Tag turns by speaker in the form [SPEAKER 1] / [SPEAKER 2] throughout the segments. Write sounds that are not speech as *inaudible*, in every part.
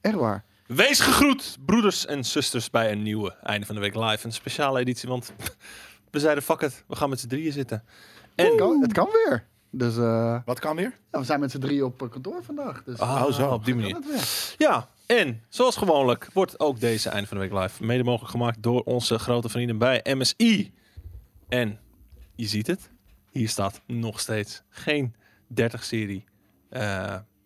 [SPEAKER 1] Echt waar.
[SPEAKER 2] Wees gegroet, broeders en zusters, bij een nieuwe Einde van de Week Live. Een speciale editie, want *laughs* we zeiden fuck it, we gaan met z'n drieën zitten.
[SPEAKER 1] Het
[SPEAKER 2] En,
[SPEAKER 1] kan, het kan weer. Dus eh, nou,
[SPEAKER 3] Wat kan weer?
[SPEAKER 1] we zijn met z'n drieën op eh, kantoor vandaag. Dus
[SPEAKER 2] Ah,
[SPEAKER 3] Oh, zo.
[SPEAKER 2] op die manier.
[SPEAKER 1] dat weer.
[SPEAKER 2] Ja, en zoals gewoonlijk wordt ook deze Einde van de Week Live mede mogelijk gemaakt door onze grote vrienden bij MSI. En je ziet het, hier staat nog steeds geen 30-serie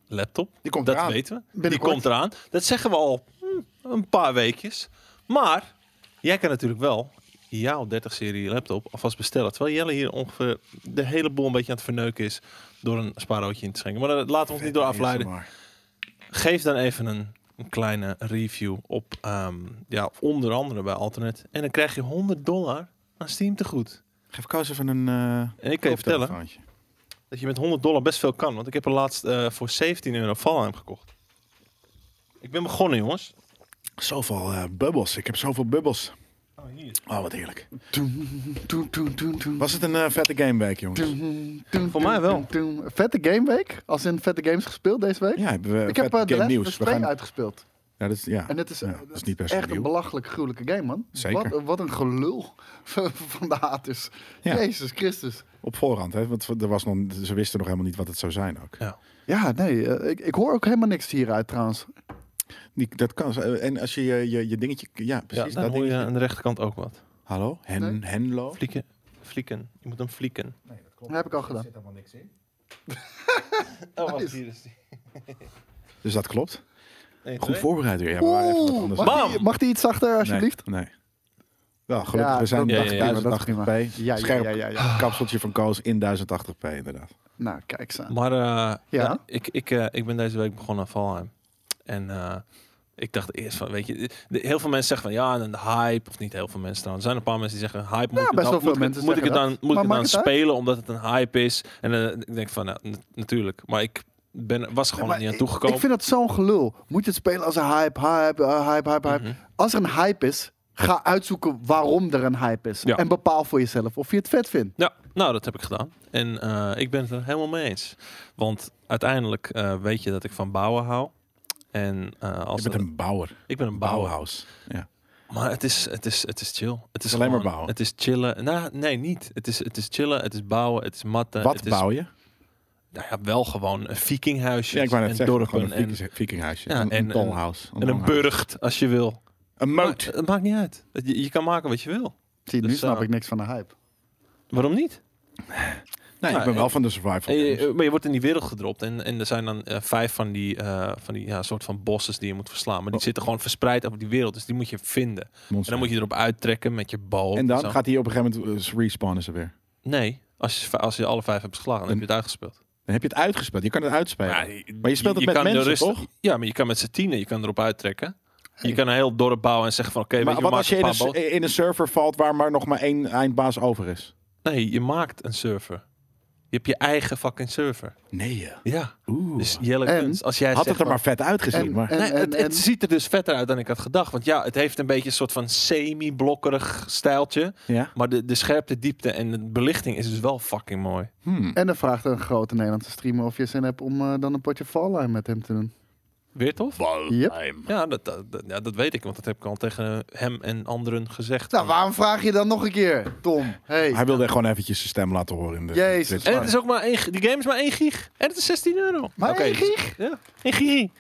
[SPEAKER 2] laptop.
[SPEAKER 3] Die komt
[SPEAKER 2] dat
[SPEAKER 3] eraan.
[SPEAKER 2] weten we. Die
[SPEAKER 1] Binnenkort.
[SPEAKER 2] komt eraan. Dat zeggen we al hm, een paar weekjes. Maar jij kan natuurlijk wel jouw 30-serie laptop alvast bestellen. Terwijl Jelle hier ongeveer de hele boel een beetje aan het verneuken is door een spaarroodje in te schenken. Maar dat laten we ons niet door afleiden.
[SPEAKER 3] Maar.
[SPEAKER 2] Geef dan even een, een kleine review op ehm, ja, onder andere bij Alternet. En dan krijg je 100 dollar aan Steam tegoed.
[SPEAKER 3] Geef Koos even een... eh,
[SPEAKER 2] En ik kan je vertellen
[SPEAKER 3] koptelefoontje.
[SPEAKER 2] dat je met 100 dollar best veel kan. Want ik heb er laatst eh, voor 17 euro Valheim gekocht. Ik ben begonnen, jongens.
[SPEAKER 3] Zoveel eh, bubbels. Ik heb zoveel bubbels. Oh, wat heerlijk.
[SPEAKER 1] Toen, toen, toen, toen.
[SPEAKER 3] Was het een eh, vette gameweek, jongens?
[SPEAKER 1] Toen, toen,
[SPEAKER 2] Voor mij
[SPEAKER 1] toen, toen,
[SPEAKER 2] wel.
[SPEAKER 1] toen. Vette gameweek. Als in vette games gespeeld deze week.
[SPEAKER 3] Ja, hebben we
[SPEAKER 1] ik
[SPEAKER 3] vet
[SPEAKER 1] heb eh, de
[SPEAKER 3] game
[SPEAKER 1] Last of
[SPEAKER 3] nieuws.
[SPEAKER 1] Us
[SPEAKER 3] We
[SPEAKER 1] 2
[SPEAKER 3] gaan...
[SPEAKER 1] uitgespeeld.
[SPEAKER 3] ja, dat is, ja.
[SPEAKER 1] En het is,
[SPEAKER 3] Ja,
[SPEAKER 1] eh,
[SPEAKER 3] dat is niet per se
[SPEAKER 1] echt
[SPEAKER 3] nieuw.
[SPEAKER 1] een belachelijk gruwelijke game, man.
[SPEAKER 3] Zeker.
[SPEAKER 1] Wat, wat een gelul *laughs* van van de haters.
[SPEAKER 3] Ja.
[SPEAKER 1] Jezus Christus.
[SPEAKER 3] Op voorhand, hè? want er was nog, ze wisten nog helemaal niet wat het zou zijn ook.
[SPEAKER 2] Ja.
[SPEAKER 1] Ja, nee, eh, ik, ik hoor ook helemaal niks hieruit trouwens.
[SPEAKER 3] Die, dat kan. zo. En als je je, je, je dingetje... Ja, precies.
[SPEAKER 2] ja, dan
[SPEAKER 3] dat
[SPEAKER 2] hoor je
[SPEAKER 3] dingetje.
[SPEAKER 2] Nou, eh, aan de rechterkant ook wat.
[SPEAKER 3] Hallo? Hen,
[SPEAKER 1] Nee.
[SPEAKER 3] Henlo?
[SPEAKER 2] Flieken. Flieken. Je moet hem flieken.
[SPEAKER 1] Dat heb ik al gedaan.
[SPEAKER 3] helemaal niks in.
[SPEAKER 2] Oh,
[SPEAKER 1] wacht, hier
[SPEAKER 2] hier is die.
[SPEAKER 3] Dus dat klopt. Goed
[SPEAKER 2] Goed
[SPEAKER 3] voorbereid weer. Ja, we waren even wat
[SPEAKER 1] Oeh,
[SPEAKER 3] anders.
[SPEAKER 1] mag,
[SPEAKER 2] Bam!
[SPEAKER 1] die, mag die iets zachter, alsjeblieft?
[SPEAKER 3] Nee. nee. Wel, gelukkig,
[SPEAKER 1] Ja,
[SPEAKER 3] we zijn
[SPEAKER 2] dat-
[SPEAKER 3] in
[SPEAKER 2] ja, ja, ja,
[SPEAKER 3] 1080p.
[SPEAKER 1] dat is prima. Ja, ja,
[SPEAKER 3] Scherp
[SPEAKER 1] ja, ja, ja.
[SPEAKER 3] kapseltje van Koos in 1080p, inderdaad.
[SPEAKER 1] Nou, kijk eens aan.
[SPEAKER 2] Maar eh,
[SPEAKER 1] Ja?
[SPEAKER 2] ik, ik, eh, ik ben deze week begonnen aan Valheim. En eh, ik dacht eerst van, weet je, de- heel veel mensen zeggen van ja, een hype. Of niet heel veel mensen trouwens. Er zijn een paar mensen die zeggen hype. Moet ik het
[SPEAKER 1] best
[SPEAKER 2] dan-
[SPEAKER 1] wel veel
[SPEAKER 2] moet ik
[SPEAKER 1] mensen
[SPEAKER 2] het- Moet ik het dan,
[SPEAKER 1] zeggen dat.
[SPEAKER 2] moet ik het
[SPEAKER 1] Maar
[SPEAKER 2] dan
[SPEAKER 1] maakt het uit?
[SPEAKER 2] spelen omdat het een hype is? En eh, ik denk van, nou, nat- natuurlijk. Maar ik ben, was er gewoon
[SPEAKER 1] Maar
[SPEAKER 2] niet aan
[SPEAKER 1] ik-
[SPEAKER 2] toegekomen.
[SPEAKER 1] Ik vind dat zo'n gelul. Moet je het spelen als een hype, hype, eh, hype, hype,
[SPEAKER 2] Mhm.
[SPEAKER 1] hype. Als er een hype is, ga uitzoeken waarom er een hype is.
[SPEAKER 2] Ja.
[SPEAKER 1] En bepaal voor jezelf of je het vet vindt.
[SPEAKER 2] Ja, nou dat heb ik gedaan. En eh, ik ben het er helemaal mee eens. Want uiteindelijk eh, weet je dat ik van bouwen hou. En eh,
[SPEAKER 3] Je
[SPEAKER 2] als
[SPEAKER 3] bent
[SPEAKER 2] er-
[SPEAKER 3] een bouwer.
[SPEAKER 2] ik ben een bouwer.
[SPEAKER 3] Bouwhaus. Ja.
[SPEAKER 2] Maar het is, het is, het is chill. Het is
[SPEAKER 3] alleen maar
[SPEAKER 2] gewoon-
[SPEAKER 3] bouwen.
[SPEAKER 2] Het is chillen. Nou, nee, niet. Het is, het is chillen, het is bouwen, het is matten.
[SPEAKER 3] Wat
[SPEAKER 2] Eh, het is,
[SPEAKER 3] bouw je?
[SPEAKER 2] Nou ja, wel gewoon een vikinghuisje.
[SPEAKER 3] Ja, ik wou net
[SPEAKER 2] en
[SPEAKER 3] zeggen,
[SPEAKER 2] dorpen
[SPEAKER 3] gewoon een
[SPEAKER 2] en,
[SPEAKER 3] viking- vikinghuisje.
[SPEAKER 2] Ja,
[SPEAKER 3] een,
[SPEAKER 2] en-
[SPEAKER 3] een tolhuis.
[SPEAKER 2] en een
[SPEAKER 3] tolhuis.
[SPEAKER 2] burcht als je wil.
[SPEAKER 3] Een
[SPEAKER 2] Maar eh,
[SPEAKER 3] moot.
[SPEAKER 2] het maakt niet uit. Het- Je, je kan maken wat je wil.
[SPEAKER 1] Zie, nu
[SPEAKER 2] Dus,
[SPEAKER 1] snap
[SPEAKER 2] eh,
[SPEAKER 1] ik niks van de hype.
[SPEAKER 2] Waarom niet?
[SPEAKER 3] Nee, ik
[SPEAKER 2] nou,
[SPEAKER 3] ben wel
[SPEAKER 2] eh,
[SPEAKER 3] van de survival
[SPEAKER 2] En je-
[SPEAKER 3] games.
[SPEAKER 2] maar je wordt in die wereld gedropt. En, en er zijn dan eh, vijf van die, eh, van die ja, soort van bosses die je moet verslaan. Maar die
[SPEAKER 3] Oh.
[SPEAKER 2] zitten gewoon verspreid over die wereld. Dus die moet je vinden. En dan moet je erop uittrekken met je bal.
[SPEAKER 3] En
[SPEAKER 2] zo.
[SPEAKER 3] dan gaat hij op een gegeven moment eh, respawnen ze weer.
[SPEAKER 2] Nee, als je, als je alle vijf hebt geslagen, dan heb je het uitgespeeld.
[SPEAKER 3] Dan heb je het uitgespeeld. Je kan het uitspelen.
[SPEAKER 2] Ja,
[SPEAKER 3] maar je speelt het met
[SPEAKER 2] kan
[SPEAKER 3] mensen,
[SPEAKER 2] er rust-
[SPEAKER 3] toch?
[SPEAKER 2] Ja, maar je kan met z'n tienen, je kan erop uittrekken. Je kan een heel dorp bouwen en zeggen van oké, weet
[SPEAKER 3] maar
[SPEAKER 2] je,
[SPEAKER 3] wat
[SPEAKER 2] we
[SPEAKER 3] als je
[SPEAKER 2] maken
[SPEAKER 3] in
[SPEAKER 2] een
[SPEAKER 3] een,
[SPEAKER 2] paar
[SPEAKER 3] s-
[SPEAKER 2] boten.
[SPEAKER 3] in een server valt waar maar nog maar één eindbaas over is?
[SPEAKER 2] Nee, je maakt een server. Je hebt je eigen fucking server.
[SPEAKER 3] Nee, ja.
[SPEAKER 2] Ja.
[SPEAKER 3] Oeh.
[SPEAKER 2] Dus Jelle
[SPEAKER 1] En?
[SPEAKER 2] Kunst, als jij
[SPEAKER 3] Had
[SPEAKER 2] zegt
[SPEAKER 3] het er maar
[SPEAKER 2] van-
[SPEAKER 3] vet uitgezien. maar...
[SPEAKER 1] en,
[SPEAKER 2] Nee,
[SPEAKER 1] en-
[SPEAKER 2] het,
[SPEAKER 1] en-
[SPEAKER 2] het ziet er dus vetter uit dan ik had gedacht. Want ja, het heeft een beetje een soort van semi-blokkerig stijltje.
[SPEAKER 3] Ja.
[SPEAKER 2] Maar de, de scherpte, diepte en de belichting is dus wel fucking mooi.
[SPEAKER 3] Hmm.
[SPEAKER 1] en dan vraagt een grote Nederlandse streamer of je zin hebt om eh, dan een potje Fallout met hem te doen.
[SPEAKER 2] Weer tof?
[SPEAKER 1] Yep.
[SPEAKER 2] Ja dat, dat, dat- ja, dat weet ik, want dat heb ik al tegen hem en anderen gezegd.
[SPEAKER 1] Nou,
[SPEAKER 2] Van-
[SPEAKER 1] waarom vraag je dan nog een keer, Tom? Hey.
[SPEAKER 3] Hij wilde gewoon eventjes zijn stem laten horen. In de,
[SPEAKER 1] Jezus.
[SPEAKER 3] dit-
[SPEAKER 2] En het is ook maar één, die game is maar 1 gig. En het is 16 euro.
[SPEAKER 1] Maar
[SPEAKER 2] Oké,
[SPEAKER 1] één gig?
[SPEAKER 2] Ja, 1 gig.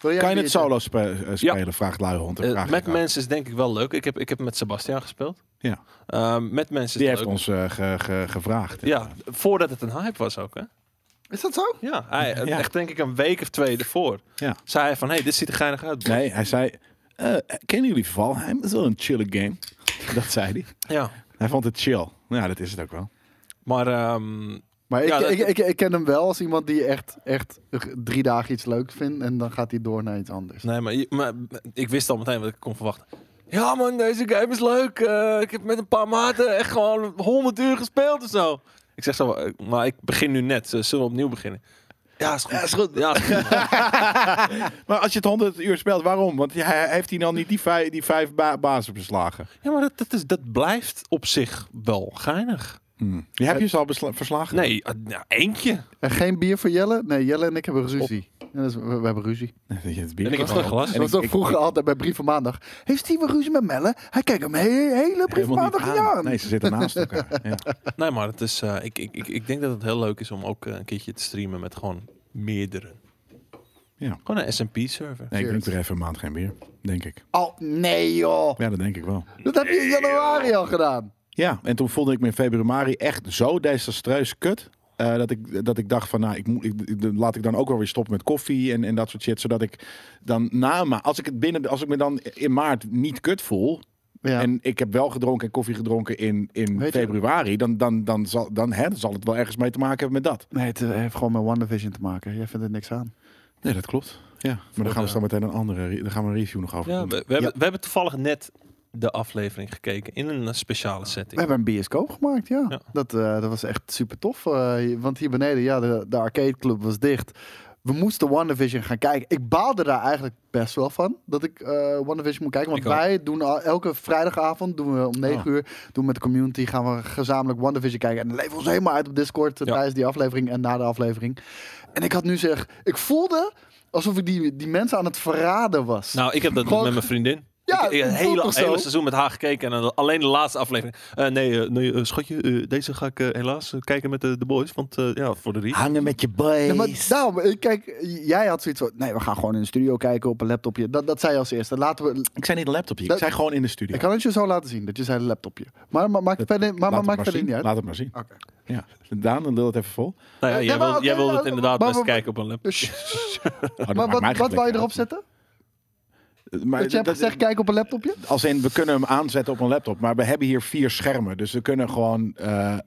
[SPEAKER 1] Wil jij
[SPEAKER 3] Kan
[SPEAKER 1] een
[SPEAKER 3] je het
[SPEAKER 1] biertje?
[SPEAKER 3] solo spe- eh, spelen? Vraagt Luihond.
[SPEAKER 2] Eh,
[SPEAKER 3] Vraag ik
[SPEAKER 2] met
[SPEAKER 3] ook.
[SPEAKER 2] mensen is denk ik wel leuk. Ik heb, ik heb met Sebastian gespeeld.
[SPEAKER 3] Ja.
[SPEAKER 2] Ehm, met mensen
[SPEAKER 3] Die
[SPEAKER 2] is het
[SPEAKER 3] heeft
[SPEAKER 2] leuk.
[SPEAKER 3] ons eh, ge- ge- gevraagd.
[SPEAKER 2] Ja, voordat het een hype was ook. Hè?
[SPEAKER 1] Is dat zo?
[SPEAKER 2] Ja, hij,
[SPEAKER 3] Ja.
[SPEAKER 2] echt denk ik een week of twee ervoor.
[SPEAKER 3] Ja.
[SPEAKER 2] Zei hij van, hé, hey, dit ziet er geinig uit.
[SPEAKER 3] Nee, hij zei... eh, kennen jullie Valheim? Dat is wel een chille game. *laughs* Dat zei hij.
[SPEAKER 2] Ja,
[SPEAKER 3] Hij vond het chill. Nou Ja, dat is het ook wel.
[SPEAKER 2] maar ehm,
[SPEAKER 1] Maar ik,
[SPEAKER 2] Ja, dat-
[SPEAKER 1] ik, ik, ik ken hem wel als iemand die echt, echt drie dagen iets leuk vindt en dan gaat hij door naar iets anders.
[SPEAKER 2] Nee, maar, je- maar ik wist al meteen wat ik kon verwachten. Ja man, deze game is leuk. Eh, ik heb met een paar maten echt gewoon 100 uur gespeeld of zo. Ik zeg zo, eh, maar ik begin nu net. Dus zullen we opnieuw beginnen? Ja, is goed. Ja, is goed. *laughs*
[SPEAKER 3] Maar als je het 100 uur speelt, waarom? Want hij, heeft hij dan niet die vijf, die vijf ba- bazen beslagen?
[SPEAKER 2] Ja, maar dat, dat, is, dat blijft op zich wel geinig.
[SPEAKER 1] Hmm.
[SPEAKER 3] Die heb je ze al besla- verslagen?
[SPEAKER 2] Nee, eh, nou, eentje.
[SPEAKER 1] En geen bier voor Jelle? Nee, Jelle en ik hebben ruzie. Ja, dat is- we, we hebben ruzie.
[SPEAKER 3] Het
[SPEAKER 2] En ik heb gewoon een glas.
[SPEAKER 1] dat was ook vroeger altijd bij Brieven Maandag. Heeft Steven ruzie met Melle? Hij kijkt hem he- hele Brieven Maandag niet aan.
[SPEAKER 3] Nee, ze zitten naast elkaar. Ja.
[SPEAKER 2] Nee, maar het is, eh, ik, ik, ik, ik denk dat het heel leuk is om ook eh, een keertje te streamen met gewoon meerdere.
[SPEAKER 3] Ja.
[SPEAKER 2] Gewoon een SMP-server.
[SPEAKER 3] Nee, ik drink er even een maand geen bier, denk ik.
[SPEAKER 1] Oh, nee joh.
[SPEAKER 3] Ja, dat denk ik wel.
[SPEAKER 1] Dat heb je in januari al gedaan.
[SPEAKER 3] Ja, en toen voelde ik me in februari echt zo desastreus kut. eh, dat, ik, dat ik dacht van, nou, ik moet, ik, ik- laat ik dan ook wel weer stoppen met koffie en, en dat soort shit. Zodat ik dan na ma als ik het binnen, als ik me dan in maart niet kut voel.
[SPEAKER 1] Ja.
[SPEAKER 3] En ik heb wel gedronken en koffie gedronken in, in
[SPEAKER 1] Weet je-
[SPEAKER 3] februari. Dan, dan, dan, zal, dan hè, dan zal het wel ergens mee te maken hebben met dat.
[SPEAKER 1] Nee, het eh, heeft gewoon met WandaVision te maken. Jij vindt er niks aan.
[SPEAKER 3] Nee, dat eh, klopt. Ja, maar dan gaan we zo meteen een andere, re- dan gaan we een review nog over.
[SPEAKER 2] Ja, we,
[SPEAKER 3] doen.
[SPEAKER 2] we, Hebben, we hebben toevallig net de aflevering gekeken in een eh, speciale
[SPEAKER 1] We
[SPEAKER 2] setting.
[SPEAKER 1] hebben een bioscoop gemaakt, ja.
[SPEAKER 2] Ja.
[SPEAKER 1] Dat, eh, dat was echt super tof. eh, want hier beneden, ja, de, de arcadeclub was dicht. We moesten WandaVision gaan kijken. Ik baalde daar eigenlijk best wel van dat ik eh WandaVision moet kijken. Want
[SPEAKER 2] Ik ook.
[SPEAKER 1] wij doen al, elke vrijdagavond, doen we om 9
[SPEAKER 3] Oh.
[SPEAKER 1] uur, doen we met de community, gaan we gezamenlijk WandaVision kijken. En dan leven we ons helemaal uit op Discord eh,
[SPEAKER 2] Ja.
[SPEAKER 1] tijdens die aflevering en na de aflevering. En ik had nu zeg, ik voelde alsof ik die, die mensen aan het verraden was.
[SPEAKER 2] Nou, ik heb dat
[SPEAKER 1] Gewoon-
[SPEAKER 2] met mijn vriendin.
[SPEAKER 1] Ja,
[SPEAKER 2] ik, ik, het
[SPEAKER 1] voelt
[SPEAKER 2] hele,
[SPEAKER 1] toch zo?
[SPEAKER 2] hele seizoen met haar gekeken en dan alleen de laatste aflevering. Eh, nee, eh, nee eh, schatje, eh, deze ga ik eh, helaas eh, kijken met de, de boys, want eh, ja, voor de
[SPEAKER 1] Ah.
[SPEAKER 2] review.
[SPEAKER 3] Hangen met je boys.
[SPEAKER 1] Ja, maar daarom, eh, kijk, jij had zoiets van, nee, we gaan gewoon in de studio kijken op een laptopje. Dat, dat zei je als eerste. Laten we,
[SPEAKER 3] Ik zei niet een laptopje, ik
[SPEAKER 1] Dat-
[SPEAKER 3] zei gewoon in de studio.
[SPEAKER 1] ik kan het je zo laten zien, dat je zei een laptopje. Maar, maar maakt verder, maar, maar,
[SPEAKER 3] Laat
[SPEAKER 1] maakt
[SPEAKER 3] het maar
[SPEAKER 1] verder
[SPEAKER 3] zien.
[SPEAKER 1] niet uit.
[SPEAKER 3] Laat het maar zien.
[SPEAKER 1] Oké.
[SPEAKER 3] Ja. Daan, dan lul het even vol. Oh,
[SPEAKER 2] Nou ja,
[SPEAKER 1] Eh,
[SPEAKER 2] jij,
[SPEAKER 1] ja, maar
[SPEAKER 2] wil,
[SPEAKER 1] oké,
[SPEAKER 2] jij wilde het
[SPEAKER 1] ja,
[SPEAKER 2] inderdaad
[SPEAKER 1] maar-
[SPEAKER 2] best
[SPEAKER 1] maar-
[SPEAKER 2] kijken op een laptop.
[SPEAKER 1] Dus-
[SPEAKER 3] Oh, dat
[SPEAKER 1] maar
[SPEAKER 3] maakt
[SPEAKER 1] wat,
[SPEAKER 3] mij geen
[SPEAKER 1] wat
[SPEAKER 3] flikker
[SPEAKER 1] wou je
[SPEAKER 3] uit.
[SPEAKER 1] erop zetten?
[SPEAKER 3] Maar
[SPEAKER 1] Dat je hebt
[SPEAKER 3] dat-
[SPEAKER 1] gezegd, kijk op een laptopje?
[SPEAKER 3] Als in, we kunnen hem aanzetten op een laptop, maar we hebben hier vier schermen. Dus we kunnen gewoon... eh, eh,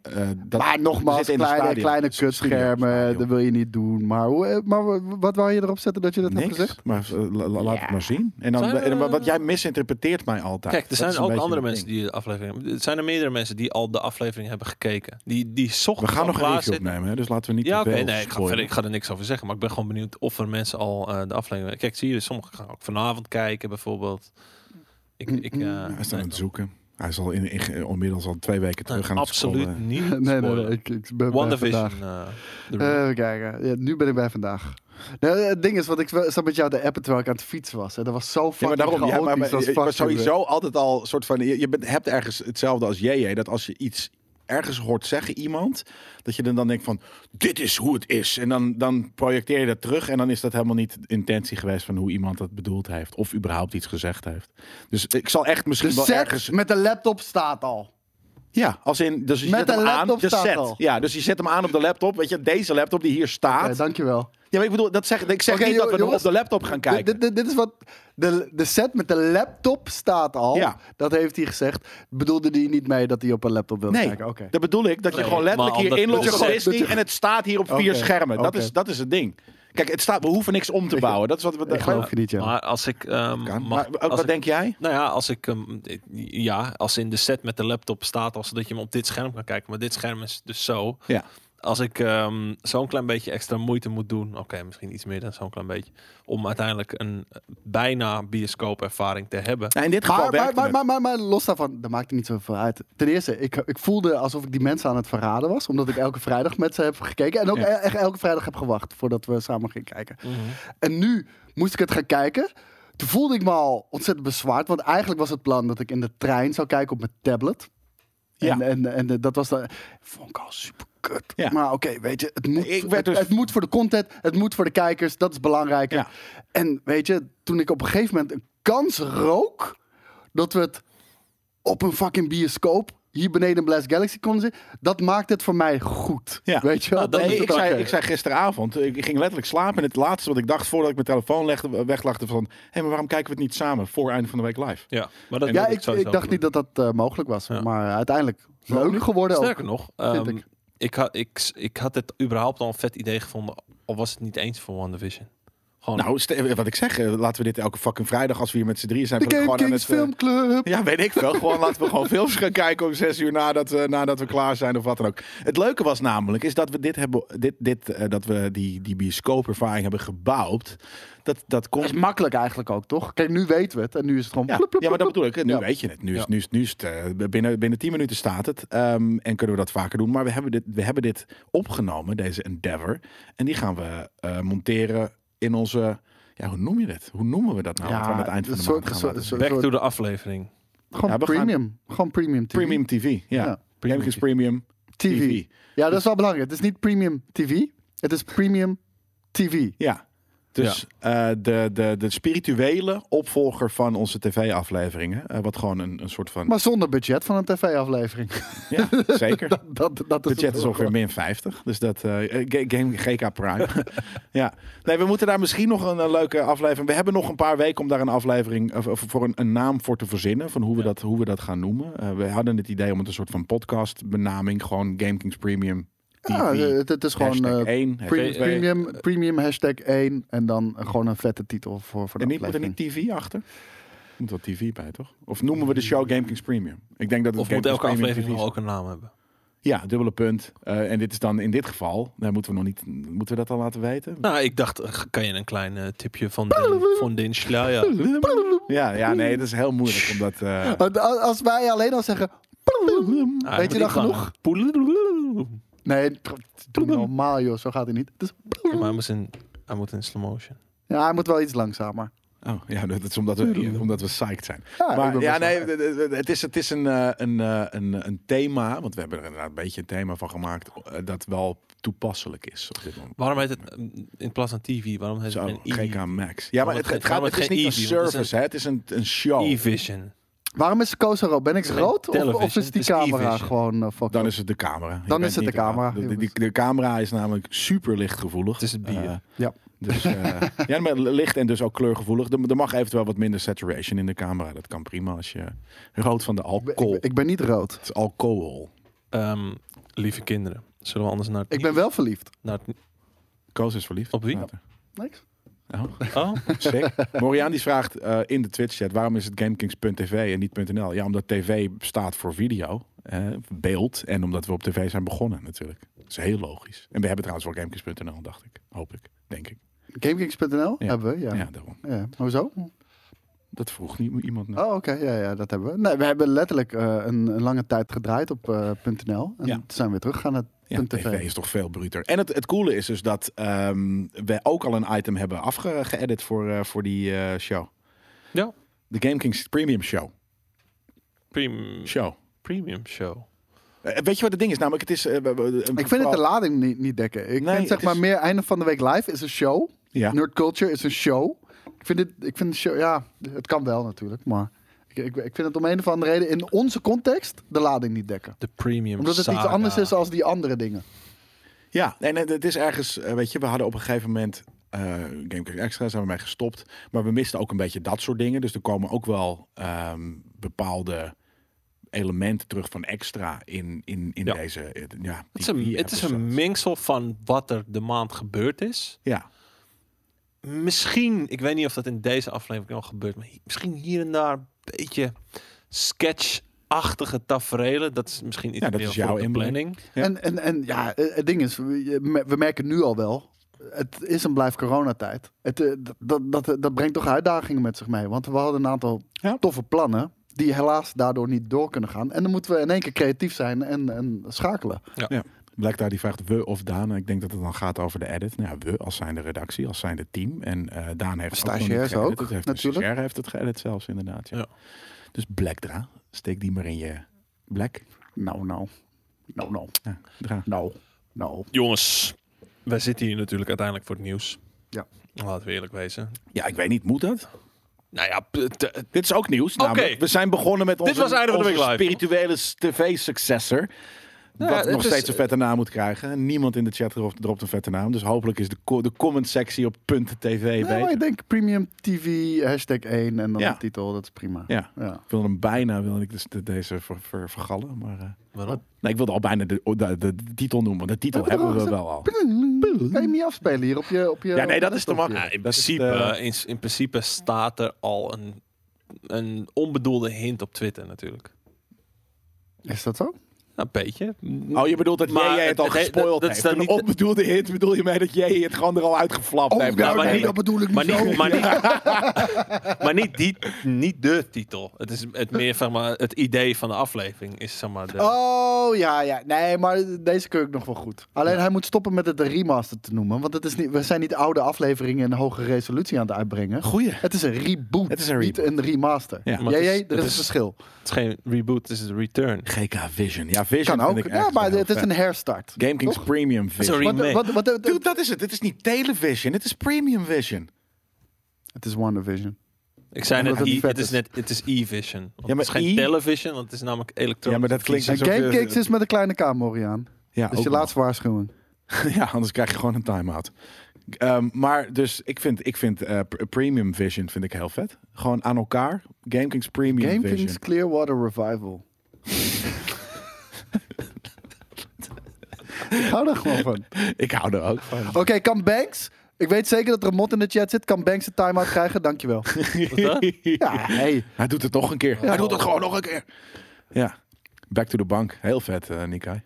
[SPEAKER 3] dat,
[SPEAKER 1] Maar
[SPEAKER 3] we
[SPEAKER 1] nogmaals,
[SPEAKER 3] zitten in een
[SPEAKER 1] kleine,
[SPEAKER 3] stadion.
[SPEAKER 1] kleine
[SPEAKER 3] Het is een studio,
[SPEAKER 1] kutschermen,
[SPEAKER 3] stadion.
[SPEAKER 1] dat wil je niet doen. Maar, hoe, eh, maar w- wat wou je erop zetten dat je dat hebt gezegd? *laughs*
[SPEAKER 3] Niks, maar eh, la- la- laat het maar zien. En dan,
[SPEAKER 2] Zijn we-
[SPEAKER 3] en dan- want jij misinterpreteert mij altijd.
[SPEAKER 2] Kijk, er
[SPEAKER 3] Nou, Dat
[SPEAKER 2] zijn
[SPEAKER 3] is een
[SPEAKER 2] ook
[SPEAKER 3] beetje
[SPEAKER 2] andere
[SPEAKER 3] mijn
[SPEAKER 2] mensen
[SPEAKER 3] ding.
[SPEAKER 2] die de aflevering. Er zijn er meerdere mensen die al de aflevering hebben gekeken. Die, die
[SPEAKER 3] We
[SPEAKER 2] zochten.
[SPEAKER 3] gaan nog een review opnemen, hè, dus laten we niet
[SPEAKER 2] Ja,
[SPEAKER 3] te
[SPEAKER 2] oké.
[SPEAKER 3] veel
[SPEAKER 2] Nee, ik ga,
[SPEAKER 3] spoilen.
[SPEAKER 2] verder, ik ga er niks over zeggen. Maar ik ben gewoon benieuwd of er mensen al eh, de aflevering. Kijk, zie je, dus sommigen gaan ook vanavond kijken, bijvoorbeeld.
[SPEAKER 3] Mm,
[SPEAKER 2] Ik, ik, eh,
[SPEAKER 3] Hij is aan
[SPEAKER 2] nee,
[SPEAKER 3] het zoeken. Hij is al in, in, inmiddels al twee weken terug gaan
[SPEAKER 2] absoluut niet.
[SPEAKER 1] *laughs* Nee, nee, nee.
[SPEAKER 2] spoilen.
[SPEAKER 1] Ik, ik ben bij
[SPEAKER 2] WandaVision.
[SPEAKER 1] vandaag.
[SPEAKER 2] eh, de
[SPEAKER 1] Eh, even kijken. Ja, nu ben ik bij vandaag. Nou, het ding is, wat ik wel- zat met jou te appen terwijl ik aan het fietsen was. Hè. Dat was zo
[SPEAKER 3] Ja, maar
[SPEAKER 1] fucking
[SPEAKER 3] daarom, ja, maar, maar,
[SPEAKER 1] chaotisch als
[SPEAKER 3] je- je
[SPEAKER 1] fuck,
[SPEAKER 3] was
[SPEAKER 1] jongen.
[SPEAKER 3] sowieso altijd al soort van. Je, je bent, hebt ergens hetzelfde als JJ. Dat als je iets ergens hoort zeggen iemand, dat je dan, dan denkt van dit is hoe het is. En dan, dan projecteer je dat terug. En dan is dat helemaal niet de intentie geweest van hoe iemand dat bedoeld heeft. Of überhaupt iets gezegd heeft. Dus ik zal echt misschien
[SPEAKER 1] De
[SPEAKER 3] wel
[SPEAKER 1] set
[SPEAKER 3] ergens.
[SPEAKER 1] met de laptop staat al.
[SPEAKER 3] Ja, als in. Dus je
[SPEAKER 1] Met
[SPEAKER 3] zet
[SPEAKER 1] de
[SPEAKER 3] hem aan.
[SPEAKER 1] laptop
[SPEAKER 3] De
[SPEAKER 1] staat
[SPEAKER 3] set.
[SPEAKER 1] al.
[SPEAKER 3] Ja, dus je zet hem aan op de laptop. Weet je, deze laptop die hier staat.
[SPEAKER 1] Oké, dankjewel.
[SPEAKER 3] Ja, maar ik bedoel, dat zeg, ik zeg
[SPEAKER 1] Oké,
[SPEAKER 3] niet dat we
[SPEAKER 1] jongens,
[SPEAKER 3] hem op de laptop gaan kijken.
[SPEAKER 1] Dit, dit, dit is wat. De, de set met de laptop staat al.
[SPEAKER 3] Ja.
[SPEAKER 1] Dat heeft hij gezegd. Bedoelde hij niet mee dat hij op een laptop wilde
[SPEAKER 3] Nee,
[SPEAKER 1] kijken? Oké.
[SPEAKER 3] dat bedoel ik. Dat je
[SPEAKER 2] Nee,
[SPEAKER 3] gewoon letterlijk
[SPEAKER 2] maar
[SPEAKER 3] hier
[SPEAKER 2] omdat-
[SPEAKER 3] inlogt
[SPEAKER 2] dat je
[SPEAKER 3] op
[SPEAKER 2] gewoon-
[SPEAKER 3] Disney
[SPEAKER 1] dat je-
[SPEAKER 3] en het staat hier op
[SPEAKER 1] Oké,
[SPEAKER 3] vier schermen. Dat,
[SPEAKER 1] oké.
[SPEAKER 3] is, dat is het ding. Kijk, het staat, we hoeven niks om te bouwen. Dat is wat we...
[SPEAKER 1] Ik geloof je niet, ja.
[SPEAKER 2] Maar als ik. ehm,
[SPEAKER 3] Kan.
[SPEAKER 2] mag-
[SPEAKER 3] Maar,
[SPEAKER 2] als
[SPEAKER 3] wat
[SPEAKER 2] ik-
[SPEAKER 3] denk jij?
[SPEAKER 2] Nou ja, als ik hem. Ja, als in de set met de laptop staat, als dat je hem op dit scherm kan kijken. Maar dit scherm is dus zo.
[SPEAKER 3] Ja.
[SPEAKER 2] Als ik ehm, zo'n klein beetje extra moeite moet doen. Oké, misschien iets meer dan zo'n klein beetje. Om uiteindelijk een eh, bijna bioscoopervaring te hebben.
[SPEAKER 3] Nou, in dit geval
[SPEAKER 1] Maar, maar,
[SPEAKER 3] werkt
[SPEAKER 1] maar,
[SPEAKER 3] het.
[SPEAKER 1] maar, maar, maar los daarvan, dat maakt er niet zoveel uit. Ten eerste, ik, ik voelde alsof ik die mensen aan het verraden was. Omdat ik elke vrijdag met ze heb gekeken. En ook
[SPEAKER 3] Ja. Mhm.
[SPEAKER 1] e- echt elke vrijdag heb gewacht voordat we samen gingen kijken. En nu moest ik het gaan kijken. Toen voelde ik me al ontzettend bezwaard. Want eigenlijk was het plan dat ik in de trein zou kijken op mijn tablet.
[SPEAKER 3] Ja.
[SPEAKER 1] En, en, en eh, dat was dan. Vond ik al super kut.
[SPEAKER 3] Ja.
[SPEAKER 1] Maar oké, weet je, het moet,
[SPEAKER 3] Ik werd
[SPEAKER 1] het,
[SPEAKER 3] dus-
[SPEAKER 1] het moet voor de content, het moet voor de kijkers, dat is belangrijker.
[SPEAKER 3] Ja.
[SPEAKER 1] En weet je, toen ik op een gegeven moment een kans rook dat we het op een fucking bioscoop hier beneden in Blast Galaxy konden zien, dat maakt het voor mij goed.
[SPEAKER 3] Ja.
[SPEAKER 1] Weet je wel?
[SPEAKER 2] Nou, dat-
[SPEAKER 1] Dan
[SPEAKER 3] Nee,
[SPEAKER 1] is
[SPEAKER 3] ik,
[SPEAKER 1] het
[SPEAKER 3] zei,
[SPEAKER 1] oké.
[SPEAKER 3] ik zei gisteravond, ik ging letterlijk slapen. En het laatste wat ik dacht voordat ik mijn telefoon legde, weglachte van... Hé, maar waarom kijken we het niet samen voor einde van de week live?
[SPEAKER 2] Ja, maar dat
[SPEAKER 1] ja,
[SPEAKER 2] wil
[SPEAKER 1] ik,
[SPEAKER 2] sowieso
[SPEAKER 1] ik dacht
[SPEAKER 2] doen.
[SPEAKER 1] niet dat dat eh, mogelijk was,
[SPEAKER 2] Ja.
[SPEAKER 1] maar uiteindelijk leuk geworden. ook.
[SPEAKER 2] Sterker nog, ehm,
[SPEAKER 1] ik.
[SPEAKER 2] ik. had, ik, ik had het überhaupt al een vet idee gevonden. Al was het niet eens voor WandaVision. Gewoon.
[SPEAKER 3] Nou, ste- wat ik zeg, eh, laten we dit elke fucking vrijdag als we hier met z'n drieën zijn...
[SPEAKER 1] De
[SPEAKER 3] gewoon
[SPEAKER 1] Game
[SPEAKER 3] aan
[SPEAKER 1] Kings
[SPEAKER 3] het, eh,
[SPEAKER 1] Filmclub.
[SPEAKER 3] Ja, weet ik wel. Gewoon laten we gewoon films gaan kijken om zes uur nadat, we- nadat we klaar zijn of wat dan ook. Het leuke was namelijk, is dat we dit hebben, dit, dit, eh, dat we die, die bioscoopervaring hebben gebouwd. Dat, dat
[SPEAKER 1] Dat
[SPEAKER 3] komt...
[SPEAKER 1] is makkelijk eigenlijk ook, toch? Kijk, nu weten we het en nu is het gewoon...
[SPEAKER 3] Ja,
[SPEAKER 1] plup, plup,
[SPEAKER 3] ja, maar dat
[SPEAKER 1] plup,
[SPEAKER 3] bedoel ik. Nu
[SPEAKER 1] Ja.
[SPEAKER 3] weet je het. Nu is,
[SPEAKER 2] Ja.
[SPEAKER 3] nu is, nu is het, eh, binnen, binnen 10 minuten staat het. Ehm, en kunnen we dat vaker doen. Maar we hebben dit, we hebben dit opgenomen, deze Endeavor. En die gaan we eh, monteren in onze... Ja, hoe noem je dit? Hoe noemen we dat nou? wat we aan het eind van de
[SPEAKER 1] een
[SPEAKER 3] maand
[SPEAKER 1] soort-
[SPEAKER 3] gaan
[SPEAKER 1] soort-
[SPEAKER 3] laten zien?
[SPEAKER 1] soort-
[SPEAKER 2] Back
[SPEAKER 1] soort-
[SPEAKER 2] to de aflevering.
[SPEAKER 1] Gewoon
[SPEAKER 3] Ja, we gaan-
[SPEAKER 1] premium. Gewoon premium TV.
[SPEAKER 3] Premium TV, ja.
[SPEAKER 1] Ja.
[SPEAKER 3] Premium is premium
[SPEAKER 1] TV.
[SPEAKER 3] TV.
[SPEAKER 1] Ja, dat
[SPEAKER 3] Dus
[SPEAKER 1] is wel belangrijk. Het is niet premium TV. Het is premium TV.
[SPEAKER 3] Ja. Dus eh, de, de, de spirituele opvolger van onze tv-afleveringen. eh, wat gewoon een, een soort van...
[SPEAKER 1] Maar zonder budget van een tv-aflevering.
[SPEAKER 3] Ja, zeker.
[SPEAKER 1] *laughs* Dat, *laughs* dat, dat is
[SPEAKER 3] budget is ongeveer min 50. Dus dat eh, Ga- Game GK Prime. *laughs* ja. Nee, we moeten daar misschien nog een, eh, leuke aflevering. We hebben nog een paar weken om daar een aflevering of, of voor een, een naam voor te verzinnen van hoe we dat hoe we dat gaan noemen. Eh, we hadden het idee om het een soort van podcast benaming gewoon Game Kings Premium. E TV,
[SPEAKER 1] Ja, het, het is gewoon
[SPEAKER 3] hashtag
[SPEAKER 1] eh,
[SPEAKER 3] 1,
[SPEAKER 1] pre-
[SPEAKER 3] hashtag 2.
[SPEAKER 1] premium, premium hashtag 1 en dan gewoon een vette titel voor, voor de
[SPEAKER 3] En niet, moet er
[SPEAKER 1] aflevering.
[SPEAKER 3] niet TV achter? Moet wel TV bij, toch? Of noemen we de show Game Kings Premium? Ik denk dat het
[SPEAKER 2] Of
[SPEAKER 3] Game
[SPEAKER 2] moet elke
[SPEAKER 3] Kings Premium
[SPEAKER 2] aflevering
[SPEAKER 3] TV
[SPEAKER 2] wel ook een naam hebben?
[SPEAKER 3] is. Ja, dubbele punt. Eh, en dit is dan in dit geval, daar moeten we nog niet, moeten we dat al laten weten?
[SPEAKER 2] Nou, ik dacht, eh, kan je een klein eh, tipje van de, van de Inschla- ja.
[SPEAKER 3] Ja, ja, nee, dat is heel moeilijk omdat. eh,
[SPEAKER 1] Want a- Als wij alleen al zeggen...
[SPEAKER 2] Ah,
[SPEAKER 1] Weet je
[SPEAKER 2] moet
[SPEAKER 1] dan
[SPEAKER 2] ik gaan,
[SPEAKER 1] genoeg?
[SPEAKER 2] hè? Poedeloedeloedeloedeloedeloedeloe.
[SPEAKER 1] Nee, pr- doe normaal joh, zo gaat het niet. Het is-
[SPEAKER 2] Ja, maar hij moet in, hij moet in slow motion.
[SPEAKER 1] ja, hij moet wel iets langzamer.
[SPEAKER 3] Oh, ja, dat is omdat we, omdat we psyched zijn.
[SPEAKER 1] Ja, ik
[SPEAKER 3] maar
[SPEAKER 1] ben
[SPEAKER 3] ja,
[SPEAKER 1] best wel
[SPEAKER 3] nee, d- d- d- het is, het is een, eh, een, eh, een, een thema, want we hebben er inderdaad een beetje een thema van gemaakt, eh, dat wel toepasselijk is op dit moment.
[SPEAKER 2] Waarom heet het eh, in plaats van TV? Waarom heet
[SPEAKER 3] Zo,
[SPEAKER 2] het een
[SPEAKER 3] GK Max. Ja, maar
[SPEAKER 2] Waarom
[SPEAKER 3] het,
[SPEAKER 2] het
[SPEAKER 3] het, gaat,
[SPEAKER 2] geen-
[SPEAKER 3] het is niet een
[SPEAKER 2] waarom het geen
[SPEAKER 3] service, hè? het is een, een show.
[SPEAKER 2] E- E-Vision?
[SPEAKER 1] Waarom is de koos rood? Ben ik rood of- of,
[SPEAKER 2] television,
[SPEAKER 1] is die
[SPEAKER 2] het is
[SPEAKER 1] camera
[SPEAKER 2] television.
[SPEAKER 1] gewoon eh, fucked
[SPEAKER 3] Dan
[SPEAKER 1] up?
[SPEAKER 3] is het de camera. Je
[SPEAKER 1] Dan
[SPEAKER 3] bent
[SPEAKER 1] is het
[SPEAKER 3] niet
[SPEAKER 1] de camera,
[SPEAKER 3] De, de-
[SPEAKER 1] jongens.
[SPEAKER 3] de- de camera is namelijk super lichtgevoelig.
[SPEAKER 2] Het is het bier.
[SPEAKER 3] Eh,
[SPEAKER 1] Ja. *laughs*
[SPEAKER 3] Dus, eh, ja, maar licht en dus ook kleurgevoelig. Er, er mag eventueel wat minder saturation in de camera. Dat kan prima als je rood van de
[SPEAKER 1] Ik
[SPEAKER 3] alcohol.
[SPEAKER 1] ben- ik, ben- ik ben niet rood.
[SPEAKER 3] Het is alcohol.
[SPEAKER 2] Ehm, lieve kinderen, zullen we anders naar het
[SPEAKER 1] Ik ben wel verliefd.
[SPEAKER 2] Naar het,
[SPEAKER 3] Koos is verliefd.
[SPEAKER 2] Op wie?
[SPEAKER 3] Later.
[SPEAKER 1] Niks.
[SPEAKER 3] Oh,
[SPEAKER 2] *laughs* oh,
[SPEAKER 1] *laughs*
[SPEAKER 3] sick. Moriaan die vraagt eh, in de Twitch-chat... waarom is het GameKings.tv en niet .nl? Ja, omdat tv staat voor video, eh, beeld... en omdat we op tv zijn begonnen natuurlijk. Dat is heel logisch. En we hebben trouwens wel GameKings.nl, dacht ik. Hoop ik, denk ik.
[SPEAKER 1] Gamekings.nl
[SPEAKER 3] Ja.
[SPEAKER 1] hebben we, ja.
[SPEAKER 3] Ja,
[SPEAKER 1] ja.
[SPEAKER 3] daarom.
[SPEAKER 1] Hoezo?
[SPEAKER 3] Dat vroeg niet iemand naar.
[SPEAKER 1] Oh, oké. Ja, ja, dat hebben we. Nee, we hebben letterlijk eh, een, een lange tijd gedraaid op eh, .nl. En
[SPEAKER 3] Ja.
[SPEAKER 1] toen zijn we weer teruggegaan naar
[SPEAKER 3] Ja,
[SPEAKER 1] .tv.
[SPEAKER 3] tv is toch veel bruter. En het, het coole is dus dat ehm, we ook al een item hebben afgeëdit voor, eh, voor die eh, show.
[SPEAKER 2] Ja.
[SPEAKER 3] De Game Kings Premium Show.
[SPEAKER 2] premium,
[SPEAKER 3] show.
[SPEAKER 2] premium show.
[SPEAKER 3] Eh, weet je wat het ding is? Namelijk, het is... eh, we- we- een-
[SPEAKER 1] Ik vind
[SPEAKER 3] vooral-
[SPEAKER 1] het de lading niet, niet dekken. Ik
[SPEAKER 3] Nee,
[SPEAKER 1] vind zeg
[SPEAKER 3] het
[SPEAKER 1] maar
[SPEAKER 3] is-
[SPEAKER 1] meer einde van de week live is een show.
[SPEAKER 3] Ja.
[SPEAKER 1] Nerd Culture is een show. Ik vind het, ik vind de show, ja, het kan wel natuurlijk, maar ik, ik, ik vind het om een of andere reden in onze context de lading niet dekken.
[SPEAKER 2] De premium
[SPEAKER 1] Omdat het iets
[SPEAKER 2] saga.
[SPEAKER 1] anders is dan die andere dingen.
[SPEAKER 3] Ja, en het- het is ergens, eh, weet je, we hadden op een gegeven moment eh Gamecube Extra, zijn we mee gestopt. Maar we misten ook een beetje dat soort dingen. Dus er komen ook wel ehm, bepaalde elementen terug van extra in, in, in
[SPEAKER 2] Ja.
[SPEAKER 3] deze. eh, Ja,
[SPEAKER 2] Het is, een, het is een mengsel van wat er de maand gebeurd is.
[SPEAKER 3] Ja,
[SPEAKER 2] misschien, ik weet niet of dat in deze aflevering al gebeurt, maar hi- misschien hier en daar een beetje sketchachtige tafereelen. Dat is misschien iets
[SPEAKER 3] Ja, dat
[SPEAKER 2] meer
[SPEAKER 3] is
[SPEAKER 2] voor
[SPEAKER 3] jouw
[SPEAKER 2] op de
[SPEAKER 3] inbreng.
[SPEAKER 2] planning.
[SPEAKER 3] Ja.
[SPEAKER 1] En, en, en ja, eh, het ding is, we je me- we merken nu al wel, het is een blijf coronatijd. Het, eh, d- dat, dat, dat brengt toch uitdagingen met zich mee. Want we hadden een aantal
[SPEAKER 3] Ja.
[SPEAKER 1] toffe plannen die helaas daardoor niet door kunnen gaan. En dan moeten we in één keer creatief zijn en, en schakelen.
[SPEAKER 3] Blacktar die vraagt we of Daan. Ik denk dat het dan gaat over de edit. Nou, ja, we als zijn de redactie, als zijn de team. En eh, Daan heeft nog niet
[SPEAKER 1] Stagiairs ook,
[SPEAKER 3] geëdit. Het heeft
[SPEAKER 1] natuurlijk.
[SPEAKER 3] Een stagiair heeft het geëdit zelfs, inderdaad. Ja.
[SPEAKER 2] Ja.
[SPEAKER 3] Dus Blackdra, steek die maar in je Black.
[SPEAKER 1] Nou, nou. Nou, nou.
[SPEAKER 3] Ja, Dra.
[SPEAKER 1] Nou, nou.
[SPEAKER 2] Jongens, wij zitten hier natuurlijk uiteindelijk voor het nieuws.
[SPEAKER 1] Ja.
[SPEAKER 2] Laten we eerlijk wezen.
[SPEAKER 3] ja, ik weet niet, moet dat?
[SPEAKER 2] Nou ja, p- t- t-
[SPEAKER 3] Dit is ook nieuws.
[SPEAKER 2] Oké.
[SPEAKER 3] namelijk. We zijn begonnen met onze,
[SPEAKER 2] was Einde van de
[SPEAKER 3] onze
[SPEAKER 2] Week Live.
[SPEAKER 3] spirituele tv-successor.
[SPEAKER 2] ja,
[SPEAKER 3] wat
[SPEAKER 2] het
[SPEAKER 3] nog
[SPEAKER 2] is-
[SPEAKER 3] steeds een vette naam moet krijgen. Niemand in de chat dropt, dropt een vette naam. Dus hopelijk is de, co- de comment-sectie op .tv
[SPEAKER 1] Nee,
[SPEAKER 3] beter.
[SPEAKER 1] maar Nou, ik denk premium TV, hashtag 1 en dan
[SPEAKER 3] Ja.
[SPEAKER 1] de titel. Dat is prima.
[SPEAKER 3] Ja.
[SPEAKER 1] Ja.
[SPEAKER 3] Ik wilde hem bijna wilde ik dus de- deze ver, ver- vergallen. Maar, eh,
[SPEAKER 2] waarom?
[SPEAKER 3] nee, ik wilde al bijna de, de, de- de titel noemen. De titel
[SPEAKER 1] Hebben we
[SPEAKER 3] hebben
[SPEAKER 1] er
[SPEAKER 3] we
[SPEAKER 1] al
[SPEAKER 3] wel al.
[SPEAKER 1] Kan je hem niet afspelen hier op je... Op je
[SPEAKER 3] Ja, nee, dat is te makkelijk.
[SPEAKER 2] Ja, Ah, in,
[SPEAKER 3] Dat is
[SPEAKER 2] principe,
[SPEAKER 3] de-
[SPEAKER 2] eh, in, in principe staat er al een, een onbedoelde hint op Twitter natuurlijk.
[SPEAKER 1] Is dat zo?
[SPEAKER 2] Ja, Nou, een beetje.
[SPEAKER 3] Oh, je bedoelt dat
[SPEAKER 2] Maar
[SPEAKER 3] jij het al
[SPEAKER 2] het he-
[SPEAKER 3] gespoild
[SPEAKER 2] dat- dat
[SPEAKER 3] heeft.
[SPEAKER 2] staat
[SPEAKER 3] Toen
[SPEAKER 2] niet-
[SPEAKER 3] op bedoelde hint bedoel je mij dat jij het gewoon er al uitgeflapt
[SPEAKER 1] Oh,
[SPEAKER 3] heeft.
[SPEAKER 1] nou,
[SPEAKER 2] maar
[SPEAKER 1] nee,
[SPEAKER 2] niet-
[SPEAKER 1] dat bedoel ik niet
[SPEAKER 2] Maar
[SPEAKER 1] zo.
[SPEAKER 2] niet, maar niet, maar niet, die, niet de titel. Het is het meer zeg maar, het idee van de aflevering. Is, zeg maar, de,
[SPEAKER 1] Oh ja, ja. Nee, maar deze keur ik nog wel goed. Alleen hij moet stoppen met het een remaster te noemen. Want het is niet, we zijn niet oude afleveringen in hoge resolutie aan het uitbrengen.
[SPEAKER 3] Goeie.
[SPEAKER 1] Het is een reboot,
[SPEAKER 3] Het is een
[SPEAKER 1] niet een remaster.
[SPEAKER 3] Ja.
[SPEAKER 1] Ja,
[SPEAKER 2] Maar het is-
[SPEAKER 1] er
[SPEAKER 2] het
[SPEAKER 1] is een
[SPEAKER 2] is-
[SPEAKER 1] verschil.
[SPEAKER 2] Het is geen reboot, het is een return.
[SPEAKER 3] GK Vision. Ja, Vision
[SPEAKER 1] Kan
[SPEAKER 3] vind
[SPEAKER 1] ook.
[SPEAKER 3] ik
[SPEAKER 1] Ja,
[SPEAKER 3] ergens
[SPEAKER 1] maar
[SPEAKER 3] wel
[SPEAKER 1] het is
[SPEAKER 3] vet.
[SPEAKER 1] een herstart.
[SPEAKER 3] Game Kings
[SPEAKER 1] Toch?
[SPEAKER 3] Premium Vision.
[SPEAKER 2] Sorry.
[SPEAKER 1] Wat,
[SPEAKER 2] remake.
[SPEAKER 1] wat, wat, wat-
[SPEAKER 3] Dude, dat is het. Het is niet Television. Het is Premium Vision.
[SPEAKER 1] het is WandaVision.
[SPEAKER 2] Ik zei
[SPEAKER 1] Omdat
[SPEAKER 2] net,
[SPEAKER 1] het
[SPEAKER 2] e,
[SPEAKER 1] niet vet
[SPEAKER 2] het is
[SPEAKER 1] is.
[SPEAKER 2] net, het is e-vision. Want
[SPEAKER 3] maar
[SPEAKER 2] het is geen
[SPEAKER 3] e-
[SPEAKER 2] television, want het is namelijk elektronisch.
[SPEAKER 3] Ja, maar dat klinkt
[SPEAKER 1] En
[SPEAKER 3] alsof je-
[SPEAKER 2] eh,
[SPEAKER 1] Gamekicks is met een kleine kamer aan.
[SPEAKER 3] Ja,
[SPEAKER 1] Dus
[SPEAKER 3] ook
[SPEAKER 1] je
[SPEAKER 3] nog.
[SPEAKER 1] laatste waarschuwing.
[SPEAKER 3] *laughs* Ja, anders krijg je gewoon een time-out. Ehm, maar dus ik vind, ik vind eh, pr- Premium Vision vind ik heel vet. Gewoon aan elkaar. GameKings Premium
[SPEAKER 1] Game
[SPEAKER 3] Vision.
[SPEAKER 1] Kings Clearwater Revival. Ik hou daar gewoon van.
[SPEAKER 3] Ik hou er ook van.
[SPEAKER 1] Oké, kan Banks... Ik weet zeker dat er een mot in de chat zit. Kan Banks een time-out krijgen? Dankjewel.
[SPEAKER 2] Wat dan?
[SPEAKER 1] Ja, hey.
[SPEAKER 3] Hij doet het nog een keer. Hij doet het gewoon nog een keer. Ja. Back to the bank. Heel vet, eh Nikai.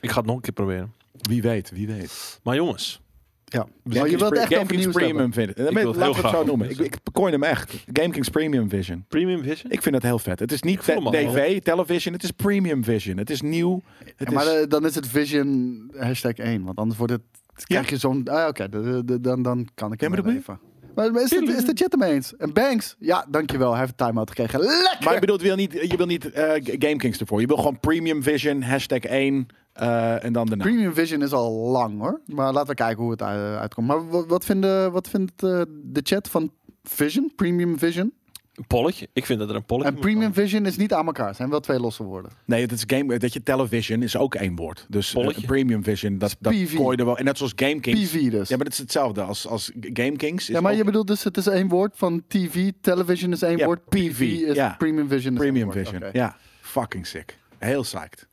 [SPEAKER 2] Ik ga het nog een keer proberen.
[SPEAKER 3] Wie weet, wie weet.
[SPEAKER 2] Maar jongens,
[SPEAKER 1] Ja. Maar je wilt echt over
[SPEAKER 3] GameKings
[SPEAKER 1] nieuws
[SPEAKER 3] Premium
[SPEAKER 1] hebben.
[SPEAKER 3] vind ik.
[SPEAKER 2] wil het
[SPEAKER 3] Laten we
[SPEAKER 2] heel
[SPEAKER 3] het
[SPEAKER 2] graag
[SPEAKER 3] zo
[SPEAKER 2] over
[SPEAKER 3] noemen. Ik,
[SPEAKER 2] nieuws
[SPEAKER 3] ik coin hem echt. GameKings Premium Vision.
[SPEAKER 2] Premium Vision?
[SPEAKER 3] Ik vind het heel vet. Het is niet
[SPEAKER 2] voel hem al.
[SPEAKER 3] DV, television. Het is Premium Vision. Het is nieuw. Het
[SPEAKER 1] Ja, maar
[SPEAKER 3] is...
[SPEAKER 1] eh, dan is het Vision hashtag 1. Want anders wordt het... Krijg je zo'n... Ah, Oké, de- de- dan, dan kan ik
[SPEAKER 3] Ja,
[SPEAKER 1] hem
[SPEAKER 3] maar dat
[SPEAKER 1] wel
[SPEAKER 3] ben
[SPEAKER 1] even. Maar is de, is de chat ermee eens? En Banks? Ja, dankjewel. Hij heeft een time-out gekregen. Lekker!
[SPEAKER 3] Maar ik bedoel, je wil niet, je wil niet eh, GameKings ervoor. Je wil gewoon Premium Vision, hashtag 1 eh, en dan de naam.
[SPEAKER 1] Premium Vision is al lang hoor. Maar laten we kijken hoe het eh, uitkomt. Maar wat, wat, vinden, wat vindt eh, de chat van Vision? Premium Vision?
[SPEAKER 2] Een polletje. Ik vind dat er een polletje
[SPEAKER 1] En
[SPEAKER 2] moet
[SPEAKER 1] Premium
[SPEAKER 2] komen.
[SPEAKER 1] Vision is niet aan elkaar. zijn wel twee losse woorden.
[SPEAKER 3] Nee, het is game, dat je television is ook één woord. Dus eh,
[SPEAKER 2] Polletje.
[SPEAKER 3] Premium Vision, dat, dat
[SPEAKER 1] PV.
[SPEAKER 3] gooi je er wel. En net zoals GameKings.
[SPEAKER 1] PV dus.
[SPEAKER 3] Ja, maar dat is hetzelfde als, als GameKings. is
[SPEAKER 1] Ja, maar
[SPEAKER 3] ook
[SPEAKER 1] je bedoelt dus het is één woord van TV. Television is één
[SPEAKER 3] Ja,
[SPEAKER 1] woord. PV is
[SPEAKER 3] ja.
[SPEAKER 1] Premium Vision. is één
[SPEAKER 3] Premium
[SPEAKER 1] woord.
[SPEAKER 3] Vision.
[SPEAKER 1] Oké.
[SPEAKER 3] Ja, fucking sick. Heel psyched.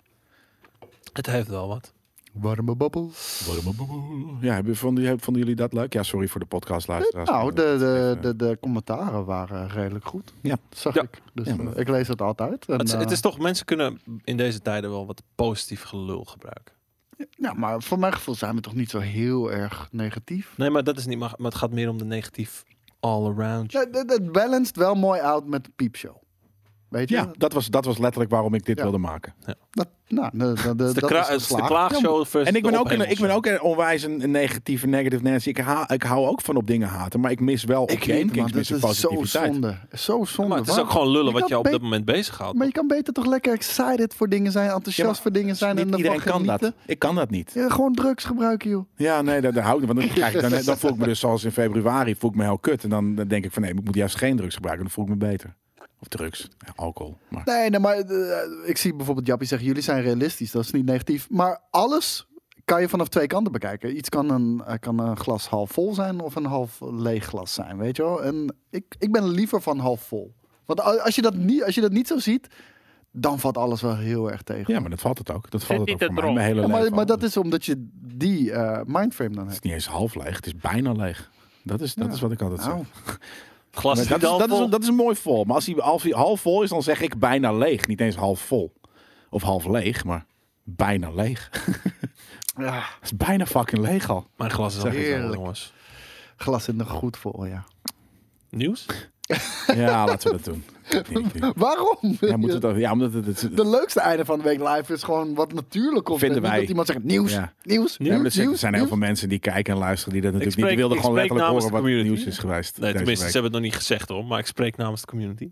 [SPEAKER 2] Het heeft wel wat.
[SPEAKER 1] Warme babbel.
[SPEAKER 3] Ja, hebben- vonden, jullie- vonden jullie dat leuk? Ja, sorry voor de podcast luisteraars.
[SPEAKER 1] Nou, de, de, de, de commentaren waren redelijk goed.
[SPEAKER 3] Ja.
[SPEAKER 1] Dat zag
[SPEAKER 2] Ja.
[SPEAKER 1] ik. Dus
[SPEAKER 3] Ja,
[SPEAKER 1] eh,
[SPEAKER 3] maar-
[SPEAKER 1] ik lees het altijd. En,
[SPEAKER 2] het, is- het
[SPEAKER 1] eh,
[SPEAKER 2] is toch, mensen kunnen in deze tijden wel wat positief gelul gebruiken.
[SPEAKER 1] eh, ja, maar voor mijn gevoel zijn we toch niet zo heel erg negatief.
[SPEAKER 2] Nee, maar dat is niet, maar, maar het gaat meer om de negatief all around.
[SPEAKER 1] Ja, dat, dat balanced wel mooi uit met de piepshow. Weet je?
[SPEAKER 3] Ja, dat was, dat was letterlijk waarom ik dit
[SPEAKER 1] Ja.
[SPEAKER 3] wilde maken.
[SPEAKER 1] Dat, nou, de, de, de,
[SPEAKER 2] Het is de,
[SPEAKER 1] dat
[SPEAKER 2] kra-
[SPEAKER 1] is
[SPEAKER 2] het is de
[SPEAKER 1] geslaagd.
[SPEAKER 2] klaagshow versus
[SPEAKER 3] En ik ben,
[SPEAKER 2] Dus de
[SPEAKER 3] ook een, ik ben
[SPEAKER 2] ophemelshow.
[SPEAKER 3] ook een onwijs een, een negatieve negative Nancy. Ik, ha, ik hou ook van op dingen haten, maar ik mis wel op
[SPEAKER 1] Ik weet
[SPEAKER 3] GameKings
[SPEAKER 1] niet,
[SPEAKER 3] mis ik
[SPEAKER 1] maar dat is zo
[SPEAKER 3] positiviteit.
[SPEAKER 1] zonde. Zo zonde.
[SPEAKER 2] Maar het is
[SPEAKER 1] Waarom-
[SPEAKER 2] ook gewoon lullen wat
[SPEAKER 1] kan
[SPEAKER 2] je op
[SPEAKER 1] be-
[SPEAKER 2] dat moment bezighoudt.
[SPEAKER 1] Maar je kan beter toch lekker excited voor dingen zijn, enthousiast voor dingen zijn. en
[SPEAKER 3] Niet
[SPEAKER 1] dan
[SPEAKER 3] iedereen kan dat.
[SPEAKER 1] genieten.
[SPEAKER 3] Ik kan dat niet.
[SPEAKER 1] Ja, gewoon drugs gebruiken, joh.
[SPEAKER 3] Ja, nee, dat, dat hou ik. Want dan, krijg ik, dan, dan voel ik me dus zoals in februari voel ik me heel kut. En dan, dan denk ik van nee, ik moet juist geen drugs gebruiken. Dan voel ik me beter. Of drugs, Ja, alcohol. Maar.
[SPEAKER 1] Nee, nee maar eh, ik zie bijvoorbeeld Jappie zeggen, jullie zijn realistisch, dat is niet negatief. Maar alles kan je vanaf twee kanten bekijken. Iets kan een, eh, kan een glas half vol zijn of een half leeg glas zijn, weet je wel. En ik, ik ben liever van half vol. Want a- als je, dat niet, als je dat niet zo ziet, dan valt alles wel heel erg tegen.
[SPEAKER 3] Ja, maar dat valt het ook. Dat valt het ook
[SPEAKER 2] niet het
[SPEAKER 3] voor mij.
[SPEAKER 2] erom.
[SPEAKER 3] Mijn hele
[SPEAKER 1] Ja, maar,
[SPEAKER 3] leven
[SPEAKER 1] maar
[SPEAKER 3] al.
[SPEAKER 1] dat is omdat je die eh, mindframe dan
[SPEAKER 3] Het
[SPEAKER 1] hebt.
[SPEAKER 3] is niet eens half leeg. Het is bijna leeg. Dat is, dat
[SPEAKER 1] Ja.
[SPEAKER 3] is wat ik altijd zeg.
[SPEAKER 1] Nou,
[SPEAKER 2] Glas
[SPEAKER 3] Maar
[SPEAKER 2] niet
[SPEAKER 3] dat, is,
[SPEAKER 2] half
[SPEAKER 3] dat, is,
[SPEAKER 2] vol.
[SPEAKER 3] dat is een mooi vol. Maar als hij, als hij half vol is, dan zeg ik bijna leeg. Niet eens half vol. Of half leeg, maar bijna leeg. *laughs*
[SPEAKER 1] ja,
[SPEAKER 3] Het is bijna fucking leeg al.
[SPEAKER 2] Mijn glas is al
[SPEAKER 1] Zeg
[SPEAKER 2] niet vol,
[SPEAKER 1] eerlijk.
[SPEAKER 2] jongens.
[SPEAKER 1] glas in de goed vol, ja.
[SPEAKER 2] Nieuws?
[SPEAKER 3] Ja, laten we dat doen.
[SPEAKER 1] *laughs* Waarom?
[SPEAKER 3] Ja, moeten we dat, ja omdat het... het-
[SPEAKER 1] De leukste einde van de week live is gewoon wat natuurlijk komt.
[SPEAKER 3] Vinden
[SPEAKER 1] En niet
[SPEAKER 3] wij.
[SPEAKER 1] dat iemand zegt nieuws,
[SPEAKER 3] Ja.
[SPEAKER 1] nieuws,
[SPEAKER 3] ja, maar er
[SPEAKER 1] nieuws,
[SPEAKER 3] zijn, er
[SPEAKER 1] nieuws,
[SPEAKER 3] zijn heel veel mensen die kijken en luisteren die dat natuurlijk
[SPEAKER 2] spreek-
[SPEAKER 3] niet... Die wilden
[SPEAKER 2] ik
[SPEAKER 3] gewoon
[SPEAKER 2] spreek
[SPEAKER 3] letterlijk
[SPEAKER 2] namens
[SPEAKER 3] horen wat
[SPEAKER 2] de
[SPEAKER 3] het
[SPEAKER 2] community.
[SPEAKER 3] nieuws is geweest.
[SPEAKER 2] Nee,
[SPEAKER 3] deze
[SPEAKER 2] tenminste, ze
[SPEAKER 3] week.
[SPEAKER 2] hebben het nog niet gezegd hoor, maar ik spreek namens de community.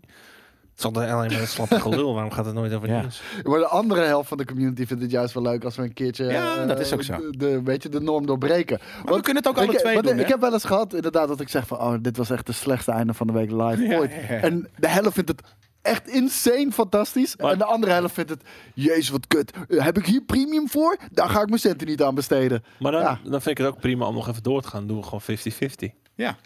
[SPEAKER 2] Het is altijd alleen maar dat slappe gelul, waarom gaat het nooit over
[SPEAKER 3] Ja.
[SPEAKER 2] nieuws?
[SPEAKER 1] Maar de andere helft van de community vindt het juist wel leuk als we een keertje
[SPEAKER 3] Ja,
[SPEAKER 1] eh,
[SPEAKER 3] dat is ook zo.
[SPEAKER 1] De, de- weet je, de norm doorbreken.
[SPEAKER 3] we kunnen het ook alle
[SPEAKER 1] ik,
[SPEAKER 3] twee
[SPEAKER 1] want
[SPEAKER 3] doen,
[SPEAKER 1] Ik
[SPEAKER 3] hè?
[SPEAKER 1] heb wel eens gehad inderdaad dat ik zeg van, oh, dit was echt de slechtste einde van de week live ooit.
[SPEAKER 3] ja, ja.
[SPEAKER 1] En de helft vindt het echt insane fantastisch.
[SPEAKER 2] Maar-
[SPEAKER 1] en de andere helft vindt het, jezus wat kut. Eh, Heb ik hier premium voor? Daar ga ik mijn centen niet aan besteden.
[SPEAKER 2] Maar dan,
[SPEAKER 1] Ja.
[SPEAKER 2] dan vind ik het ook prima om nog even door te gaan. Doen we gewoon 50-50.
[SPEAKER 3] Ja.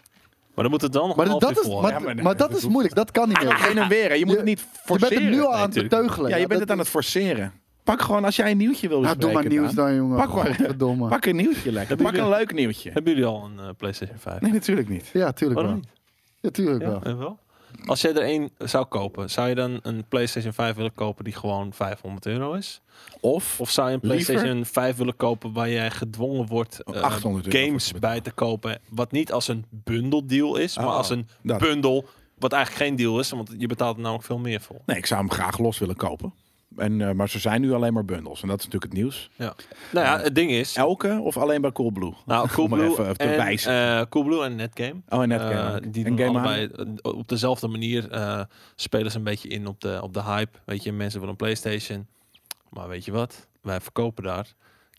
[SPEAKER 2] Maar dan moet het dan nog
[SPEAKER 1] Maar
[SPEAKER 2] een
[SPEAKER 1] dat,
[SPEAKER 2] half
[SPEAKER 1] dat
[SPEAKER 2] uur
[SPEAKER 1] is,
[SPEAKER 2] vol
[SPEAKER 1] maar,
[SPEAKER 2] houden.
[SPEAKER 3] Ja, maar nee,
[SPEAKER 1] maar dat
[SPEAKER 3] *laughs* dat
[SPEAKER 1] is
[SPEAKER 3] hoeft-
[SPEAKER 1] moeilijk, dat kan niet meer.
[SPEAKER 3] *laughs* Geen en weer. hè. Je moet het niet
[SPEAKER 1] Je
[SPEAKER 3] forceren.
[SPEAKER 1] bent er nu al aan te
[SPEAKER 2] tuurlijk.
[SPEAKER 1] teugelen.
[SPEAKER 3] Ja, je bent het
[SPEAKER 1] dat-
[SPEAKER 3] aan het forceren. Pak gewoon, als jij een nieuwtje wil
[SPEAKER 1] Nou, doe maar
[SPEAKER 3] bespreken,
[SPEAKER 1] nieuws
[SPEAKER 3] Daan,
[SPEAKER 1] dan, jongen.
[SPEAKER 3] Pak maar.
[SPEAKER 1] Godverdomme.
[SPEAKER 3] Pak een nieuwtje lekker.
[SPEAKER 2] Hebben
[SPEAKER 3] Pak een
[SPEAKER 2] jullie-
[SPEAKER 3] leuk nieuwtje.
[SPEAKER 2] Hebben jullie al een eh, PlayStation 5?
[SPEAKER 3] Nee, natuurlijk niet.
[SPEAKER 1] Ja, tuurlijk
[SPEAKER 2] Waarom
[SPEAKER 1] wel.
[SPEAKER 2] niet?
[SPEAKER 1] Ja, tuurlijk
[SPEAKER 2] Ja,
[SPEAKER 1] wel.
[SPEAKER 2] eh, wel. Als jij er één zou kopen, zou je dan een PlayStation 5 willen kopen die gewoon 500 euro is?
[SPEAKER 3] Of,
[SPEAKER 2] Of zou je een
[SPEAKER 3] Liever?
[SPEAKER 2] PlayStation 5 willen kopen waar jij gedwongen wordt eh,
[SPEAKER 3] 800 euro voor
[SPEAKER 2] games
[SPEAKER 3] te
[SPEAKER 2] bij te kopen? Wat niet als een bundeldeal is, maar
[SPEAKER 3] Oh,
[SPEAKER 2] als een
[SPEAKER 3] dat.
[SPEAKER 2] bundel wat eigenlijk geen deal is, want je betaalt er namelijk veel meer voor.
[SPEAKER 3] nee, ik zou hem graag los willen kopen. En, eh, maar ze zijn nu alleen maar bundles. En dat is natuurlijk het nieuws.
[SPEAKER 2] Ja. Nou ja, het ding is,
[SPEAKER 3] Elke of alleen bij Coolblue?
[SPEAKER 2] nou,
[SPEAKER 3] Om maar
[SPEAKER 2] Coolblue,
[SPEAKER 3] even te
[SPEAKER 2] en,
[SPEAKER 3] wijzen.
[SPEAKER 2] eh, Coolblue en Netgame.
[SPEAKER 3] Oh, en Netgame.
[SPEAKER 2] Eh,
[SPEAKER 3] ook.
[SPEAKER 2] die
[SPEAKER 3] en
[SPEAKER 2] doen
[SPEAKER 3] Game
[SPEAKER 2] allebei eh, op dezelfde manier eh, spelen ze een beetje in op de, op de hype. Weet je, mensen willen een PlayStation. Maar weet je wat? Wij verkopen daar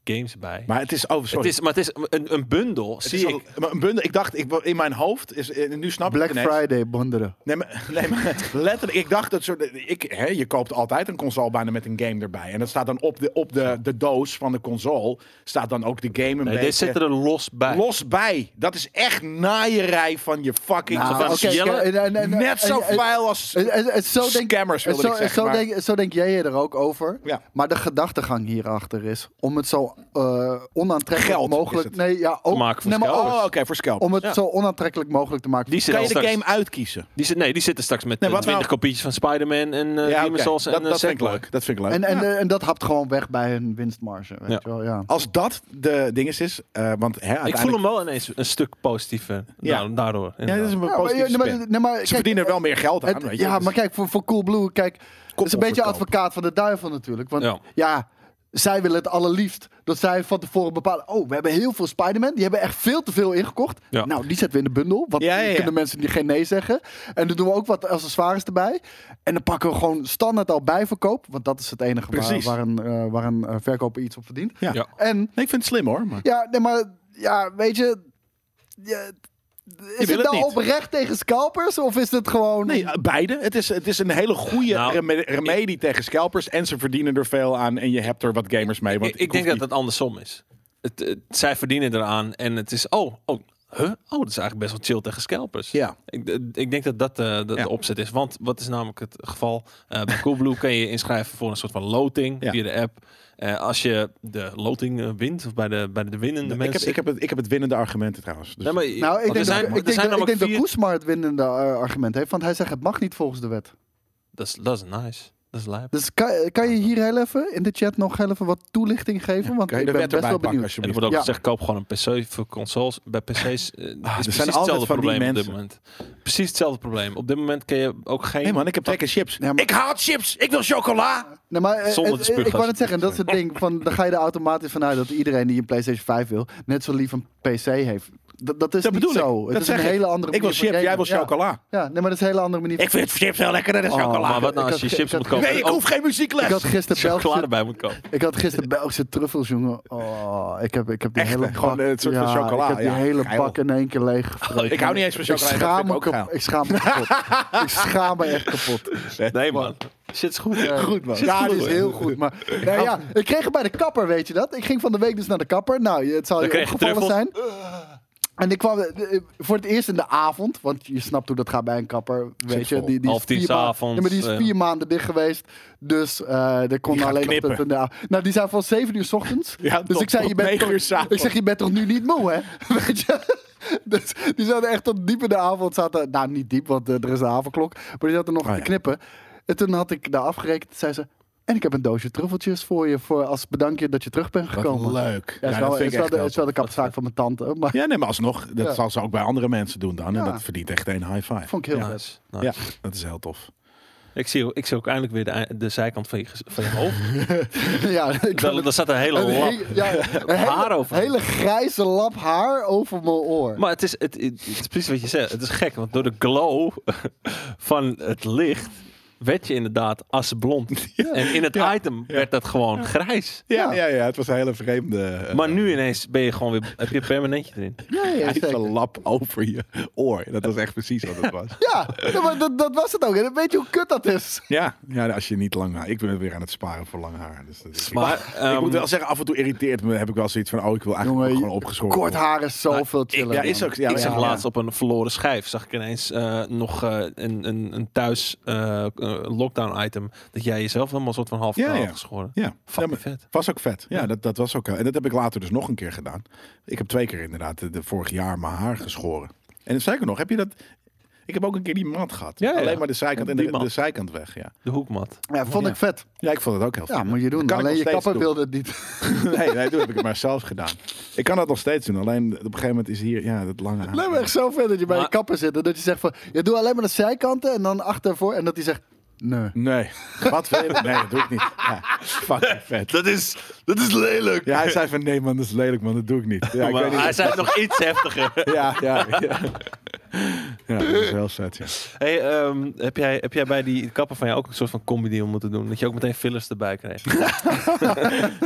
[SPEAKER 2] games bij.
[SPEAKER 3] Maar het is over.
[SPEAKER 2] het is, maar het is een, een bundel, zie ik.
[SPEAKER 3] Maar een bundel, ik dacht, ik, in mijn hoofd is eh, nu snap
[SPEAKER 1] Black
[SPEAKER 3] ik ineens-
[SPEAKER 1] Friday bonderen.
[SPEAKER 3] Nee, maar, *laughs* nee, maar letterlijk, ik dacht dat soort. Ik, hè, je koopt altijd een console bijna met een game erbij. En dat staat dan op de, op de, de doos van de console. Staat dan ook de game een
[SPEAKER 2] Nee, dit
[SPEAKER 3] beetje
[SPEAKER 2] zit er los bij.
[SPEAKER 3] los bij. Dat is echt naaierij van je fucking.
[SPEAKER 1] Ah,
[SPEAKER 2] Nou,
[SPEAKER 3] van
[SPEAKER 2] oké,
[SPEAKER 3] je-
[SPEAKER 2] Jelle,
[SPEAKER 1] en- en- en-
[SPEAKER 3] net zo
[SPEAKER 1] en- en-
[SPEAKER 3] vuil als.
[SPEAKER 1] en- en- en Zo denk
[SPEAKER 3] Scammers, wilde
[SPEAKER 1] zo,
[SPEAKER 3] ik zeggen,
[SPEAKER 1] Zo,
[SPEAKER 3] maar-
[SPEAKER 1] denk, zo denk jij er ook over.
[SPEAKER 3] Ja.
[SPEAKER 1] Maar de gedachtegang hierachter is om het zo eh, onaantrekkelijk
[SPEAKER 3] Geld is
[SPEAKER 1] mogelijk...
[SPEAKER 3] het.
[SPEAKER 1] Nee, ja, ook,
[SPEAKER 2] maken voor
[SPEAKER 1] nee, maar
[SPEAKER 2] scalpers.
[SPEAKER 1] ook
[SPEAKER 3] oh, oké, voor scalp.
[SPEAKER 1] om het
[SPEAKER 2] Ja.
[SPEAKER 1] zo onaantrekkelijk mogelijk te maken.
[SPEAKER 2] Die zit
[SPEAKER 3] Kan
[SPEAKER 2] al
[SPEAKER 3] je de
[SPEAKER 2] straks.
[SPEAKER 3] game uitkiezen?
[SPEAKER 2] Die zit, nee, die zitten straks met
[SPEAKER 3] Nee,
[SPEAKER 2] eh,
[SPEAKER 3] wat
[SPEAKER 2] 20
[SPEAKER 3] nou-
[SPEAKER 2] kopietjes van Spider-Man en eh
[SPEAKER 3] ja,
[SPEAKER 2] Demon's
[SPEAKER 3] oké.
[SPEAKER 2] Souls en
[SPEAKER 3] dat,
[SPEAKER 2] eh,
[SPEAKER 3] dat vind ik
[SPEAKER 2] Sackboy.
[SPEAKER 3] leuk. Dat vind ik leuk.
[SPEAKER 1] en, en,
[SPEAKER 3] Ja.
[SPEAKER 1] eh, en dat hapt gewoon weg bij hun winstmarge. Weet
[SPEAKER 2] Ja.
[SPEAKER 1] je wel, ja.
[SPEAKER 3] Als dat de ding is, is eh, want hè,
[SPEAKER 2] Ik
[SPEAKER 3] uiteindelijk-
[SPEAKER 2] voel hem wel ineens een stuk positiever.
[SPEAKER 3] Ja.
[SPEAKER 2] Ja. Daardoor.
[SPEAKER 3] Ja, dat
[SPEAKER 2] inderdaad.
[SPEAKER 3] is
[SPEAKER 1] Ja,
[SPEAKER 3] een
[SPEAKER 1] maar-
[SPEAKER 3] positieve
[SPEAKER 1] nee, maar-
[SPEAKER 3] spin.
[SPEAKER 1] nee, maar
[SPEAKER 3] Ze
[SPEAKER 1] kijk,
[SPEAKER 3] verdienen er wel meer geld aan,
[SPEAKER 1] Het-
[SPEAKER 3] weet je.
[SPEAKER 1] ja,
[SPEAKER 3] Dus-
[SPEAKER 1] maar kijk, voor, voor Coolblue, kijk, het is een beetje
[SPEAKER 3] kopen.
[SPEAKER 1] advocaat van de duivel natuurlijk. Want
[SPEAKER 2] Ja.
[SPEAKER 1] ja. zij willen het allerliefst dat zij van tevoren bepalen... oh, we hebben heel veel Spider-Man, die hebben echt veel te veel ingekocht.
[SPEAKER 2] Ja.
[SPEAKER 1] Nou, die zetten we in de bundel, want
[SPEAKER 3] Ja, ja, ja.
[SPEAKER 1] dan kunnen mensen die geen nee zeggen. En dan doen we ook wat accessoires erbij. En dan pakken we gewoon standaard al bijverkoop... want dat is het enige waar,
[SPEAKER 3] Precies.
[SPEAKER 1] waar een, eh, waar een eh, verkoper iets op verdient.
[SPEAKER 3] Ja.
[SPEAKER 2] Ja.
[SPEAKER 1] En,
[SPEAKER 3] Nee, ik vind het slim hoor. Maar...
[SPEAKER 1] ja, nee, maar, ja, weet je... ja, is
[SPEAKER 3] wil
[SPEAKER 1] het
[SPEAKER 3] het
[SPEAKER 1] nou
[SPEAKER 3] niet.
[SPEAKER 1] oprecht tegen scalpers of is het gewoon...
[SPEAKER 3] Nee, eh, beide. Het is, het is een hele goede
[SPEAKER 2] Nou,
[SPEAKER 3] reme- remedie tegen scalpers. En ze verdienen er veel aan. En je hebt er wat gamers mee. Want
[SPEAKER 2] ik, ik denk dat het andersom is. Het, het- zij verdienen eraan en het is, oh, oh, huh? oh, dat is eigenlijk best wel chill tegen scalpers.
[SPEAKER 3] Ja.
[SPEAKER 2] Ik, ik denk dat dat eh, de,
[SPEAKER 3] Ja.
[SPEAKER 2] de opzet is. Want wat is namelijk het geval? Eh, bij Coolblue kan je inschrijven voor een soort van loting
[SPEAKER 3] Ja.
[SPEAKER 2] via de app. Eh, als je de loting eh, wint, of bij de, bij de winnende
[SPEAKER 3] Nou, Ik heb,
[SPEAKER 2] mensen...
[SPEAKER 3] ik, heb het, ik heb het winnende argumenten trouwens. Dus
[SPEAKER 2] Nee, maar-
[SPEAKER 1] Nou,
[SPEAKER 2] want
[SPEAKER 1] ik denk,
[SPEAKER 2] er zijn,
[SPEAKER 1] dat, ik
[SPEAKER 2] er
[SPEAKER 1] denk,
[SPEAKER 2] zijn
[SPEAKER 1] dat, ik
[SPEAKER 2] namelijk
[SPEAKER 1] denk dat
[SPEAKER 2] vier...
[SPEAKER 1] Koesma het winnende eh, argument heeft. Want hij zegt het mag niet volgens de wet.
[SPEAKER 2] Dat is, dat is nice. Dat is lijp.
[SPEAKER 1] Dus kan, kan je hier heel even in de chat nog heel even wat toelichting geven? Want
[SPEAKER 3] kan je
[SPEAKER 1] ik
[SPEAKER 3] de
[SPEAKER 1] ben
[SPEAKER 3] wet
[SPEAKER 1] best
[SPEAKER 3] erbij
[SPEAKER 1] wel
[SPEAKER 3] pakken
[SPEAKER 1] benieuwd.
[SPEAKER 2] En er
[SPEAKER 3] alsjeblieft?
[SPEAKER 2] wordt ook
[SPEAKER 1] Ja.
[SPEAKER 2] gezegd, koop gewoon een PC voor consoles. Bij PC's eh, is precies
[SPEAKER 3] Ah, altijd
[SPEAKER 2] hetzelfde
[SPEAKER 3] van die
[SPEAKER 2] probleem op dit
[SPEAKER 3] mensen.
[SPEAKER 2] moment. Precies hetzelfde probleem. Op dit moment kun je ook geen...
[SPEAKER 3] Nee man, ik heb trek in chips.
[SPEAKER 1] Ja, maar-
[SPEAKER 3] Ik haat chips. Ik wil chocola.
[SPEAKER 1] Nee, maar, eh,
[SPEAKER 2] Zonder
[SPEAKER 1] eh,
[SPEAKER 2] te spugen,
[SPEAKER 1] ik wou
[SPEAKER 2] als
[SPEAKER 1] net
[SPEAKER 2] je-
[SPEAKER 1] zeggen, dat is het ding. Van, dan ga je er automatisch vanuit dat iedereen die een PlayStation 5 wil, net zo lief een PC heeft. Dat, dat is
[SPEAKER 3] Dat
[SPEAKER 1] niet
[SPEAKER 3] bedoel ik.
[SPEAKER 1] zo.
[SPEAKER 3] Dat
[SPEAKER 1] het is
[SPEAKER 3] zeg
[SPEAKER 1] een
[SPEAKER 3] ik.
[SPEAKER 1] hele andere
[SPEAKER 3] Ik wil
[SPEAKER 1] manier van
[SPEAKER 3] chips, jij wil
[SPEAKER 1] gamen. Ja.
[SPEAKER 3] chocola.
[SPEAKER 1] Ja, nee, maar dat is een hele andere manier.
[SPEAKER 3] Ik vind chips heel lekkerder dan
[SPEAKER 1] Oh,
[SPEAKER 3] chocola.
[SPEAKER 2] Maar wat nou
[SPEAKER 1] Ik
[SPEAKER 2] als je
[SPEAKER 1] had-
[SPEAKER 2] chips
[SPEAKER 1] ik
[SPEAKER 2] moet
[SPEAKER 1] had-
[SPEAKER 2] kopen?
[SPEAKER 3] Nee, ik
[SPEAKER 2] Oh,
[SPEAKER 3] hoef geen muziekles.
[SPEAKER 1] ik had
[SPEAKER 3] *laughs*
[SPEAKER 1] gisteren
[SPEAKER 2] chocolade
[SPEAKER 1] Belgische,
[SPEAKER 2] bij moet kopen.
[SPEAKER 1] ik had gisteren Belgische truffels, jongen. Oh, ik heb, ik heb die
[SPEAKER 3] Echt,
[SPEAKER 1] hele
[SPEAKER 3] hè? Gewoon,
[SPEAKER 1] bak-
[SPEAKER 3] eh, het soort van chocola,
[SPEAKER 1] Ik heb die
[SPEAKER 3] ja,
[SPEAKER 1] hele
[SPEAKER 3] geil.
[SPEAKER 1] bak in één keer leeg
[SPEAKER 3] *laughs* Ik hou niet eens van
[SPEAKER 1] Ik
[SPEAKER 3] chocola. dat
[SPEAKER 1] schaam,
[SPEAKER 3] vind
[SPEAKER 1] me
[SPEAKER 3] ik ook
[SPEAKER 1] kap-
[SPEAKER 3] geil.
[SPEAKER 1] ik schaam me kapot. ik schaam me echt
[SPEAKER 3] *laughs*
[SPEAKER 1] kapot.
[SPEAKER 2] Nee, man. Shit is goed.
[SPEAKER 3] eh,
[SPEAKER 1] Goed
[SPEAKER 3] man.
[SPEAKER 1] Ja, dat is heel goed. Maar nou ja, ik kreeg het bij de kapper, weet je dat? Ik ging van de week dus naar de kapper. Nou, je- het zal
[SPEAKER 2] Dan
[SPEAKER 1] je
[SPEAKER 2] kreeg je
[SPEAKER 1] opgevallen zijn. En ik kwam eh, eh, voor het eerst in de avond, want je snapt hoe dat gaat bij een kapper. Weet je,
[SPEAKER 3] vol.
[SPEAKER 1] die, die
[SPEAKER 2] Half tien
[SPEAKER 1] vier maanden-
[SPEAKER 2] s'avonds,
[SPEAKER 1] Ja, maar die is
[SPEAKER 2] eh.
[SPEAKER 1] vier maanden dicht geweest. Dus eh er kon
[SPEAKER 3] gaat
[SPEAKER 1] alleen nog
[SPEAKER 3] knippen.
[SPEAKER 1] tot in de avond. Nou, die zijn van zeven uur s ochtends.
[SPEAKER 3] Ja,
[SPEAKER 1] dus
[SPEAKER 3] tot-
[SPEAKER 1] ik zei, je
[SPEAKER 3] tot
[SPEAKER 1] bent
[SPEAKER 3] negen
[SPEAKER 1] toch-
[SPEAKER 3] uur s'avonds.
[SPEAKER 1] ik zeg, je bent toch nu niet moe, hè? *laughs* Weet je? Dus die zaten echt tot diep in de avond. Zaten, nou, niet diep, want eh, er is een avondklok. Maar die zaten nog
[SPEAKER 3] Ah, ja.
[SPEAKER 1] te knippen. En toen had ik daar afgerekend. Zei ze, en ik heb een doosje truffeltjes voor je. Voor als bedankje dat je terug bent
[SPEAKER 3] Wat
[SPEAKER 1] gekomen.
[SPEAKER 3] leuk.
[SPEAKER 1] Ja,
[SPEAKER 3] Ja,
[SPEAKER 1] is
[SPEAKER 3] dat
[SPEAKER 1] wel,
[SPEAKER 3] vind
[SPEAKER 1] is
[SPEAKER 3] ik
[SPEAKER 1] wel
[SPEAKER 3] echt
[SPEAKER 1] de,
[SPEAKER 3] wel
[SPEAKER 1] is wel de kapzaak van mijn tante. Maar
[SPEAKER 3] Ja, nee, maar alsnog. Dat
[SPEAKER 1] Ja.
[SPEAKER 3] zal ze ook bij andere mensen doen dan. En
[SPEAKER 1] Ja.
[SPEAKER 3] dat verdient echt een high
[SPEAKER 1] *laughs*
[SPEAKER 3] five.
[SPEAKER 1] vond ik heel vet.
[SPEAKER 2] Nice. Nice.
[SPEAKER 3] Ja, dat is heel tof.
[SPEAKER 2] Ik, zie, ik zie ook eindelijk weer de, ei- de zijkant van je, gez- van je
[SPEAKER 3] *laughs*
[SPEAKER 2] hoofd.
[SPEAKER 1] *laughs* Ja, ik
[SPEAKER 2] Daar, daar zat een hele
[SPEAKER 1] een
[SPEAKER 2] lap.
[SPEAKER 1] hele- ja, een
[SPEAKER 2] Haar
[SPEAKER 1] hele,
[SPEAKER 2] over.
[SPEAKER 1] hele grijze lap haar over mijn oor.
[SPEAKER 2] Maar het is, het, het is precies wat je zegt. Het is gek, want door de glow *laughs* van het licht werd je inderdaad asblond. En in het item werd dat gewoon grijs.
[SPEAKER 3] Ja,
[SPEAKER 1] Ja.
[SPEAKER 3] ja, ja. Het was een hele vreemde... eh,
[SPEAKER 2] Maar nu ineens ben je gewoon weer, heb je een permanentje erin.
[SPEAKER 1] ja, ja,
[SPEAKER 3] Hij heeft
[SPEAKER 1] zeker.
[SPEAKER 3] een lap over je oor. Dat was echt precies wat het was.
[SPEAKER 1] Ja, ja, maar dat, dat was het ook. En weet je hoe kut dat is?
[SPEAKER 3] Ja, ja, als je niet lang haar. Ik ben weer aan het sparen voor lang haar. Dus dat is-
[SPEAKER 2] Maar,
[SPEAKER 3] ik
[SPEAKER 2] ehm,
[SPEAKER 3] moet wel zeggen, af en toe irriteert me. Heb ik wel zoiets van, oh, ik wil eigenlijk ook gewoon opgeschoren.
[SPEAKER 1] kort
[SPEAKER 3] worden.
[SPEAKER 1] haar is zoveel chiller.
[SPEAKER 3] Ja,
[SPEAKER 1] man.
[SPEAKER 3] is ook. Ja,
[SPEAKER 2] ik zag
[SPEAKER 3] ja,
[SPEAKER 2] laatst
[SPEAKER 3] ja.
[SPEAKER 2] op een verloren schijf, zag ik ineens eh, nog eh, een, een, een thuis eh, eh, lockdown item. Dat jij jezelf helemaal een soort van half
[SPEAKER 3] Ja,
[SPEAKER 2] kaal
[SPEAKER 3] ja.
[SPEAKER 2] had geschoren.
[SPEAKER 3] Ja,
[SPEAKER 2] Fucking
[SPEAKER 3] Ja, maar-
[SPEAKER 2] vet.
[SPEAKER 3] was ook vet. Ja, Dat, dat was ook. eh, En dat heb ik later dus nog een keer gedaan. Ik heb twee keer inderdaad de, de vorig jaar mijn haar geschoren. En sterker nog, heb je dat? Ik heb ook een keer die mat gehad.
[SPEAKER 2] Ja, ja.
[SPEAKER 3] Alleen maar de zijkant en
[SPEAKER 2] Die
[SPEAKER 3] de,
[SPEAKER 2] mat.
[SPEAKER 3] de zijkant weg. Ja.
[SPEAKER 2] De hoekmat.
[SPEAKER 1] Ja, vond ik vet.
[SPEAKER 3] ja, ik vond het ook heel
[SPEAKER 1] Ja,
[SPEAKER 3] fijn.
[SPEAKER 1] moet je doen.
[SPEAKER 3] Kan ik
[SPEAKER 1] Alleen je
[SPEAKER 3] nog steeds
[SPEAKER 1] kapper
[SPEAKER 3] doen.
[SPEAKER 1] wilde het niet. *laughs*
[SPEAKER 3] *laughs* Nee, nee, toen heb ik het maar zelf gedaan. Ik kan dat nog steeds doen. Alleen op een gegeven moment is hier ja, dat lange haar.
[SPEAKER 1] Lijkt me echt zo vet dat je bij
[SPEAKER 2] Maar-
[SPEAKER 1] de kapper zit. En dat je zegt van, je doet alleen maar de zijkanten en dan achter en voor. En dat hij zegt, nee.
[SPEAKER 3] Nee, wat wil je? Nee, dat doe ik niet. Ja, fucking vet.
[SPEAKER 2] Dat is, dat is lelijk.
[SPEAKER 3] Ja, hij zei van nee man, dat is lelijk man, dat doe ik niet. Ja, ik
[SPEAKER 2] Maar
[SPEAKER 3] weet niet.
[SPEAKER 2] hij zei het nog iets heftiger.
[SPEAKER 3] Ja, ja, ja. Ja, dat is heel vet, ja.
[SPEAKER 2] Hey, ehm, heb, jij, heb jij bij die kapper van jou ook een soort van combi deal moeten doen? Dat je ook meteen fillers erbij kreeg?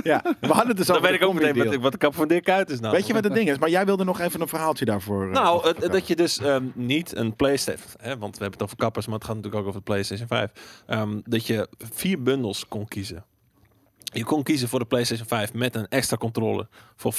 [SPEAKER 3] ja. We hadden het dus
[SPEAKER 2] Dan
[SPEAKER 3] over
[SPEAKER 2] weet
[SPEAKER 3] de
[SPEAKER 2] ik ook meteen
[SPEAKER 3] comedy
[SPEAKER 2] wat,
[SPEAKER 3] deal.
[SPEAKER 2] wat de kapper van Dirk Kuyt is nou.
[SPEAKER 3] Weet je wat het ding is? Maar jij wilde nog even een verhaaltje daarvoor. eh,
[SPEAKER 2] Nou, het-
[SPEAKER 3] afpakken.
[SPEAKER 2] het- dat je dus ehm, niet een PlayStation, hè, want we hebben het over kappers, maar het gaat natuurlijk ook over de PlayStation 5. Ehm, dat je vier bundels kon kiezen. Je kon kiezen voor de PlayStation 5 met een extra controller voor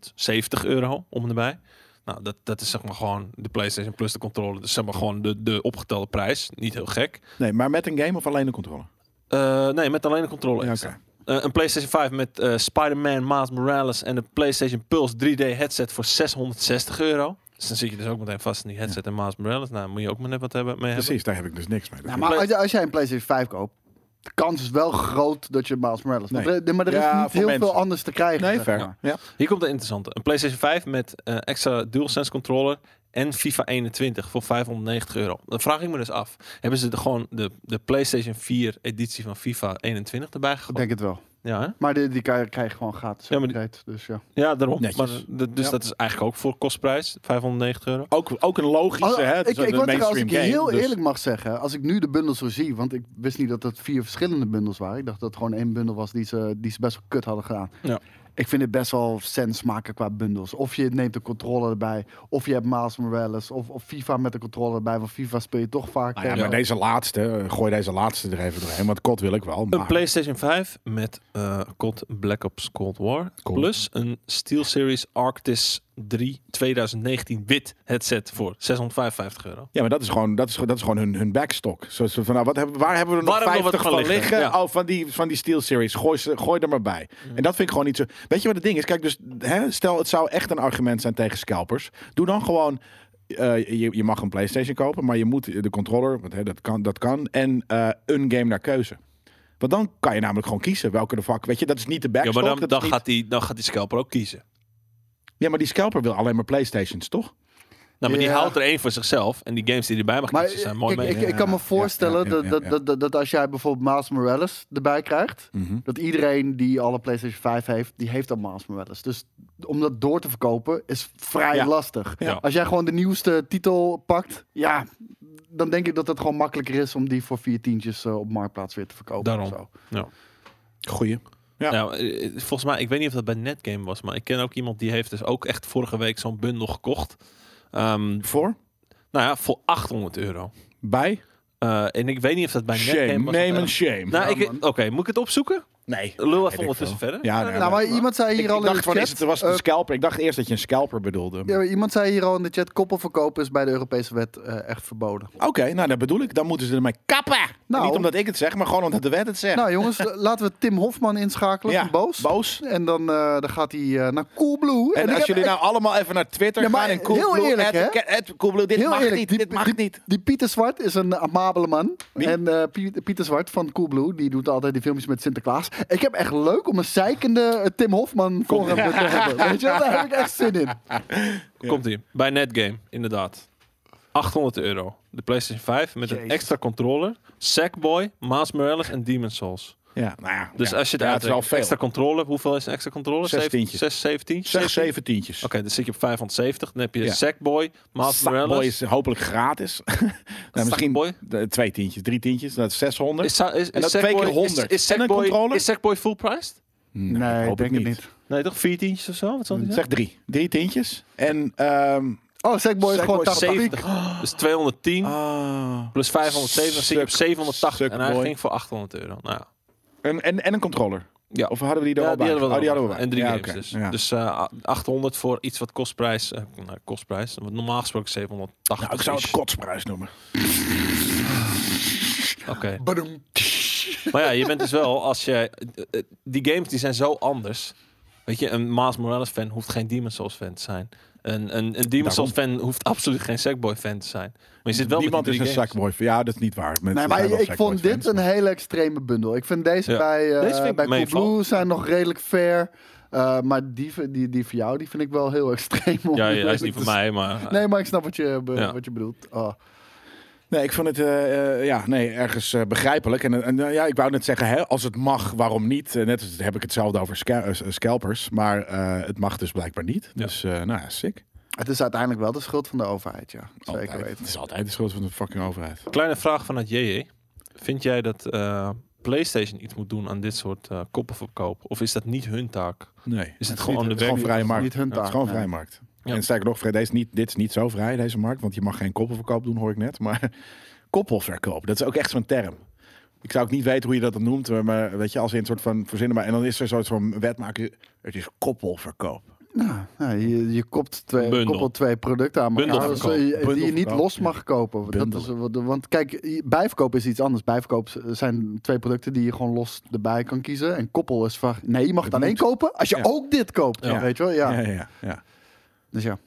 [SPEAKER 2] 570 euro om en erbij. Nou, dat, dat is zeg maar gewoon de PlayStation Plus de controller. Dus zeg maar gewoon de, de opgetelde prijs. Niet heel gek.
[SPEAKER 3] Nee, maar met een game of alleen een controle?
[SPEAKER 2] Eh, nee, met alleen een controller.
[SPEAKER 3] Ja,
[SPEAKER 2] extra.
[SPEAKER 3] oké.
[SPEAKER 2] Eh, een PlayStation 5 met eh, Spider-Man, Miles Morales en een PlayStation Pulse 3D headset voor 660 euro. Dus dan zit je dus ook meteen vast in die headset en Miles Morales. Nou, moet je ook maar net wat hebben, mee hebben.
[SPEAKER 3] Precies, daar heb ik dus niks mee.
[SPEAKER 1] Nou, maar als, je- als jij een PlayStation 5 koopt, de kans is wel groot dat je Miles Morales...
[SPEAKER 3] Nee.
[SPEAKER 1] Want er- maar er is
[SPEAKER 3] Ja,
[SPEAKER 1] niet
[SPEAKER 3] voor
[SPEAKER 1] heel
[SPEAKER 3] mensen.
[SPEAKER 1] veel anders te krijgen.
[SPEAKER 3] nee,
[SPEAKER 1] zeg
[SPEAKER 3] ver.
[SPEAKER 1] maar.
[SPEAKER 3] Ja.
[SPEAKER 2] Hier komt de interessante. Een PlayStation 5 met eh, extra DualSense controller en FIFA 21 voor 590 euro. Dan vraag ik me dus af. Hebben ze er gewoon de, de PlayStation 4 editie van FIFA 21 erbij
[SPEAKER 1] Ik
[SPEAKER 2] gegooid?
[SPEAKER 1] denk het wel.
[SPEAKER 2] Ja, hè?
[SPEAKER 1] Maar die, die krijg krijg je gewoon gratis.
[SPEAKER 2] Ja, maar die-
[SPEAKER 1] upgrade, Dus ja.
[SPEAKER 2] ja, daarom.
[SPEAKER 3] Netjes.
[SPEAKER 2] Maar, d- dus
[SPEAKER 3] Ja.
[SPEAKER 2] dat is eigenlijk ook voor kostprijs, 590 euro.
[SPEAKER 3] Ook, ook een logische,
[SPEAKER 2] Oh,
[SPEAKER 1] Al-
[SPEAKER 3] hè? het is
[SPEAKER 1] Oh, ik, ik
[SPEAKER 3] een
[SPEAKER 1] word er, als
[SPEAKER 3] mainstream
[SPEAKER 1] ik je
[SPEAKER 3] game,
[SPEAKER 1] heel
[SPEAKER 3] dus-
[SPEAKER 1] eerlijk mag zeggen, als ik nu de bundels zo zie, want ik wist niet dat dat vier verschillende bundels waren. Ik dacht dat het gewoon één bundel was die ze, die ze best wel kut hadden gedaan.
[SPEAKER 2] Ja.
[SPEAKER 1] Ik vind het best wel sens maken qua bundels. Of je neemt de controller erbij, of je hebt Miles Morales, of, of FIFA met de controller erbij. Want FIFA speel je toch vaak.
[SPEAKER 3] Nou ja,
[SPEAKER 1] tegen-
[SPEAKER 3] maar deze laatste, eh, gooi deze laatste er even doorheen. Want kot wil ik wel.
[SPEAKER 2] Een
[SPEAKER 3] Maar
[SPEAKER 2] PlayStation 5 met eh COD Black Ops Cold War.
[SPEAKER 3] Cool.
[SPEAKER 2] Plus een SteelSeries Arctis 3 2019 wit headset voor 655 euro.
[SPEAKER 3] Ja, maar dat is gewoon, dat is, dat is gewoon hun, hun backstock. Zo is het van, nou, wat hebben, waar hebben we er nog
[SPEAKER 2] Waar hebben we
[SPEAKER 3] 50
[SPEAKER 2] wat
[SPEAKER 3] van
[SPEAKER 2] van
[SPEAKER 3] liggen?
[SPEAKER 2] liggen? Ja. Mm.
[SPEAKER 3] Oh, van die, van die Steel Series. Gooi, ze, gooi er maar bij. En dat vind ik gewoon niet zo... Weet je wat het ding is? Kijk, dus, hè, stel het zou echt een argument zijn tegen scalpers. Doe dan gewoon... eh, je, je mag een PlayStation kopen, maar je moet de controller, want hè, dat, kan, dat kan, en eh, een game naar keuze. Want dan kan je namelijk gewoon kiezen welke de fuck. Weet je, dat is niet de
[SPEAKER 2] Ja,
[SPEAKER 3] backstock.
[SPEAKER 2] maar dan,
[SPEAKER 3] dat is
[SPEAKER 2] dan,
[SPEAKER 3] niet-
[SPEAKER 2] gaat die, dan gaat die scalper ook kiezen.
[SPEAKER 3] ja, maar die scalper wil alleen maar PlayStations, toch?
[SPEAKER 2] Nou, maar die
[SPEAKER 1] Ja.
[SPEAKER 2] houdt er één voor zichzelf. En die games die erbij mag
[SPEAKER 1] Maar
[SPEAKER 2] kiezen
[SPEAKER 3] eh,
[SPEAKER 2] zijn mooi
[SPEAKER 1] ik,
[SPEAKER 2] mee.
[SPEAKER 1] ik,
[SPEAKER 3] Ja,
[SPEAKER 1] ik kan me
[SPEAKER 3] ja,
[SPEAKER 1] voorstellen
[SPEAKER 3] ja, ja, ja,
[SPEAKER 1] dat,
[SPEAKER 3] ja.
[SPEAKER 1] dat, dat, dat als jij bijvoorbeeld Miles Morales erbij krijgt,
[SPEAKER 3] Hm.
[SPEAKER 1] dat iedereen die alle PlayStation 5 heeft, die heeft al Miles Morales. Dus om dat door te verkopen is vrij
[SPEAKER 3] Ja.
[SPEAKER 1] lastig.
[SPEAKER 2] Ja.
[SPEAKER 1] Als jij gewoon de nieuwste titel pakt, ja, dan denk ik dat het gewoon makkelijker is om die voor vier tientjes eh, op marktplaats weer te verkopen.
[SPEAKER 2] Daarom.
[SPEAKER 1] of Zo.
[SPEAKER 2] Ja.
[SPEAKER 3] Goeie. Ja.
[SPEAKER 2] Nou, eh, volgens mij, ik weet niet of dat bij Netgame was, maar ik ken ook iemand die heeft dus ook echt vorige week zo'n bundel gekocht. Ehm,
[SPEAKER 3] Voor?
[SPEAKER 2] nou ja, voor 800 euro.
[SPEAKER 3] Bij?
[SPEAKER 1] Nou,
[SPEAKER 2] Eh, en ik weet niet of dat bij
[SPEAKER 3] Shame.
[SPEAKER 2] Netgame was. of
[SPEAKER 3] Name
[SPEAKER 2] bij-
[SPEAKER 3] and shame.
[SPEAKER 2] nou,
[SPEAKER 1] Ja,
[SPEAKER 2] ik- Oké,
[SPEAKER 1] man.
[SPEAKER 2] moet ik het opzoeken?
[SPEAKER 3] Nee.
[SPEAKER 2] Lul
[SPEAKER 3] Weet ik
[SPEAKER 2] even ondertussen
[SPEAKER 3] veel.
[SPEAKER 2] verder. Eh,
[SPEAKER 3] Ja, nee,
[SPEAKER 1] Nou, maar iemand zei hier
[SPEAKER 3] Ik,
[SPEAKER 1] al
[SPEAKER 3] ik
[SPEAKER 1] in
[SPEAKER 3] dacht
[SPEAKER 1] de
[SPEAKER 3] van,
[SPEAKER 1] chat,
[SPEAKER 3] is het, was het
[SPEAKER 1] eh,
[SPEAKER 3] een scalper? Ik dacht eerst dat je een scalper bedoelde.
[SPEAKER 1] ja, maar iemand zei hier al in de chat, koppelverkoop is bij de Europese wet eh, echt verboden.
[SPEAKER 3] Oké, nou dat bedoel ik. Dan moeten ze ermee kappen.
[SPEAKER 1] Nou.
[SPEAKER 3] Niet omdat ik het zeg, maar gewoon omdat de wet het zegt.
[SPEAKER 1] Nou jongens, eh, laten we Tim Hofman inschakelen
[SPEAKER 3] ja,
[SPEAKER 1] van Boos. En dan, eh, dan gaat hij eh, naar Coolblue.
[SPEAKER 3] En,
[SPEAKER 1] ik
[SPEAKER 3] als
[SPEAKER 1] heb-
[SPEAKER 3] jullie
[SPEAKER 1] ik-
[SPEAKER 3] nou allemaal even naar Twitter
[SPEAKER 1] Ja, maar
[SPEAKER 3] gaan en
[SPEAKER 1] heel
[SPEAKER 3] Coolblue,
[SPEAKER 1] eerlijk,
[SPEAKER 3] at-
[SPEAKER 1] hè?
[SPEAKER 3] ke- at Coolblue, dit
[SPEAKER 1] Heel
[SPEAKER 3] mag
[SPEAKER 1] eerlijk,
[SPEAKER 3] niet,
[SPEAKER 1] die-
[SPEAKER 3] dit mag niet.
[SPEAKER 1] Die Pieter Zwart is een amabele man.
[SPEAKER 3] Wie?
[SPEAKER 1] En eh, Pie- Pieter Zwart van Coolblue, die doet altijd die filmpjes met Sinterklaas. Ik heb echt leuk om een zeikende eh, Tim Hofman voor hem te hebben. Weet je, wel? daar heb ik echt zin in. Oh,
[SPEAKER 2] Komt ie. Bij Netgame, inderdaad. 800 euro. De PlayStation 5 met een
[SPEAKER 1] Jezus.
[SPEAKER 2] extra controller. Sackboy, Miles Morales en Demon's Souls.
[SPEAKER 3] Ja, nou ja.
[SPEAKER 2] Dus
[SPEAKER 3] ja.
[SPEAKER 2] als je het
[SPEAKER 3] ja, het is
[SPEAKER 2] uitrekt,
[SPEAKER 3] al veel.
[SPEAKER 2] extra controller. Hoeveel is een extra controller?
[SPEAKER 3] Zes
[SPEAKER 2] Zeven-
[SPEAKER 3] tientjes.
[SPEAKER 2] Zes, 17?
[SPEAKER 3] Zeg zeven tientjes.
[SPEAKER 2] Oké, dan zit je op 570. Dan heb je
[SPEAKER 3] Ja.
[SPEAKER 2] Sackboy, Miles
[SPEAKER 3] Sackboy
[SPEAKER 2] Morales.
[SPEAKER 3] is hopelijk gratis. *laughs* nou, misschien
[SPEAKER 2] Sackboy?
[SPEAKER 3] de- twee tientjes, drie tientjes, dat is 600.
[SPEAKER 2] Is, Sa- is,
[SPEAKER 3] En
[SPEAKER 2] is
[SPEAKER 3] dat twee
[SPEAKER 2] Sackboy-
[SPEAKER 3] keer
[SPEAKER 2] is-
[SPEAKER 3] 100.
[SPEAKER 2] Is,
[SPEAKER 3] En een
[SPEAKER 2] Sackboy,
[SPEAKER 3] controller?
[SPEAKER 2] is Sackboy full priced?
[SPEAKER 1] Nee,
[SPEAKER 3] hoop
[SPEAKER 1] ik denk
[SPEAKER 3] ik
[SPEAKER 1] het
[SPEAKER 3] niet.
[SPEAKER 1] niet.
[SPEAKER 2] Nee, toch? Vier tientjes of zo? Wat zal die zijn?
[SPEAKER 3] Zeg drie. Drie tientjes. En, ehm
[SPEAKER 1] Oh, Sackboy is
[SPEAKER 3] Sackboy
[SPEAKER 1] gewoon
[SPEAKER 3] is
[SPEAKER 1] 80 piek.
[SPEAKER 2] 70. Dus 210
[SPEAKER 3] ah,
[SPEAKER 2] plus 570 dan zit je op
[SPEAKER 3] Suck-
[SPEAKER 2] 780. en hij
[SPEAKER 3] Sackboy.
[SPEAKER 2] ging voor 800 euro. Nou ja.
[SPEAKER 3] en, en, en een controller.
[SPEAKER 2] Ja.
[SPEAKER 3] Of hadden we die er
[SPEAKER 2] Ja,
[SPEAKER 3] al bij?
[SPEAKER 2] die hadden we
[SPEAKER 3] oh, die
[SPEAKER 2] er al
[SPEAKER 3] hadden we
[SPEAKER 2] bij.
[SPEAKER 3] bij.
[SPEAKER 2] En drie
[SPEAKER 3] ja,
[SPEAKER 2] games
[SPEAKER 3] oké.
[SPEAKER 2] dus.
[SPEAKER 3] Ja.
[SPEAKER 2] Dus eh, 800 voor iets wat kostprijs... eh, nou, kostprijs. Want normaal gesproken 780.
[SPEAKER 3] Nou, ik zou het
[SPEAKER 2] is.
[SPEAKER 3] kotsprijs noemen.
[SPEAKER 2] Oké.
[SPEAKER 1] Badum.
[SPEAKER 2] Maar ja, je bent dus wel... Als je, eh, eh, die games die zijn zo anders. Weet je, een Maas Morales fan hoeft geen Demon's Souls fan te zijn. Een, een, een Demon's Souls fan hoeft absoluut geen Sackboy fan te zijn. Maar je zit wel
[SPEAKER 3] Niemand
[SPEAKER 2] met
[SPEAKER 3] is
[SPEAKER 2] die
[SPEAKER 3] een
[SPEAKER 2] drie games.
[SPEAKER 3] Sackboy. Ja, dat is niet waar. Mensen
[SPEAKER 1] Nee, maar
[SPEAKER 3] zijn wel
[SPEAKER 1] ik vond
[SPEAKER 3] Sackboy-fans.
[SPEAKER 1] dit een hele extreme bundel. Ik vind deze
[SPEAKER 2] Ja.
[SPEAKER 1] bij, eh
[SPEAKER 2] Deze vind ik
[SPEAKER 1] bij
[SPEAKER 2] meevallen.
[SPEAKER 1] Coolblue zijn nog redelijk fair. Eh, maar die, v- die, die voor jou, die vind ik wel heel *laughs* extreem. om
[SPEAKER 2] Ja, ja, hij is
[SPEAKER 1] eerlijk
[SPEAKER 2] niet
[SPEAKER 1] te
[SPEAKER 2] voor
[SPEAKER 1] zijn.
[SPEAKER 2] mij, maar... eh,
[SPEAKER 1] Nee, maar ik snap wat je, be-
[SPEAKER 2] Ja.
[SPEAKER 1] wat je bedoelt. Oh.
[SPEAKER 3] Nee, ik vond het eh, eh, ja, nee, ergens eh, begrijpelijk. En, eh, en eh, ja, ik wou net zeggen, hè, als het mag, waarom niet? Eh, net als heb ik hetzelfde over sca- eh, scalpers. Maar eh, het mag dus blijkbaar niet.
[SPEAKER 2] Ja.
[SPEAKER 3] Dus eh, nou ja, sick.
[SPEAKER 1] Het is uiteindelijk wel de schuld van de overheid, ja. Zeker
[SPEAKER 3] Altijd.
[SPEAKER 1] weten.
[SPEAKER 3] Het is altijd de schuld van de fucking overheid.
[SPEAKER 2] Kleine vraag vanuit JJ. Vind jij dat eh, PlayStation iets moet doen aan dit soort eh koppenverkoop? Of is dat niet hun taak?
[SPEAKER 3] Nee.
[SPEAKER 2] Is het
[SPEAKER 3] is
[SPEAKER 2] gewoon
[SPEAKER 3] niet-
[SPEAKER 2] de
[SPEAKER 3] het is gewoon
[SPEAKER 2] werk-
[SPEAKER 3] vrije markt.
[SPEAKER 1] Niet hun
[SPEAKER 2] Ja, het
[SPEAKER 3] Het
[SPEAKER 1] taak.
[SPEAKER 3] is gewoon
[SPEAKER 1] nee.
[SPEAKER 3] vrije markt.
[SPEAKER 2] Ja.
[SPEAKER 3] En sterker nog, vrij, deze is niet, dit is niet zo vrij, deze markt. Want je mag geen koppelverkoop doen, hoor ik net. Maar *laughs* koppelverkoop, dat is ook echt zo'n term. Ik zou ook niet weten hoe je dat dan noemt. maar- Maar weet je, als in een soort van verzinnen. Maar, en dan is er zo'n zo'n wet maken. Het is koppelverkoop.
[SPEAKER 1] Nou, nou, je, je kopt twee,
[SPEAKER 2] Bundel.
[SPEAKER 1] koppelt twee producten aan elkaar dus,
[SPEAKER 2] Bundelverkoop.
[SPEAKER 1] eh, die je niet
[SPEAKER 3] Bundelverkoop.
[SPEAKER 1] los mag kopen. Dat is,
[SPEAKER 3] Bundelen.
[SPEAKER 1] wat- want kijk, i- bijverkoop is iets anders. Bijverkoop s- zijn twee producten die je gewoon los erbij kan kiezen. En koppel is van, nee, je mag het
[SPEAKER 3] Dat
[SPEAKER 1] aan één
[SPEAKER 3] moet.
[SPEAKER 1] kopen als je
[SPEAKER 2] Ja.
[SPEAKER 1] ook dit koopt.
[SPEAKER 2] Ja.
[SPEAKER 1] Weet je wel, ja.
[SPEAKER 3] ja, ja. ja.
[SPEAKER 1] Dus ja.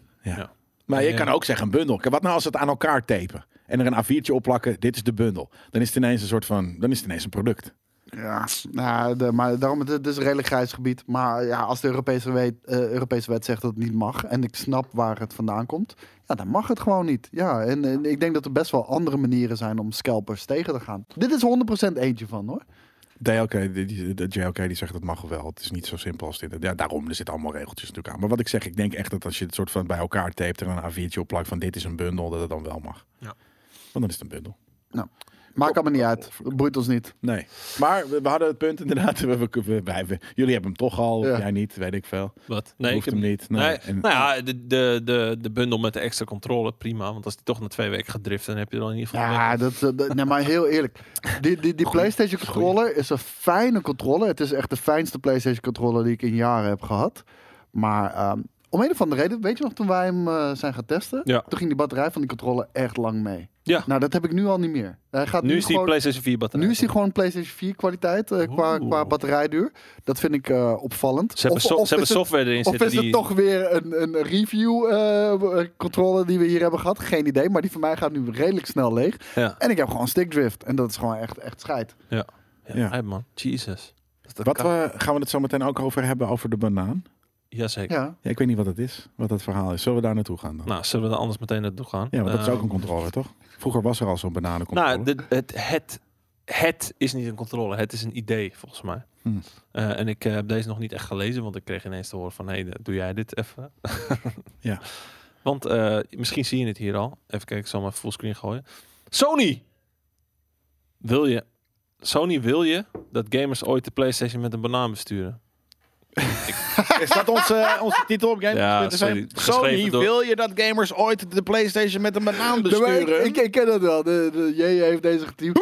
[SPEAKER 3] Maar je
[SPEAKER 2] Ja.
[SPEAKER 3] kan ook zeggen een bundel. Kijk, Wat nou als ze het aan elkaar tapen en er een A4'tje op plakken? Dit is de bundel. Dan is het ineens een soort van, dan is het ineens een product.
[SPEAKER 1] Ja, nou, de- maar daarom, het het is een redelijk grijs gebied. Maar ja, als de Europese wet, eh, Europese wet zegt dat het niet mag... en ik snap waar het vandaan komt, ja, dan mag het gewoon niet. Ja, en, en ik denk dat er best wel andere manieren zijn om scalpers tegen te gaan. Dit is 100% eentje van, hoor.
[SPEAKER 3] DLK, die- die- de JLK die zegt dat mag wel. Het is niet zo simpel als dit. Ja, daarom, er zitten allemaal regeltjes natuurlijk aan. Maar wat ik zeg, ik denk echt dat als je het soort van bij elkaar tapt en een A4'tje op plakt van dit is een bundel, dat het dan wel mag.
[SPEAKER 2] Ja.
[SPEAKER 3] Want dan is het een bundel.
[SPEAKER 1] Nou, Maakt allemaal niet uit. Het boeit ons niet.
[SPEAKER 3] Nee. Maar we, we hadden het punt inderdaad. *laughs* We, we, we- wij- we- jullie hebben hem toch al,
[SPEAKER 1] Ja.
[SPEAKER 3] jij niet, weet ik veel.
[SPEAKER 2] Wat? Nee,
[SPEAKER 3] Hoeft
[SPEAKER 2] ik heb-
[SPEAKER 3] hem niet. Nee.
[SPEAKER 2] Nee,
[SPEAKER 3] En-
[SPEAKER 2] nou ja, de, de, de, de bundel met de extra controle, prima. Want als die toch na twee weken gedrift, dan heb je er al in ieder geval...
[SPEAKER 1] Ja,
[SPEAKER 2] weg.
[SPEAKER 1] dat, eh, dat- nee, maar heel eerlijk. Die, die, die PlayStation controller is een fijne controller. Het is echt de fijnste PlayStation controller die ik in jaren heb gehad. Maar ehm, om een of andere reden, weet je nog, toen wij hem eh, zijn gaan testen,
[SPEAKER 2] Ja.
[SPEAKER 1] toen ging die batterij van die controller echt lang mee.
[SPEAKER 2] Ja.
[SPEAKER 1] Nou, dat heb ik nu al niet meer. Hij gaat nu,
[SPEAKER 2] nu is die
[SPEAKER 1] gewoon,
[SPEAKER 2] PlayStation 4 batterij.
[SPEAKER 1] nu is die gewoon PlayStation 4 kwaliteit eh, qua,
[SPEAKER 2] Oeh.
[SPEAKER 1] qua batterijduur. Dat vind ik eh, opvallend.
[SPEAKER 2] Ze hebben,
[SPEAKER 1] Of-
[SPEAKER 2] so-
[SPEAKER 1] of
[SPEAKER 2] ze hebben
[SPEAKER 1] is het-
[SPEAKER 2] software erin
[SPEAKER 1] of
[SPEAKER 2] zitten
[SPEAKER 1] is
[SPEAKER 2] die...
[SPEAKER 1] het toch weer een, een review eh, controller die we hier hebben gehad? Geen idee, maar die van mij gaat nu redelijk snel leeg.
[SPEAKER 2] Ja,
[SPEAKER 1] En ik heb gewoon stickdrift. En dat is gewoon echt, echt scheid.
[SPEAKER 2] ja,
[SPEAKER 3] Ja.
[SPEAKER 2] uit, man. Jesus. Dat, dat
[SPEAKER 3] Wat
[SPEAKER 2] kan-
[SPEAKER 3] we, gaan we het zo meteen ook over hebben, over de banaan?
[SPEAKER 2] Jazeker.
[SPEAKER 1] Ja.
[SPEAKER 3] Ja, ik weet niet wat het is, wat dat verhaal is. Zullen we daar naartoe gaan dan?
[SPEAKER 2] Nou, zullen we dan anders meteen naartoe gaan?
[SPEAKER 3] ja, want dat is
[SPEAKER 2] Eh,
[SPEAKER 3] ook een controller, toch? Vroeger was er al zo'n bananencontroller.
[SPEAKER 2] Nou, dit- het, het, het is niet een controle, het is een idee volgens mij.
[SPEAKER 3] Hmm.
[SPEAKER 2] Eh, en ik eh, heb deze nog niet echt gelezen, want ik kreeg ineens te horen van... hé, hey, eh, doe jij dit even?
[SPEAKER 3] *laughs* Ja.
[SPEAKER 2] Want eh, misschien zie je het hier al. Even kijken, ik zal maar fullscreen gooien. Sony! Wil je... Sony wil je dat gamers ooit de PlayStation met een banaan besturen?
[SPEAKER 3] Is dat onze, eh, onze titel op Game
[SPEAKER 2] Ja, sorry. Geschreven door-
[SPEAKER 3] je dat gamers ooit de PlayStation met een banaan
[SPEAKER 1] Ik, ik, ik ken dat wel. De, de JJ heeft deze geteamd.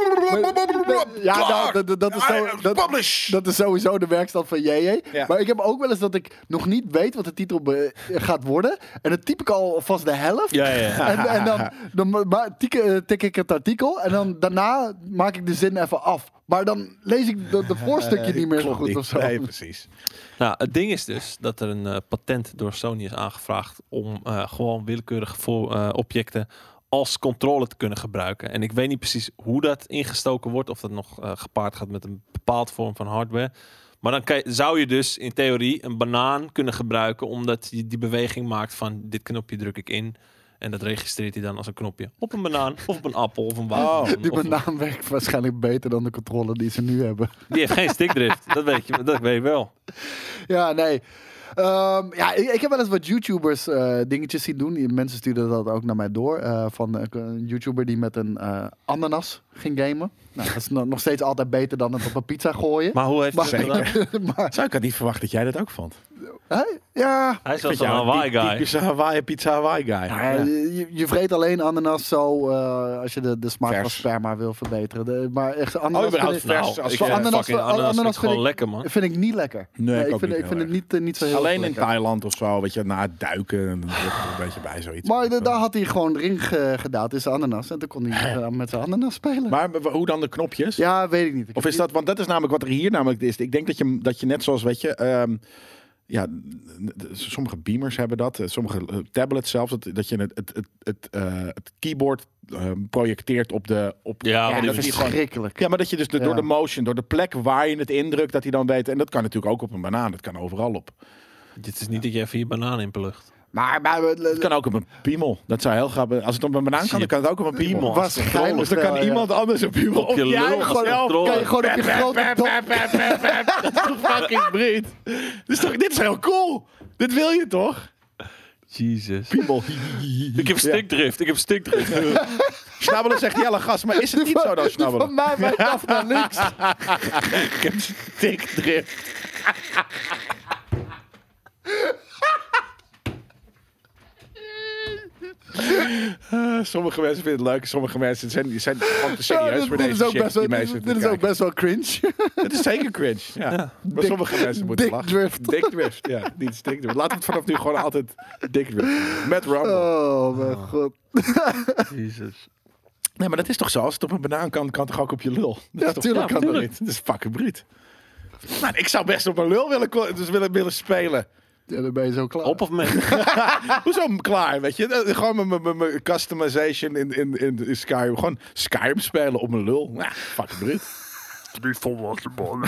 [SPEAKER 1] Ja, nou, dat, dat- dat is zo, dat,
[SPEAKER 3] Publish!
[SPEAKER 1] dat is sowieso de werkstand van JJ.
[SPEAKER 3] Ja.
[SPEAKER 1] Maar ik heb ook wel eens dat ik nog niet weet wat de titel be- gaat worden. En dan typ ik al vast de helft.
[SPEAKER 2] Ja, ja, ja.
[SPEAKER 1] *laughs* En, en dan, dan ma- ma- tik, eh, tik ik het artikel. En dan daarna maak ik de zin even af. Maar dan lees ik de, de
[SPEAKER 2] *laughs*
[SPEAKER 1] voorstukje niet meer zo goed of zo.
[SPEAKER 3] Nee, precies.
[SPEAKER 2] Nou, het ding is dus dat er een eh, patent door Sony is aangevraagd om eh, gewoon willekeurig voor, eh, objecten als controle te kunnen gebruiken. En ik weet niet precies hoe dat ingestoken wordt, of dat nog eh, gepaard gaat met een bepaald vorm van hardware. Maar dan kan je- zou je dus in theorie een banaan kunnen gebruiken, omdat je die beweging maakt van dit knopje druk ik in. En dat registreert hij dan als een knopje op een banaan, of op een appel, of een
[SPEAKER 3] Oh.
[SPEAKER 2] wapen.
[SPEAKER 1] Die
[SPEAKER 2] of een-
[SPEAKER 1] banaan werkt waarschijnlijk beter dan de controle die ze nu hebben.
[SPEAKER 2] die heeft geen stickdrift, dat weet je, dat weet ik wel.
[SPEAKER 1] Ja, nee. Ehm, ja, ik, ik heb wel eens wat YouTubers eh, dingetjes zien doen. Die Mensen stuurden dat ook naar mij door. eh, van eh, een YouTuber die met een eh, ananas ging gamen. Nou, dat is no- nog steeds altijd beter dan het op een pizza gooien.
[SPEAKER 2] Maar hoe heeft hij
[SPEAKER 1] Maar-
[SPEAKER 2] het gedaan?
[SPEAKER 1] *laughs* maar
[SPEAKER 3] Zou ik had niet verwacht dat jij dat ook vond.
[SPEAKER 1] hè? ja,
[SPEAKER 2] Hij is wel
[SPEAKER 3] Ik vind
[SPEAKER 2] zo'n
[SPEAKER 3] jou een
[SPEAKER 2] Hawaii
[SPEAKER 3] ty-
[SPEAKER 2] guy.
[SPEAKER 3] Typische Hawaii, pizza Hawaii guy.
[SPEAKER 1] Ja, Je, je vreet alleen ananas zo eh, als je de, de smaak van
[SPEAKER 3] Vers.
[SPEAKER 1] sperma wil verbeteren. De- maar echt
[SPEAKER 3] Oh,
[SPEAKER 1] ananas
[SPEAKER 3] überhaupt
[SPEAKER 1] vind, ik,
[SPEAKER 3] vers.
[SPEAKER 2] Nou,
[SPEAKER 3] als
[SPEAKER 2] ik
[SPEAKER 3] van
[SPEAKER 2] vind
[SPEAKER 1] ananas-
[SPEAKER 2] fucking
[SPEAKER 1] ananas
[SPEAKER 2] ananas vind
[SPEAKER 1] vind
[SPEAKER 2] ik gewoon
[SPEAKER 1] ik-
[SPEAKER 2] lekker, man.
[SPEAKER 1] vind ik niet lekker.
[SPEAKER 3] Nee, ik ook
[SPEAKER 1] vind,
[SPEAKER 3] niet
[SPEAKER 1] ik vind
[SPEAKER 3] heel
[SPEAKER 1] het niet, eh, niet zo heel
[SPEAKER 3] Alleen in
[SPEAKER 1] lekker.
[SPEAKER 3] Thailand of zo, weet je, na het duiken. Dan wordt het een beetje bij zoiets.
[SPEAKER 1] Maar de- daar had hij gewoon erin ge- gedaald in zijn ananas. En toen kon hij eh, met zijn ananas spelen.
[SPEAKER 3] Maar w- hoe dan de knopjes?
[SPEAKER 1] ja, weet ik niet. Ik
[SPEAKER 3] Of
[SPEAKER 1] heb
[SPEAKER 3] is dat, want dat is namelijk wat er hier namelijk is. Ik denk dat je, dat je net zoals, weet je, ehm, ja, d- d- sommige beamers hebben dat, eh, sommige eh, tablets zelfs, dat, dat je het, het, het, het, eh, het keyboard eh, projecteert op de... Op,
[SPEAKER 2] Ja, maar die
[SPEAKER 3] dat
[SPEAKER 1] dat
[SPEAKER 3] je
[SPEAKER 1] is
[SPEAKER 3] die gewoon
[SPEAKER 1] verschrikkelijk.
[SPEAKER 3] ja, maar dat je dus de-
[SPEAKER 1] Ja.
[SPEAKER 3] door de motion, door de plek waar je het indrukt, dat hij dan weet. En dat kan natuurlijk ook op een banaan, dat kan overal op.
[SPEAKER 2] Dit is niet dat je even je banaan in plucht.
[SPEAKER 1] Maar, maar
[SPEAKER 3] Het kan ook op een piemel. Dat zou heel grappig Als het op een banaan kan, dan kan het ook op een piemel.
[SPEAKER 2] Piemel.
[SPEAKER 1] waarschijnlijk.
[SPEAKER 3] Dus dan kan
[SPEAKER 1] wel, ja.
[SPEAKER 3] iemand anders een piemel op,
[SPEAKER 2] Op je
[SPEAKER 3] jij
[SPEAKER 2] lul.
[SPEAKER 3] gewoon-
[SPEAKER 2] Zelf.
[SPEAKER 1] Gewoon, kan je gewoon op je grote dop-
[SPEAKER 3] fucking breed. Dus toch, dit is heel cool. Dit wil je toch?
[SPEAKER 2] Jesus.
[SPEAKER 3] Piemel.
[SPEAKER 2] *laughs* Ik heb stikdrift. Ik heb *laughs* stikdrift.
[SPEAKER 3] Snabbelen zegt Jelle, gast, maar is het niet zo dan
[SPEAKER 1] Van
[SPEAKER 3] snabbelen?
[SPEAKER 1] mij
[SPEAKER 3] *laughs*
[SPEAKER 1] wijkt af naar niks.
[SPEAKER 3] Ik heb stikdrift. Eh, sommige mensen vinden het leuk, sommige mensen zijn, die zijn gewoon te serieus
[SPEAKER 1] Ja,
[SPEAKER 3] voor
[SPEAKER 1] dit, dit
[SPEAKER 3] deze
[SPEAKER 1] is ook
[SPEAKER 3] shit
[SPEAKER 1] best
[SPEAKER 3] die
[SPEAKER 1] wel,
[SPEAKER 3] mij
[SPEAKER 1] dit, is-
[SPEAKER 3] zitten
[SPEAKER 1] dit is
[SPEAKER 3] te
[SPEAKER 1] ook
[SPEAKER 3] kijken.
[SPEAKER 1] best wel cringe.
[SPEAKER 3] Het is zeker cringe, ja. Maar
[SPEAKER 1] Dick-
[SPEAKER 3] sommige mensen moeten
[SPEAKER 1] Dick
[SPEAKER 3] lachen.
[SPEAKER 1] drift.
[SPEAKER 3] Dick drift, ja. Niet stick drift. Laten we het vanaf nu gewoon altijd dick drift noemen. Met Rumble.
[SPEAKER 1] Oh mijn god.
[SPEAKER 2] Jesus.
[SPEAKER 3] Nee, maar dat is toch zo? Als het op een banaan kan, kan het toch ook op je lul? Dat is
[SPEAKER 1] Ja,
[SPEAKER 3] toch,
[SPEAKER 1] tuurlijk kan
[SPEAKER 3] dat
[SPEAKER 1] dat.
[SPEAKER 3] niet. Dat is fucking breed. Nou, ik zou best op mijn lul willen, ko- dus willen, willen spelen.
[SPEAKER 1] Ja, dan ben je zo klaar.
[SPEAKER 2] Op of mee?
[SPEAKER 3] *laughs*
[SPEAKER 1] Ah.
[SPEAKER 3] Hoezo m- klaar, weet je? Dat- Gewoon met mijn- mijn- mijn customization in, in, in, in Skyrim. Gewoon Skyrim spelen op mijn lul. Nou, fucking breed.
[SPEAKER 2] Niet volwassen man.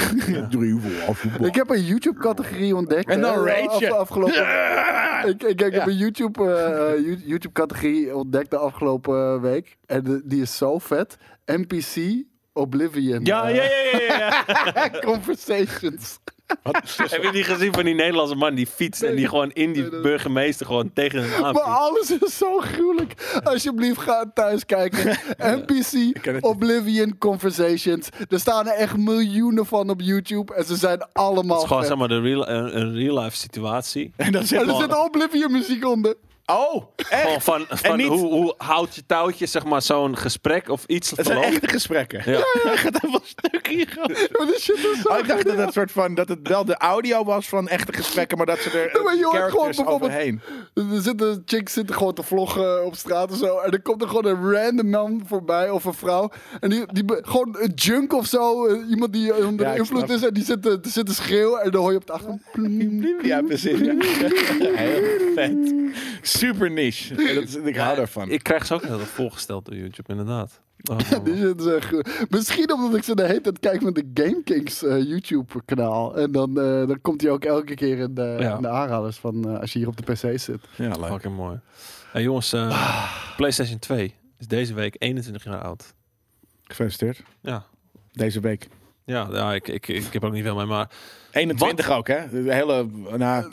[SPEAKER 3] Drie voor
[SPEAKER 1] Ik heb een YouTube-categorie ontdekt.
[SPEAKER 3] En dan
[SPEAKER 1] hè,
[SPEAKER 3] rage je.
[SPEAKER 1] af- afgelopen,
[SPEAKER 3] Ja.
[SPEAKER 1] ik, ik, ik
[SPEAKER 3] Ja.
[SPEAKER 1] heb een YouTube, eh, eh, You- YouTube-categorie ontdekt de afgelopen eh, week. En de- die is zo vet. NPC Oblivion.
[SPEAKER 2] Ja,
[SPEAKER 1] eh,
[SPEAKER 2] ja, ja, ja, ja, ja.
[SPEAKER 1] *laughs* Conversations.
[SPEAKER 2] *laughs* Heb je die gezien van die Nederlandse man die fietst en die gewoon in die burgemeester gewoon tegen hem
[SPEAKER 1] Maar
[SPEAKER 2] aan
[SPEAKER 1] alles is zo gruwelijk. Alsjeblieft, ga thuis
[SPEAKER 3] *laughs*
[SPEAKER 1] kijken. NPC,
[SPEAKER 3] ken het niet.
[SPEAKER 1] Oblivion, Conversations. Er staan er echt miljoenen van op YouTube. En ze zijn allemaal
[SPEAKER 2] Het is gewoon
[SPEAKER 1] vet.
[SPEAKER 2] zeg maar de real, een, een real life situatie.
[SPEAKER 3] En dan zit
[SPEAKER 1] En Oh, er zit Oblivion muziek onder. *laughs*
[SPEAKER 3] Oh,
[SPEAKER 2] Gewoon
[SPEAKER 3] echt?
[SPEAKER 2] van, van
[SPEAKER 3] niet-
[SPEAKER 2] hoe, hoe houd je touwtje zeg maar zo'n gesprek of iets
[SPEAKER 3] Het zijn
[SPEAKER 2] verloopt.
[SPEAKER 3] echte gesprekken. *laughs*
[SPEAKER 2] Ja.
[SPEAKER 3] Hij gaat helemaal stuk hier. gast.
[SPEAKER 1] Maar die shit is zo
[SPEAKER 3] Oh, ik dacht dat
[SPEAKER 1] gruwelijk.
[SPEAKER 3] het, soort van, dat het wel de audio was van echte gesprekken, maar dat ze er *laughs*
[SPEAKER 1] Ja, maar je hoort
[SPEAKER 3] characters
[SPEAKER 1] gewoon bijvoorbeeld-
[SPEAKER 3] overheen.
[SPEAKER 1] Er zit een chick zit gewoon te vloggen op straat of zo. En er komt er gewoon een random man voorbij of een vrouw. En die, die be- gewoon een junk of zo. eh, Iemand die eh, onder
[SPEAKER 3] Ja,
[SPEAKER 1] de
[SPEAKER 3] ik
[SPEAKER 1] invloed
[SPEAKER 3] snap
[SPEAKER 1] is. En die zit te, te zitten schreeuwen. En dan hoor je op de achtergrond.
[SPEAKER 3] Ja, precies. *laughs* Ja. Heel vet. Super niche. Dat is- ik hou daarvan.
[SPEAKER 2] Ik krijg ze ook net voorgesteld door YouTube, inderdaad. Oh, *laughs*
[SPEAKER 1] Die shit is echt goed. Misschien omdat ik ze de hele tijd kijk met de Game Kings eh, YouTube kanaal. En dan, eh, dan komt hij ook elke keer in de,
[SPEAKER 2] Ja.
[SPEAKER 1] in de aanraders van eh, als je hier op de PC zit.
[SPEAKER 3] Ja, leuk.
[SPEAKER 2] fucking mooi. Hey, jongens, eh, PlayStation 2 is deze week 21 jaar oud.
[SPEAKER 3] Gefeliciteerd.
[SPEAKER 2] Ja,
[SPEAKER 3] Deze week.
[SPEAKER 2] ja, ja ik, ik, ik heb er ook niet veel mee, maar
[SPEAKER 3] 21 ook, hè? De hele... Nou,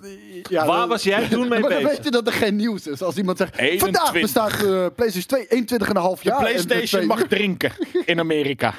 [SPEAKER 1] Ja,
[SPEAKER 2] waar
[SPEAKER 1] dan-
[SPEAKER 2] was jij toen
[SPEAKER 1] *laughs* maar
[SPEAKER 2] mee
[SPEAKER 1] dan
[SPEAKER 2] bezig?
[SPEAKER 1] weet je dat er geen nieuws is. Als iemand zegt,
[SPEAKER 3] 21.
[SPEAKER 1] vandaag bestaat eh PlayStation 2 21,5 jaar. en de
[SPEAKER 3] PlayStation
[SPEAKER 1] twee-
[SPEAKER 3] mag drinken in Amerika.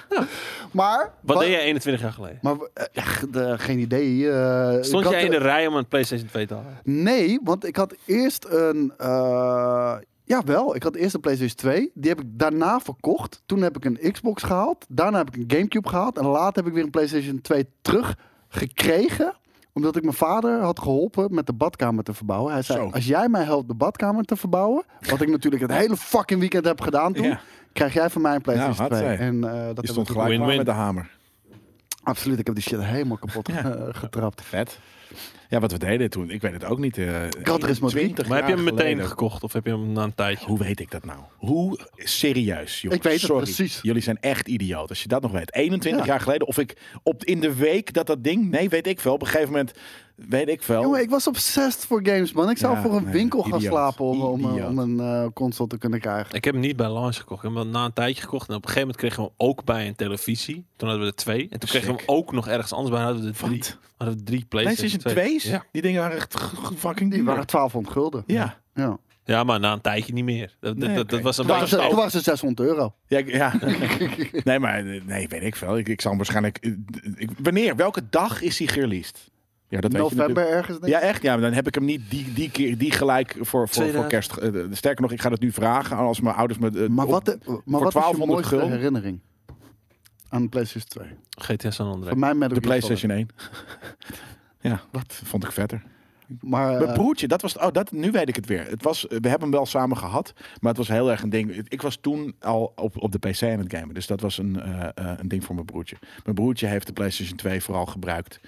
[SPEAKER 1] Maar...
[SPEAKER 2] Wat deed jij 21 jaar geleden?
[SPEAKER 1] Maar eh, ja, g- de- geen idee. eh,
[SPEAKER 2] Stond
[SPEAKER 1] ik
[SPEAKER 2] jij in
[SPEAKER 1] had,
[SPEAKER 2] de rij om een PlayStation 2 te halen?
[SPEAKER 1] Nee, want ik had eerst een... eh jawel, ik had eerst een PlayStation 2. Die heb ik daarna verkocht. Toen heb ik een Xbox gehaald. Daarna heb ik een Gamecube gehaald. En later heb ik weer een PlayStation 2 teruggekregen. Omdat ik mijn vader had geholpen met de badkamer te verbouwen. Hij zei,
[SPEAKER 3] Zo.
[SPEAKER 1] als jij mij helpt de badkamer te verbouwen... Wat ik natuurlijk het hele fucking weekend heb gedaan toen...
[SPEAKER 3] Ja.
[SPEAKER 1] Krijg jij van mij een PlayStation
[SPEAKER 3] Nou,
[SPEAKER 1] 2.
[SPEAKER 3] hardzij.
[SPEAKER 1] En, eh, dat heb ik
[SPEAKER 3] Je
[SPEAKER 1] natuurlijk-
[SPEAKER 3] stond gelijk klaar
[SPEAKER 2] Win-win.
[SPEAKER 3] met de hamer.
[SPEAKER 1] Absoluut, ik heb die shit helemaal kapot
[SPEAKER 3] Ja.
[SPEAKER 1] eh, getrapt.
[SPEAKER 3] Vet. Ja, wat we deden toen. Ik weet het ook niet. eh
[SPEAKER 1] Gran Turismo 3.
[SPEAKER 3] 21
[SPEAKER 2] Maar heb je hem
[SPEAKER 3] jaar
[SPEAKER 2] meteen
[SPEAKER 3] geleden.
[SPEAKER 2] gekocht of heb je hem na een tijdje?
[SPEAKER 3] Hoe weet ik dat nou? Hoe serieus, jongens?
[SPEAKER 1] Ik weet het
[SPEAKER 3] Sorry.
[SPEAKER 1] precies.
[SPEAKER 3] Jullie zijn echt idioot als je dat nog weet. 21
[SPEAKER 1] Ja.
[SPEAKER 3] jaar geleden, of ik op, in de week dat dat ding... Nee, weet ik veel. Op een gegeven moment, weet ik veel.
[SPEAKER 1] Jongen, ik was obsessed voor games, man. Ik zou
[SPEAKER 3] Oh. Ja,
[SPEAKER 1] voor een
[SPEAKER 3] nee,
[SPEAKER 1] winkel gaan
[SPEAKER 3] idioot.
[SPEAKER 1] slapen om, om, eh,
[SPEAKER 3] Idioot.
[SPEAKER 1] om een eh, console te kunnen krijgen.
[SPEAKER 2] Ik heb hem niet bij launch gekocht. Ik heb hem na een tijdje gekocht. En op een gegeven moment kregen we hem ook bij een televisie. Toen hadden we er twee. En toen kregen we
[SPEAKER 3] Sick.
[SPEAKER 2] hem ook nog ergens anders bij. Hadden we er drie,
[SPEAKER 3] Wat?
[SPEAKER 2] hadden we drie PlayStation
[SPEAKER 3] PlayStation
[SPEAKER 2] 2.
[SPEAKER 3] 2's? Die dingen waren echt g- g- fucking
[SPEAKER 1] Die
[SPEAKER 3] duur.
[SPEAKER 1] waren 1200 gulden.
[SPEAKER 3] Ja.
[SPEAKER 1] Ja.
[SPEAKER 2] Ja, maar na een tijdje niet meer. Dat, dat,
[SPEAKER 3] Nee,
[SPEAKER 2] dat,
[SPEAKER 3] oké.
[SPEAKER 2] dat was een
[SPEAKER 1] Toen waren
[SPEAKER 2] beetje...
[SPEAKER 1] ze- toen waren ze 600 euro.
[SPEAKER 3] Ja, ik- ja.
[SPEAKER 1] *laughs*
[SPEAKER 3] nee, maar eh, nee, weet ik veel. Ik, ik zal hem waarschijnlijk... eh, ik- wanneer? Welke dag is hij gereleased? Ja, dat weet je
[SPEAKER 1] November
[SPEAKER 3] natuurlijk.
[SPEAKER 1] ergens, denk ik.
[SPEAKER 3] Ja, echt. Ja, maar dan heb ik hem niet die, die, keer, die gelijk voor, voor, voor
[SPEAKER 2] 2000.
[SPEAKER 3] kerst. eh, de- Sterker nog, ik ga dat nu vragen als mijn ouders me... eh,
[SPEAKER 1] Maar
[SPEAKER 3] op-
[SPEAKER 1] wat, de- maar wat is je
[SPEAKER 3] 1200
[SPEAKER 1] mooiste
[SPEAKER 3] gulden?
[SPEAKER 1] herinnering aan de PlayStation 2?
[SPEAKER 2] GTA San Andreas.
[SPEAKER 1] Voor mij met
[SPEAKER 3] De PlayStation 1. *laughs* ja, dat vond ik vetter.
[SPEAKER 1] Maar eh,
[SPEAKER 3] Mijn broertje, dat was. Oh, dat, nu weet ik het weer. Het was, we hebben hem wel samen gehad, maar het was heel erg een ding. Ik was toen al op, op de PC aan het gamen, dus dat was een, eh, eh, een ding voor mijn broertje. Mijn broertje heeft de PlayStation 2 vooral gebruikt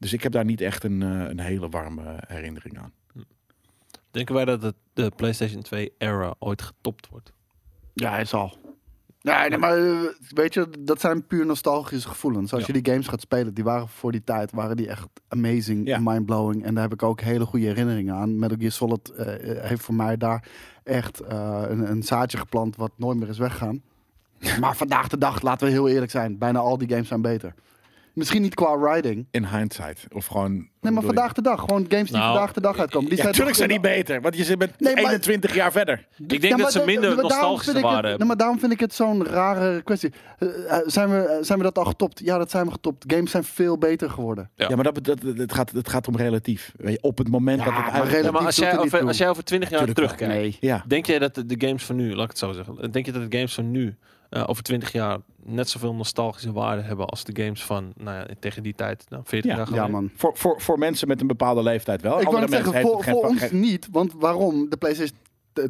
[SPEAKER 3] Dus ik heb daar niet echt een, eh, een hele warme herinnering aan.
[SPEAKER 2] Denken wij dat het, de PlayStation 2 era ooit getopt wordt?
[SPEAKER 1] Ja, hij zal. Nee, nee, maar eh, weet je, dat zijn puur nostalgische gevoelens. Als
[SPEAKER 2] Ja.
[SPEAKER 1] je die games gaat spelen, die waren voor die tijd waren die echt amazing,
[SPEAKER 3] Ja.
[SPEAKER 1] mindblowing. En daar heb ik ook hele goede herinneringen aan. Metal Gear Solid eh, heeft voor mij daar echt eh, een, een zaadje geplant wat nooit meer is weggaan. maar vandaag de dag, laten we heel eerlijk zijn, bijna al die games zijn beter. Misschien niet qua riding.
[SPEAKER 3] In hindsight. Of gewoon.
[SPEAKER 1] Nee, maar vandaag de dag. Gewoon games die
[SPEAKER 2] Nou,
[SPEAKER 1] vandaag de dag uitkomen. Die
[SPEAKER 3] Ja, natuurlijk
[SPEAKER 1] toch
[SPEAKER 3] zijn die
[SPEAKER 1] in-
[SPEAKER 3] beter, want je zit met
[SPEAKER 1] Nee, maar-
[SPEAKER 3] 21 jaar verder.
[SPEAKER 2] Ik denk
[SPEAKER 1] Ja,
[SPEAKER 2] dat
[SPEAKER 1] maar
[SPEAKER 2] ze minder
[SPEAKER 1] maar daarom
[SPEAKER 2] nostalgisch
[SPEAKER 1] vind ik het-
[SPEAKER 2] waren.
[SPEAKER 1] nee, maar daarom vind ik het zo'n rare kwestie. Eh, eh, zijn, we, eh, zijn we dat al getopt? Ja, dat zijn we getopt. Games zijn veel beter geworden.
[SPEAKER 2] Ja.
[SPEAKER 3] Ja, maar dat, bet- dat, het, gaat, het gaat om relatief. Weet je, op het moment
[SPEAKER 1] Ja,
[SPEAKER 3] dat het
[SPEAKER 1] maar
[SPEAKER 3] uitkomt.
[SPEAKER 2] Ja, maar als
[SPEAKER 1] doet
[SPEAKER 2] jij,
[SPEAKER 1] er niet
[SPEAKER 2] over,
[SPEAKER 1] toe.
[SPEAKER 2] als jij over 20 jaar
[SPEAKER 3] Tuurlijk wel.
[SPEAKER 2] terugkijkt,
[SPEAKER 3] Ja,
[SPEAKER 2] denk jij dat de, de games van nu, laat ik het zo zeggen, denk je dat de games van nu eh, over 20 jaar net zoveel nostalgische waarde hebben als de games van nou ja, tegen die tijd, nou, 40
[SPEAKER 3] Ja.
[SPEAKER 2] jaar
[SPEAKER 1] Ja,
[SPEAKER 2] geleden?
[SPEAKER 1] man.
[SPEAKER 3] voor, voor, voor mensen met een bepaalde leeftijd wel.
[SPEAKER 1] Ik wou
[SPEAKER 3] Oh, Andere
[SPEAKER 1] net zeggen,
[SPEAKER 3] mensen heeft
[SPEAKER 1] voor,
[SPEAKER 3] het geen
[SPEAKER 1] voor
[SPEAKER 3] vak-
[SPEAKER 1] ons
[SPEAKER 3] geen-
[SPEAKER 1] niet. Want waarom? De PlayStation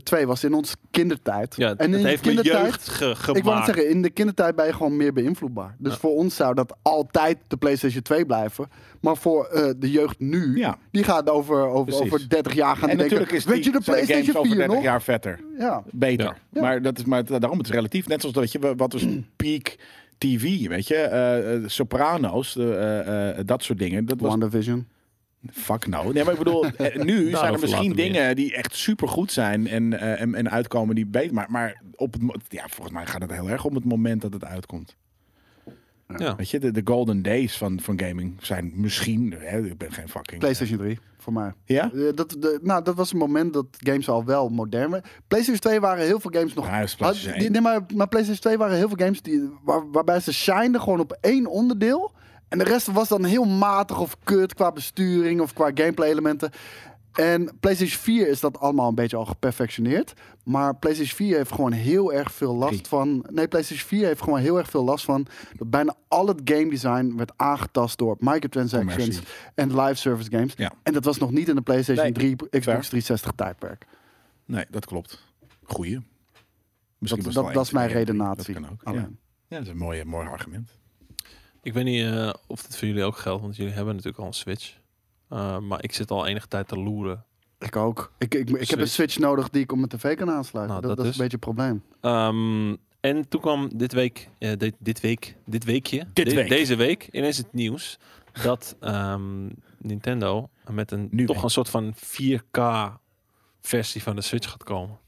[SPEAKER 1] 2 was in onze kindertijd.
[SPEAKER 2] Ja,
[SPEAKER 1] en in
[SPEAKER 2] het
[SPEAKER 1] de
[SPEAKER 2] heeft mijn
[SPEAKER 1] kindertijd...
[SPEAKER 2] jeugd ge-
[SPEAKER 1] Ik wou net
[SPEAKER 2] gemaakt.
[SPEAKER 1] zeggen, in de kindertijd ben je gewoon meer beïnvloedbaar. Dus
[SPEAKER 2] Ja.
[SPEAKER 1] voor ons zou dat altijd de PlayStation 2 blijven. Maar voor eh, de jeugd nu,
[SPEAKER 3] Ja.
[SPEAKER 1] die gaat over, over,
[SPEAKER 3] Precies.
[SPEAKER 1] over 30 jaar gaan die
[SPEAKER 3] En natuurlijk
[SPEAKER 1] denken...
[SPEAKER 3] is
[SPEAKER 1] weet je de
[SPEAKER 3] zijn games
[SPEAKER 1] PlayStation
[SPEAKER 3] over
[SPEAKER 1] 4
[SPEAKER 3] 30
[SPEAKER 1] nog?
[SPEAKER 3] jaar vetter.
[SPEAKER 1] Ja.
[SPEAKER 3] Beter.
[SPEAKER 2] Ja.
[SPEAKER 1] Ja.
[SPEAKER 3] Maar, dat is, maar daarom, het is relatief. Net zoals dat je, wat was *clears throat* peak TV, weet je? Eh, eh, soprano's, eh, eh, eh, dat soort dingen. Dat was
[SPEAKER 1] WandaVision.
[SPEAKER 3] Fuck nou. Nee, maar ik
[SPEAKER 1] *laughs*
[SPEAKER 3] bedoel, eh, nu zijn er
[SPEAKER 2] Daarover
[SPEAKER 3] misschien
[SPEAKER 2] later meer.
[SPEAKER 3] dingen die echt supergoed zijn en, eh, en, en uitkomen die beter. Maar, maar op het, mo- ja, volgens mij gaat het heel erg om het moment dat het uitkomt.
[SPEAKER 2] Ja.
[SPEAKER 3] Weet je, de, de golden days van, van gaming zijn misschien. Hè, ik ben geen fucking.
[SPEAKER 1] PlayStation 3, voor mij.
[SPEAKER 3] Ja?
[SPEAKER 1] Eh, Dat, de, nou, dat was een moment dat games al wel modern werden. PlayStation 2 waren heel veel games nog...
[SPEAKER 3] Ja, is PlayStation
[SPEAKER 1] Ah, die-
[SPEAKER 3] één.
[SPEAKER 1] nee, maar, maar PlayStation 2 waren heel veel games die, waar- waarbij ze shineden gewoon op één onderdeel. En de rest was dan heel matig of kut qua besturing of qua gameplay elementen. En PlayStation 4 is dat allemaal een beetje al geperfectioneerd. Maar PlayStation 4 heeft gewoon heel erg veel
[SPEAKER 3] Drie.
[SPEAKER 1] last van... Nee, PlayStation 4 heeft gewoon heel erg veel last van... dat bijna al het game design werd aangetast door microtransactions...
[SPEAKER 3] Commercie.
[SPEAKER 1] en live service games.
[SPEAKER 3] Ja.
[SPEAKER 1] En dat was nog niet in de PlayStation
[SPEAKER 3] Nee,
[SPEAKER 1] 3, Xbox
[SPEAKER 3] fair.
[SPEAKER 1] 360 tijdperk.
[SPEAKER 3] Nee, dat klopt. Goeie.
[SPEAKER 1] Dat,
[SPEAKER 3] Misschien
[SPEAKER 1] dat,
[SPEAKER 3] was het wel
[SPEAKER 1] dat
[SPEAKER 3] één,
[SPEAKER 1] is mijn
[SPEAKER 3] twee, drie.
[SPEAKER 1] redenatie. Oh,
[SPEAKER 3] Dat kan ook. Ja.
[SPEAKER 1] Alleen.
[SPEAKER 3] ja, dat is een mooi, mooi argument.
[SPEAKER 2] Ik weet niet eh, of dat voor jullie ook geldt, want jullie hebben natuurlijk al een Switch. Eh, maar ik zit al enige tijd te loeren.
[SPEAKER 1] Ik ook. Ik, ik, ik heb een
[SPEAKER 2] Switch.
[SPEAKER 1] Switch nodig die ik op mijn tv kan aansluiten.
[SPEAKER 2] Nou,
[SPEAKER 1] dat,
[SPEAKER 2] dat
[SPEAKER 1] dat is een
[SPEAKER 2] dus.
[SPEAKER 1] beetje een probleem.
[SPEAKER 2] Ehm, en toen kwam dit week, eh, dit, dit week, dit weekje,
[SPEAKER 3] Dit week.
[SPEAKER 2] deze week, ineens het nieuws dat ehm, Nintendo met een
[SPEAKER 3] Nu
[SPEAKER 2] toch
[SPEAKER 3] week.
[SPEAKER 2] een soort van 4K versie van de Switch gaat komen.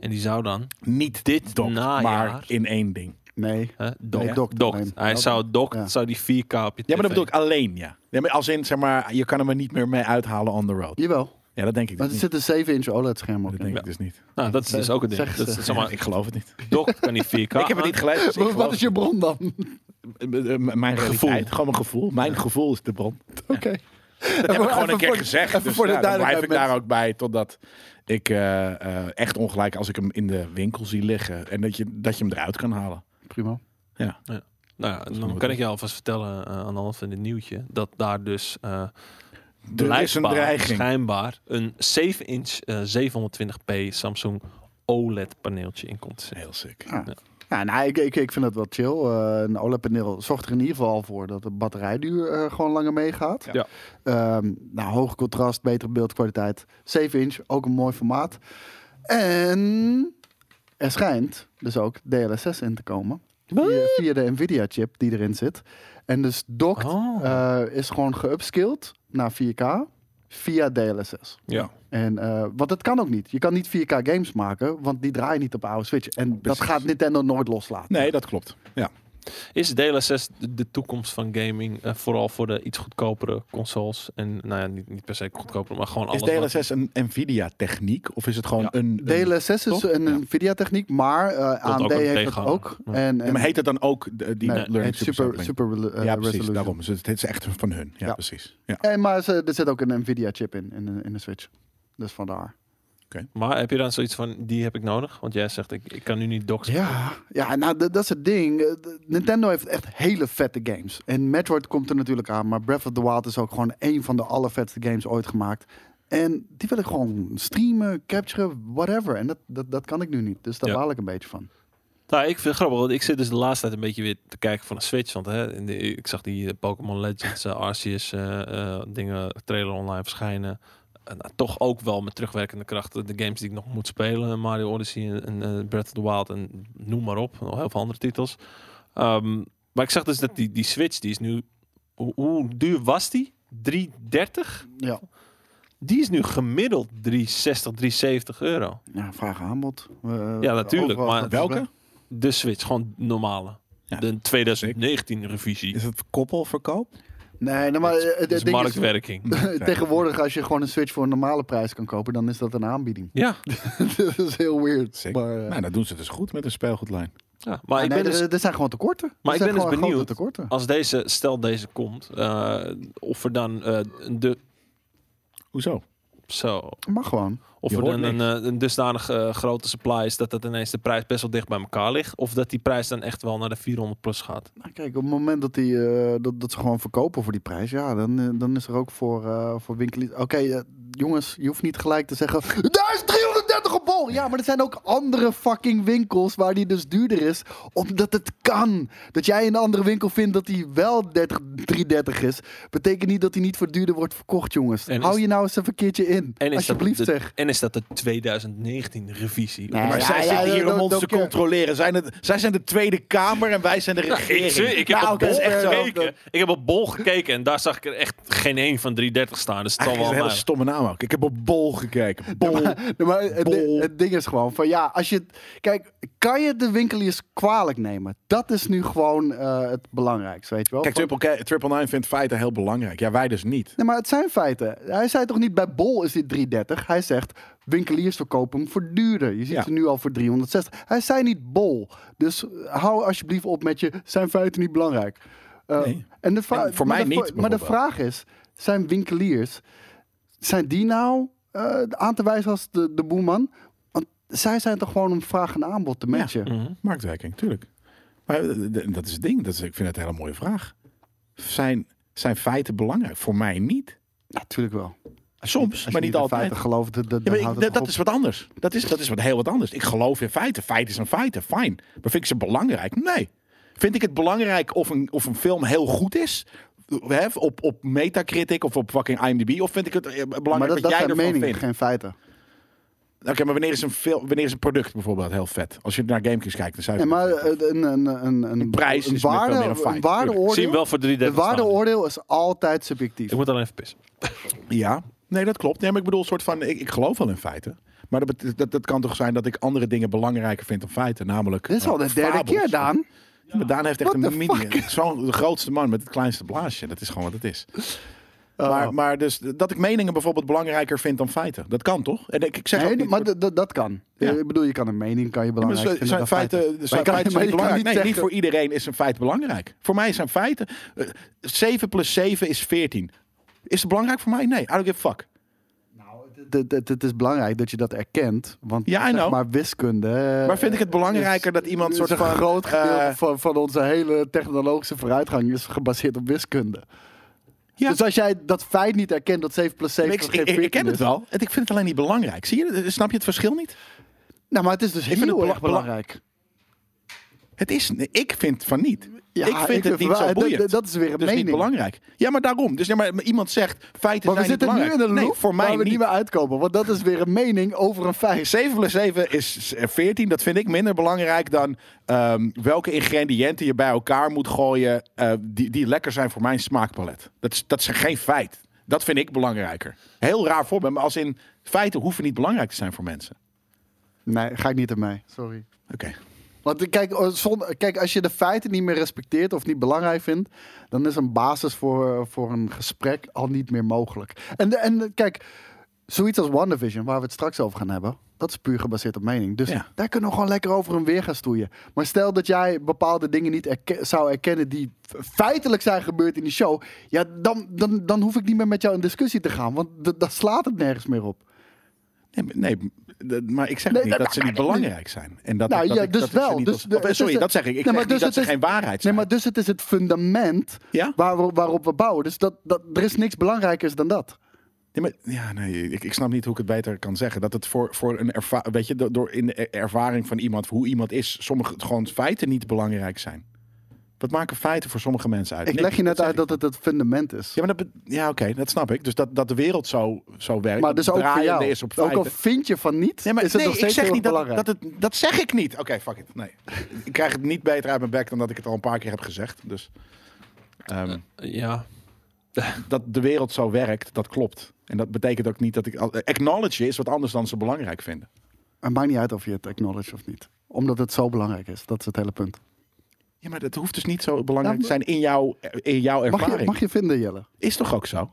[SPEAKER 2] En die zou dan
[SPEAKER 3] Niet
[SPEAKER 2] Dit
[SPEAKER 3] dokt,
[SPEAKER 2] najaar.
[SPEAKER 3] maar in één ding.
[SPEAKER 1] Nee.
[SPEAKER 2] hè, dokt.
[SPEAKER 1] Nee, dokt
[SPEAKER 2] dokt.
[SPEAKER 1] alleen.
[SPEAKER 2] Hij
[SPEAKER 1] Ja,
[SPEAKER 2] zou dokt,
[SPEAKER 1] ja.
[SPEAKER 2] zou die 4K op je
[SPEAKER 3] Ja, maar dat
[SPEAKER 2] TV.
[SPEAKER 3] bedoel ik alleen, ja. ja maar als in, zeg maar, je kan hem er niet meer mee uithalen on the road.
[SPEAKER 1] Jawel.
[SPEAKER 3] Ja, dat denk ik.
[SPEAKER 1] Maar
[SPEAKER 3] Dus
[SPEAKER 1] er
[SPEAKER 3] niet.
[SPEAKER 1] zit een 7-inch OLED-scherm op.
[SPEAKER 3] Dat denk
[SPEAKER 2] Ja.
[SPEAKER 3] ik dus niet.
[SPEAKER 2] Nou, dat is dus ook het ding.
[SPEAKER 1] Zeg
[SPEAKER 2] Dat is,
[SPEAKER 1] ze.
[SPEAKER 2] zeg maar, *laughs*
[SPEAKER 3] Ik geloof het niet.
[SPEAKER 2] dokt kan die 4K
[SPEAKER 3] Ik heb het niet
[SPEAKER 2] aan.
[SPEAKER 3] gelezen. Dus ik
[SPEAKER 1] Maar Wat
[SPEAKER 3] geloof
[SPEAKER 1] is je bron dan?
[SPEAKER 3] het. Eh, eh, Mijn gevoel.
[SPEAKER 2] Gevoel.
[SPEAKER 3] Gewoon mijn gevoel. Mijn gevoel is de bron.
[SPEAKER 1] Oké. *laughs*
[SPEAKER 3] Dat heb ik gewoon een keer
[SPEAKER 1] voor-
[SPEAKER 3] gezegd.
[SPEAKER 1] even
[SPEAKER 3] Dus
[SPEAKER 1] voor de
[SPEAKER 3] ja, dan blijf ik
[SPEAKER 1] duidelijkheid,
[SPEAKER 3] daar ook bij. Totdat ik eh, eh, echt ongelijk als ik hem in de winkel zie liggen. En dat je, dat je hem eruit kan halen.
[SPEAKER 1] Prima.
[SPEAKER 2] Nou ja,
[SPEAKER 3] wel
[SPEAKER 2] dan kan
[SPEAKER 3] goed.
[SPEAKER 2] ik je alvast vertellen eh, aan de hand van dit nieuwtje, dat daar dus... eh,
[SPEAKER 3] Er is een
[SPEAKER 2] blijkbaar
[SPEAKER 3] dreiging.
[SPEAKER 2] schijnbaar een 7-inch eh, 720p Samsung OLED-paneeltje in komt. te zitten.
[SPEAKER 3] Heel sick.
[SPEAKER 1] Ja. Ja, nou, ik, ik, ik vind dat wel chill. Eh, een OLED-paneel zorgt er in ieder geval voor dat de batterijduur eh, gewoon langer meegaat.
[SPEAKER 2] Ja.
[SPEAKER 1] Ehm, nou, hoog contrast, betere beeldkwaliteit. 7 inch, ook een mooi formaat. En er schijnt dus ook DLSS in te komen. Via, via de NVIDIA-chip die erin zit. En dus dock
[SPEAKER 2] Oh.
[SPEAKER 1] is gewoon geupskilled naar 4K via DLSS.
[SPEAKER 2] Ja.
[SPEAKER 1] En, eh, want dat kan ook niet. Je kan niet 4K games maken, want die draaien niet op oude Switch. En dat
[SPEAKER 3] Precies.
[SPEAKER 1] gaat Nintendo nooit loslaten.
[SPEAKER 3] Nee, dat klopt. Ja.
[SPEAKER 2] Is DLSS de, de toekomst van gaming? eh, vooral voor de iets goedkopere consoles. En nou ja, niet, niet per se goedkoper, maar gewoon
[SPEAKER 3] Is
[SPEAKER 2] alles. wat-
[SPEAKER 3] DLSS een NVIDIA-techniek? Of is het gewoon
[SPEAKER 2] Ja.
[SPEAKER 3] een... een-
[SPEAKER 1] DLSS is dus
[SPEAKER 3] Toch?
[SPEAKER 1] een Nvidia-techniek, maar eh, AMD
[SPEAKER 2] ook een
[SPEAKER 1] heeft dat
[SPEAKER 2] tegenhanger.
[SPEAKER 1] ook.
[SPEAKER 2] Ja.
[SPEAKER 1] En,
[SPEAKER 3] Ja,
[SPEAKER 1] en
[SPEAKER 3] maar heet het dan ook de- die
[SPEAKER 1] nee,
[SPEAKER 3] learning
[SPEAKER 1] het super,
[SPEAKER 3] supersampling?
[SPEAKER 1] super relu- eh,
[SPEAKER 3] ja, precies.
[SPEAKER 1] resolution.
[SPEAKER 3] Daarom. Dus het is echt van hun. Ja,
[SPEAKER 1] Ja.
[SPEAKER 3] precies. Ja.
[SPEAKER 1] En, maar ze, er zit ook een Nvidia-chip in, in, de- in de Switch. Dus vandaar.
[SPEAKER 2] Maar heb je dan zoiets van, die heb ik nodig? Want jij zegt, ik, ik kan nu niet doxen.
[SPEAKER 1] Ja, ja nou, d- dat is het ding. Eh, d- Nintendo heeft echt hele vette games. En Metroid komt er natuurlijk aan, maar Breath of the Wild is ook gewoon één van de allervetste games ooit gemaakt. En die wil ik gewoon streamen, capturen, whatever. En dat, dat, dat kan ik nu niet. Dus daar
[SPEAKER 2] Ja.
[SPEAKER 1] baal ik een beetje van.
[SPEAKER 2] Nou, ik vind het grappig, want ik zit dus de laatste tijd een beetje weer te kijken van een Switch. Want hè, in de- ik zag die eh, Pokémon Legends, eh, Arceus eh, eh, dingen, trailer online verschijnen. En, nou, toch ook wel met terugwerkende krachten de games die ik nog moet spelen. Mario Odyssey en, en eh, Breath of the Wild en noem maar op. Nog heel veel andere titels. Ehm, maar ik zag dus dat die, die Switch, die is nu... Hoe, hoe duur was die? 3,30?
[SPEAKER 1] Ja.
[SPEAKER 2] Die is nu gemiddeld 360, 370 euro.
[SPEAKER 1] ja, vraag aanbod. Eh,
[SPEAKER 2] Ja, natuurlijk,
[SPEAKER 1] overal
[SPEAKER 2] maar
[SPEAKER 1] gaat het
[SPEAKER 3] Welke?
[SPEAKER 2] De Switch, gewoon normale.
[SPEAKER 3] Ja.
[SPEAKER 2] de 2019 revisie.
[SPEAKER 3] Is het koppelverkoop?
[SPEAKER 1] Nee, nou, maar eh,
[SPEAKER 2] Dat
[SPEAKER 1] het
[SPEAKER 2] is
[SPEAKER 1] ding is-
[SPEAKER 2] marktwerking.
[SPEAKER 1] *laughs* Tegenwoordig, als je gewoon een Switch voor een normale prijs kan kopen, dan is dat een aanbieding. *laughs*
[SPEAKER 2] Ja,
[SPEAKER 1] dat is heel weird.
[SPEAKER 3] Zeker.
[SPEAKER 1] Maar, eh, Ah,
[SPEAKER 3] Nou, dat doen ze dus goed met een speelgoedlijn.
[SPEAKER 2] ja. maar ik
[SPEAKER 1] nee,
[SPEAKER 2] ben dus,
[SPEAKER 1] er, er zijn gewoon tekorten. Er
[SPEAKER 2] Maar ik
[SPEAKER 1] zijn
[SPEAKER 2] ben dus
[SPEAKER 1] gewoon grote
[SPEAKER 2] benieuwd.
[SPEAKER 1] Tekorten.
[SPEAKER 2] als deze, stel deze komt, eh, of er dan eh, een de,
[SPEAKER 3] Hoezo?
[SPEAKER 2] zo,
[SPEAKER 1] Mag gewoon.
[SPEAKER 2] of
[SPEAKER 3] Je
[SPEAKER 2] er
[SPEAKER 3] hoort
[SPEAKER 2] dan een, eh, een dusdanig eh, grote supply is dat dat ineens de prijs best wel dicht bij elkaar ligt, of dat die prijs dan echt wel naar de 400 plus gaat.
[SPEAKER 1] Nou, kijk, op het moment dat, die, eh, dat, dat ze gewoon verkopen voor die prijs, ja, dan, eh, dan is er ook voor, eh voor winkeliers. Oké, eh, jongens, je hoeft niet gelijk te zeggen. Daar is 330 op bol! Ja, maar er zijn ook andere fucking winkels waar die dus duurder is, omdat het kan. Dat jij in een andere winkel vindt dat die wel 30, 330 is, betekent niet dat die niet voor duurder wordt verkocht, jongens.
[SPEAKER 2] En
[SPEAKER 1] Hou
[SPEAKER 2] is-
[SPEAKER 1] je nou eens even een keertje in.
[SPEAKER 2] En is
[SPEAKER 1] Alsjeblieft,
[SPEAKER 2] dat de,
[SPEAKER 1] zeg.
[SPEAKER 2] En is dat de 2019 revisie?
[SPEAKER 1] Nee,
[SPEAKER 3] Maar
[SPEAKER 1] Ja,
[SPEAKER 3] zij
[SPEAKER 1] ja,
[SPEAKER 3] zitten
[SPEAKER 1] ja,
[SPEAKER 3] hier om
[SPEAKER 1] dat-
[SPEAKER 3] ons
[SPEAKER 1] dat
[SPEAKER 3] te
[SPEAKER 1] keer.
[SPEAKER 3] controleren. Zijn het, zij zijn de Tweede Kamer en wij zijn de regering. Nou,
[SPEAKER 2] op
[SPEAKER 3] dat is echt zo.
[SPEAKER 2] Ik heb op bol gekeken en daar zag ik er echt geen één van 330 staan. Dus het zal
[SPEAKER 3] Eigenlijk is
[SPEAKER 2] wel
[SPEAKER 3] het een hele
[SPEAKER 2] aan
[SPEAKER 3] stomme naam ook. Ik heb op Bol gekeken. Bol.
[SPEAKER 1] *laughs* Nee, maar het, di-
[SPEAKER 3] Bol.
[SPEAKER 1] het ding is gewoon van ja, als je. Kijk, kan je de winkeliers kwalijk nemen? Dat is nu gewoon eh, het belangrijkste, weet je wel?
[SPEAKER 3] Kijk,
[SPEAKER 1] Van-
[SPEAKER 3] Triple, K- Triple Nine vindt feiten heel belangrijk. Ja, wij dus niet.
[SPEAKER 1] Nee, maar het zijn feiten. Hij zei toch niet bij Bol is dit 330. Hij zegt winkeliers verkopen hem voor duurder. Je ziet
[SPEAKER 3] Ja.
[SPEAKER 1] ze nu al voor 360. Hij zei niet Bol. Dus hou alsjeblieft op met je zijn feiten niet belangrijk. Eh,
[SPEAKER 3] Nee.
[SPEAKER 1] en de vra-
[SPEAKER 3] En voor
[SPEAKER 1] maar
[SPEAKER 3] mij
[SPEAKER 1] de
[SPEAKER 3] niet,
[SPEAKER 1] vra- Maar de
[SPEAKER 3] bijvoorbeeld.
[SPEAKER 1] vraag is, zijn winkeliers zijn die nou eh, aan te wijzen als de, de boeman? Want zij zijn toch gewoon om vraag en aanbod te matchen?
[SPEAKER 3] Mm.
[SPEAKER 2] Mhm.
[SPEAKER 3] Marktwerking, tuurlijk. Maar eh, d- dat is het ding. Dat is, ik vind het een hele mooie vraag. Zijn, zijn feiten belangrijk? Voor mij niet.
[SPEAKER 1] Natuurlijk wel.
[SPEAKER 3] Soms,
[SPEAKER 1] Als
[SPEAKER 3] maar
[SPEAKER 1] je
[SPEAKER 3] niet
[SPEAKER 1] in
[SPEAKER 3] altijd.
[SPEAKER 1] feiten gelooft, dan, dan
[SPEAKER 3] Ja, maar ik-
[SPEAKER 1] houdt het
[SPEAKER 3] dat,
[SPEAKER 1] toch
[SPEAKER 3] dat
[SPEAKER 1] op.
[SPEAKER 3] is wat anders. Dat is, dat is wat heel wat anders. Ik geloof in feiten. Feiten zijn feiten. Fijn. Maar vind ik ze belangrijk? Nee. Vind ik het belangrijk of een, of een film heel goed is? Hè, op, op Metacritic of op fucking IMDb? Of vind ik het eh, belangrijk
[SPEAKER 1] Maar dat,
[SPEAKER 3] wat
[SPEAKER 1] dat
[SPEAKER 3] jij
[SPEAKER 1] zijn
[SPEAKER 3] ervan
[SPEAKER 1] meningen,
[SPEAKER 3] vindt?
[SPEAKER 1] geen feiten.
[SPEAKER 3] Oké, maar wanneer is, een film, wanneer is een product bijvoorbeeld heel vet? Als je naar Gamekings kijkt, dan zou je...
[SPEAKER 1] Ja, maar eh, een, een, een, een, een
[SPEAKER 3] prijs
[SPEAKER 1] een
[SPEAKER 3] is met wel
[SPEAKER 1] waarde,
[SPEAKER 3] meer een
[SPEAKER 1] een
[SPEAKER 2] Ik
[SPEAKER 3] feit,
[SPEAKER 2] zie hem
[SPEAKER 1] waardeoordeel.
[SPEAKER 2] wel voor
[SPEAKER 1] Een
[SPEAKER 2] 330 staan.
[SPEAKER 1] waardeoordeel is altijd subjectief.
[SPEAKER 2] Ik moet alleen even pissen.
[SPEAKER 3] Ja, nee, dat klopt. Nee, maar ik bedoel, soort van, ik, ik geloof wel in feiten. Maar dat, bet- dat, dat kan toch zijn dat ik andere dingen belangrijker vind dan feiten, namelijk.
[SPEAKER 1] Dit is al de
[SPEAKER 3] eh,
[SPEAKER 1] derde
[SPEAKER 3] fabels.
[SPEAKER 1] keer, Daan.
[SPEAKER 3] Ja, Maar Daan heeft echt
[SPEAKER 1] What the
[SPEAKER 3] een mini. *laughs* Zo'n de grootste man met het kleinste blaasje. Dat is gewoon wat het is.
[SPEAKER 1] Oh.
[SPEAKER 3] Maar, maar dus dat ik meningen bijvoorbeeld belangrijker vind dan feiten. Dat kan toch? En ik, ik zeg
[SPEAKER 1] Nee,
[SPEAKER 3] ook niet,
[SPEAKER 1] maar d- d- dat kan.
[SPEAKER 3] Ja.
[SPEAKER 1] Ik bedoel, je kan een mening, kan je
[SPEAKER 3] Ja, maar
[SPEAKER 1] belangrijk
[SPEAKER 3] ze-
[SPEAKER 1] vinden
[SPEAKER 3] zijn
[SPEAKER 1] dan
[SPEAKER 3] feiten,
[SPEAKER 1] feiten.
[SPEAKER 3] zijn
[SPEAKER 1] Maar je kan-
[SPEAKER 3] feiten zijn
[SPEAKER 1] maar je kan niet
[SPEAKER 3] belangrijk. Nee, niet
[SPEAKER 1] zeggen-
[SPEAKER 3] voor iedereen is een feit belangrijk. Voor mij zijn feiten... eh, 7 plus 7 is 14. Is het belangrijk voor mij? Nee, I don't give a fuck.
[SPEAKER 1] D- d- d- Nou, Het is belangrijk dat je dat erkent, want
[SPEAKER 3] Ja, I
[SPEAKER 1] zeg
[SPEAKER 3] know.
[SPEAKER 1] maar wiskunde... eh,
[SPEAKER 3] Maar vind ik het belangrijker dat iemand
[SPEAKER 1] is
[SPEAKER 3] soort
[SPEAKER 1] een
[SPEAKER 3] van,
[SPEAKER 1] groot gedeelte
[SPEAKER 3] eh,
[SPEAKER 1] van, van onze hele technologische vooruitgang is gebaseerd op wiskunde.
[SPEAKER 3] Ja.
[SPEAKER 1] Dus als jij dat feit niet erkent, dat 7 plus 7
[SPEAKER 3] Ik,
[SPEAKER 1] geen
[SPEAKER 3] ik, ik,
[SPEAKER 1] 14
[SPEAKER 3] ken het
[SPEAKER 1] is-
[SPEAKER 3] wel. En ik vind het alleen niet belangrijk. Zie je? Eh, Snap je het verschil niet?
[SPEAKER 1] Nou, maar het is dus
[SPEAKER 3] vind het
[SPEAKER 1] heel
[SPEAKER 3] bela-
[SPEAKER 1] erg belangrijk.
[SPEAKER 3] Het is, ik vind van niet.
[SPEAKER 1] Ja,
[SPEAKER 3] ik vind het niet
[SPEAKER 1] wel-
[SPEAKER 3] zo
[SPEAKER 1] dat-
[SPEAKER 3] boeiend.
[SPEAKER 1] Dat, dat is weer een
[SPEAKER 3] dus niet
[SPEAKER 1] mening.
[SPEAKER 3] belangrijk. Ja, maar daarom. Dus ja, maar iemand zegt feiten
[SPEAKER 1] Maar we
[SPEAKER 3] zijn niet
[SPEAKER 1] zitten nu
[SPEAKER 3] belangrijk.
[SPEAKER 1] in een loop
[SPEAKER 3] nee, voor mij
[SPEAKER 1] waar we
[SPEAKER 3] niet.
[SPEAKER 1] niet meer uitkomen. Want dat is weer een mening over een feit.
[SPEAKER 3] 7 plus 7 is 14. Dat vind ik minder belangrijk dan ehm, welke ingrediënten je bij elkaar moet gooien eh, die, die lekker zijn voor mijn smaakpalet. Dat is, dat is geen feit. Dat vind ik belangrijker. Heel raar voorbeeld, maar als in feiten hoeven niet belangrijk te zijn voor mensen.
[SPEAKER 1] Nee, ga ik niet aan mij. Sorry.
[SPEAKER 3] Oké.
[SPEAKER 1] Want eh, kijk, eh, zonder- kijk, als je de feiten niet meer respecteert of niet belangrijk vindt, dan is een basis voor, voor een gesprek al niet meer mogelijk. En, de- en eh, kijk, zoiets als WandaVision, waar we het straks over gaan hebben, dat is puur gebaseerd op mening. Dus
[SPEAKER 3] Ja.
[SPEAKER 1] daar kunnen we gewoon lekker over en weer gaan stoeien. Maar stel dat jij bepaalde dingen niet erke- zou erkennen die f- feitelijk zijn gebeurd in die show, ja, dan, dan, dan hoef ik niet meer met jou in discussie te gaan, want d- dan slaat het nergens meer op.
[SPEAKER 3] Nee, maar- nee, d- maar ik zeg
[SPEAKER 1] Nee,
[SPEAKER 3] niet
[SPEAKER 1] dat-
[SPEAKER 3] dat ze niet belangrijk zijn. En dat,
[SPEAKER 1] Nou
[SPEAKER 3] dat
[SPEAKER 1] ja,
[SPEAKER 3] ik-
[SPEAKER 1] dus
[SPEAKER 3] dat ik ze
[SPEAKER 1] wel.
[SPEAKER 3] niet
[SPEAKER 1] Dus
[SPEAKER 3] als-
[SPEAKER 1] de-
[SPEAKER 3] of, eh,
[SPEAKER 1] het
[SPEAKER 3] sorry,
[SPEAKER 1] is-
[SPEAKER 3] dat zeg ik. Ik
[SPEAKER 1] Nee,
[SPEAKER 3] zeg
[SPEAKER 1] maar
[SPEAKER 3] niet
[SPEAKER 1] dus
[SPEAKER 3] dat ze
[SPEAKER 1] het is-
[SPEAKER 3] geen waarheid
[SPEAKER 1] Nee,
[SPEAKER 3] zijn.
[SPEAKER 1] maar dus het is het fundament
[SPEAKER 3] Ja?
[SPEAKER 1] waar we- waarop we bouwen. Dus dat, dat, er is niks belangrijkers dan dat.
[SPEAKER 3] Nee, maar, ja, nee, ik, ik snap niet hoe ik het beter kan zeggen. Dat het voor, voor een ervaring, weet je, do- door in de er- ervaring van iemand, hoe iemand is, sommige gewoon feiten niet belangrijk zijn. Wat maken feiten voor sommige mensen uit?
[SPEAKER 1] Ik
[SPEAKER 3] Niks,
[SPEAKER 1] leg je net
[SPEAKER 3] zeg
[SPEAKER 1] uit
[SPEAKER 3] ik.
[SPEAKER 1] dat het het fundament is.
[SPEAKER 3] Ja, maar dat, be- ja, oké, dat snap ik. Dus dat, dat de wereld zo, zo werkt.
[SPEAKER 1] maar
[SPEAKER 3] dat
[SPEAKER 1] dus ook voor
[SPEAKER 3] draaiende
[SPEAKER 1] jou.
[SPEAKER 3] Is op
[SPEAKER 1] ook
[SPEAKER 3] feiten.
[SPEAKER 1] al vind je van niet,
[SPEAKER 3] Nee, maar
[SPEAKER 1] is het
[SPEAKER 3] nee,
[SPEAKER 1] nog
[SPEAKER 3] ik
[SPEAKER 1] steeds
[SPEAKER 3] zeg
[SPEAKER 1] heel
[SPEAKER 3] niet
[SPEAKER 1] erg
[SPEAKER 3] dat,
[SPEAKER 1] belangrijk.
[SPEAKER 3] dat het. Dat zeg ik niet. Oké, fuck it. Nee. ik krijg het niet beter uit mijn bek dan dat ik het al een paar keer heb gezegd. Dus ehm,
[SPEAKER 2] Ja.
[SPEAKER 3] dat de wereld zo werkt, dat klopt. En dat betekent ook niet dat ik. al- Acknowledge is wat anders dan ze belangrijk vinden.
[SPEAKER 1] Het maakt niet uit of je het acknowledge of niet. Omdat het zo belangrijk is. Dat is het hele punt.
[SPEAKER 3] Ja, maar dat hoeft dus niet zo belangrijk te
[SPEAKER 1] Ja,
[SPEAKER 3] zijn in jouw, in jouw
[SPEAKER 1] Nou, Mag
[SPEAKER 3] ervaring.
[SPEAKER 1] je, mag je vinden, Jelle?
[SPEAKER 3] Is toch ook zo?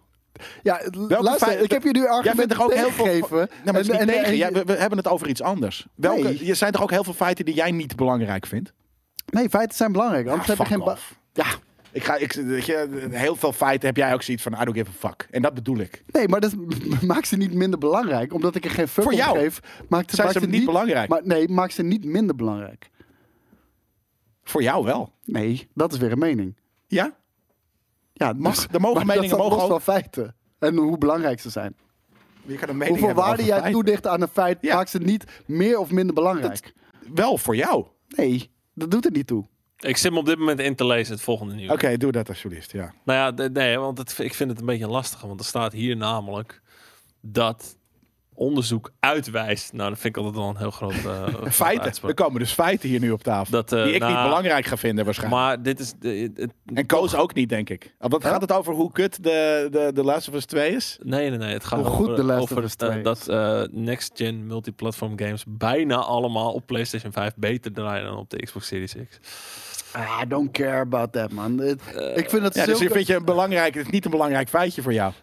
[SPEAKER 1] Ja, l- luister,
[SPEAKER 3] feiten-
[SPEAKER 1] ik heb je nu
[SPEAKER 3] Jij vindt
[SPEAKER 1] argumenten
[SPEAKER 3] er ook heel veel.
[SPEAKER 1] tegengegeven.
[SPEAKER 3] Nee, maar het is niet
[SPEAKER 1] En- en-
[SPEAKER 3] tegen.
[SPEAKER 1] en-
[SPEAKER 3] Jij- we, we hebben het over iets anders. Welke,
[SPEAKER 1] Nee.
[SPEAKER 3] Er zijn toch ook heel veel feiten die jij niet belangrijk vindt?
[SPEAKER 1] Nee, feiten zijn belangrijk. Anders
[SPEAKER 3] Ah,
[SPEAKER 1] heb je
[SPEAKER 3] fuck
[SPEAKER 1] geen... ba-
[SPEAKER 3] off. Ja, ik ga, ik, weet je, heel veel feiten heb jij ook zoiets van, I don't give a fuck. En dat bedoel ik.
[SPEAKER 1] Nee, maar dat *laughs* maakt ze niet minder belangrijk. Omdat ik er geen fuck
[SPEAKER 3] Voor
[SPEAKER 1] om
[SPEAKER 3] jou
[SPEAKER 1] geef. Maakt,
[SPEAKER 3] zijn
[SPEAKER 1] maakt
[SPEAKER 3] ze niet belangrijk.
[SPEAKER 1] Maar, nee, maakt ze niet minder belangrijk.
[SPEAKER 3] Voor jou wel.
[SPEAKER 1] Nee, dat is weer een mening.
[SPEAKER 3] Ja?
[SPEAKER 1] Ja,
[SPEAKER 3] Mag-
[SPEAKER 1] dus-
[SPEAKER 3] *laughs* er mogen
[SPEAKER 1] maar
[SPEAKER 3] meningen
[SPEAKER 1] dat staat
[SPEAKER 3] mogen
[SPEAKER 1] los
[SPEAKER 3] ook-
[SPEAKER 1] van feiten. En hoe belangrijk ze zijn.
[SPEAKER 3] Je kan een mening
[SPEAKER 1] Hoeveel
[SPEAKER 3] hebben
[SPEAKER 1] waarde
[SPEAKER 3] over
[SPEAKER 1] jij
[SPEAKER 3] feiten.
[SPEAKER 1] toedicht aan een feit
[SPEAKER 3] Ja.
[SPEAKER 1] maakt ze niet meer of minder belangrijk.
[SPEAKER 3] Wel voor jou. Oké,
[SPEAKER 1] Nee, dat doet er niet toe.
[SPEAKER 2] Ik zit me op dit moment in te lezen, het volgende nieuws.
[SPEAKER 3] doe dat alsjeblieft, ja.
[SPEAKER 2] Nou ja, d- nee, want het, ik vind het een beetje lastig. Want er staat hier namelijk dat onderzoek uitwijst. Nou, dat vind ik altijd wel een heel groot. eh, *laughs* grote
[SPEAKER 3] Feiten.
[SPEAKER 2] uitspraak.
[SPEAKER 3] Er komen dus feiten hier nu op tafel.
[SPEAKER 2] Dat, eh,
[SPEAKER 3] die ik
[SPEAKER 2] nou,
[SPEAKER 3] niet belangrijk ga vinden waarschijnlijk.
[SPEAKER 2] Maar dit is. de- het-
[SPEAKER 3] en Koos ook niet, denk ik. Want
[SPEAKER 1] Huh?
[SPEAKER 3] gaat het over hoe kut de, de, de Last of Us 2 is?
[SPEAKER 2] nee, nee, nee. Het gaat
[SPEAKER 1] Hoe
[SPEAKER 2] over,
[SPEAKER 1] goed The Last
[SPEAKER 2] over
[SPEAKER 1] of Us
[SPEAKER 2] eh,
[SPEAKER 1] 2 is.
[SPEAKER 2] dat eh, next-gen multiplatform games bijna allemaal op PlayStation 5 beter draaien dan op de Xbox Series X.
[SPEAKER 1] Ah, I don't care about that, man. Het- ik vind het
[SPEAKER 3] Ja, dus
[SPEAKER 1] zulke-
[SPEAKER 3] ik vind je een belangrijk, het is niet een belangrijk feitje voor jou.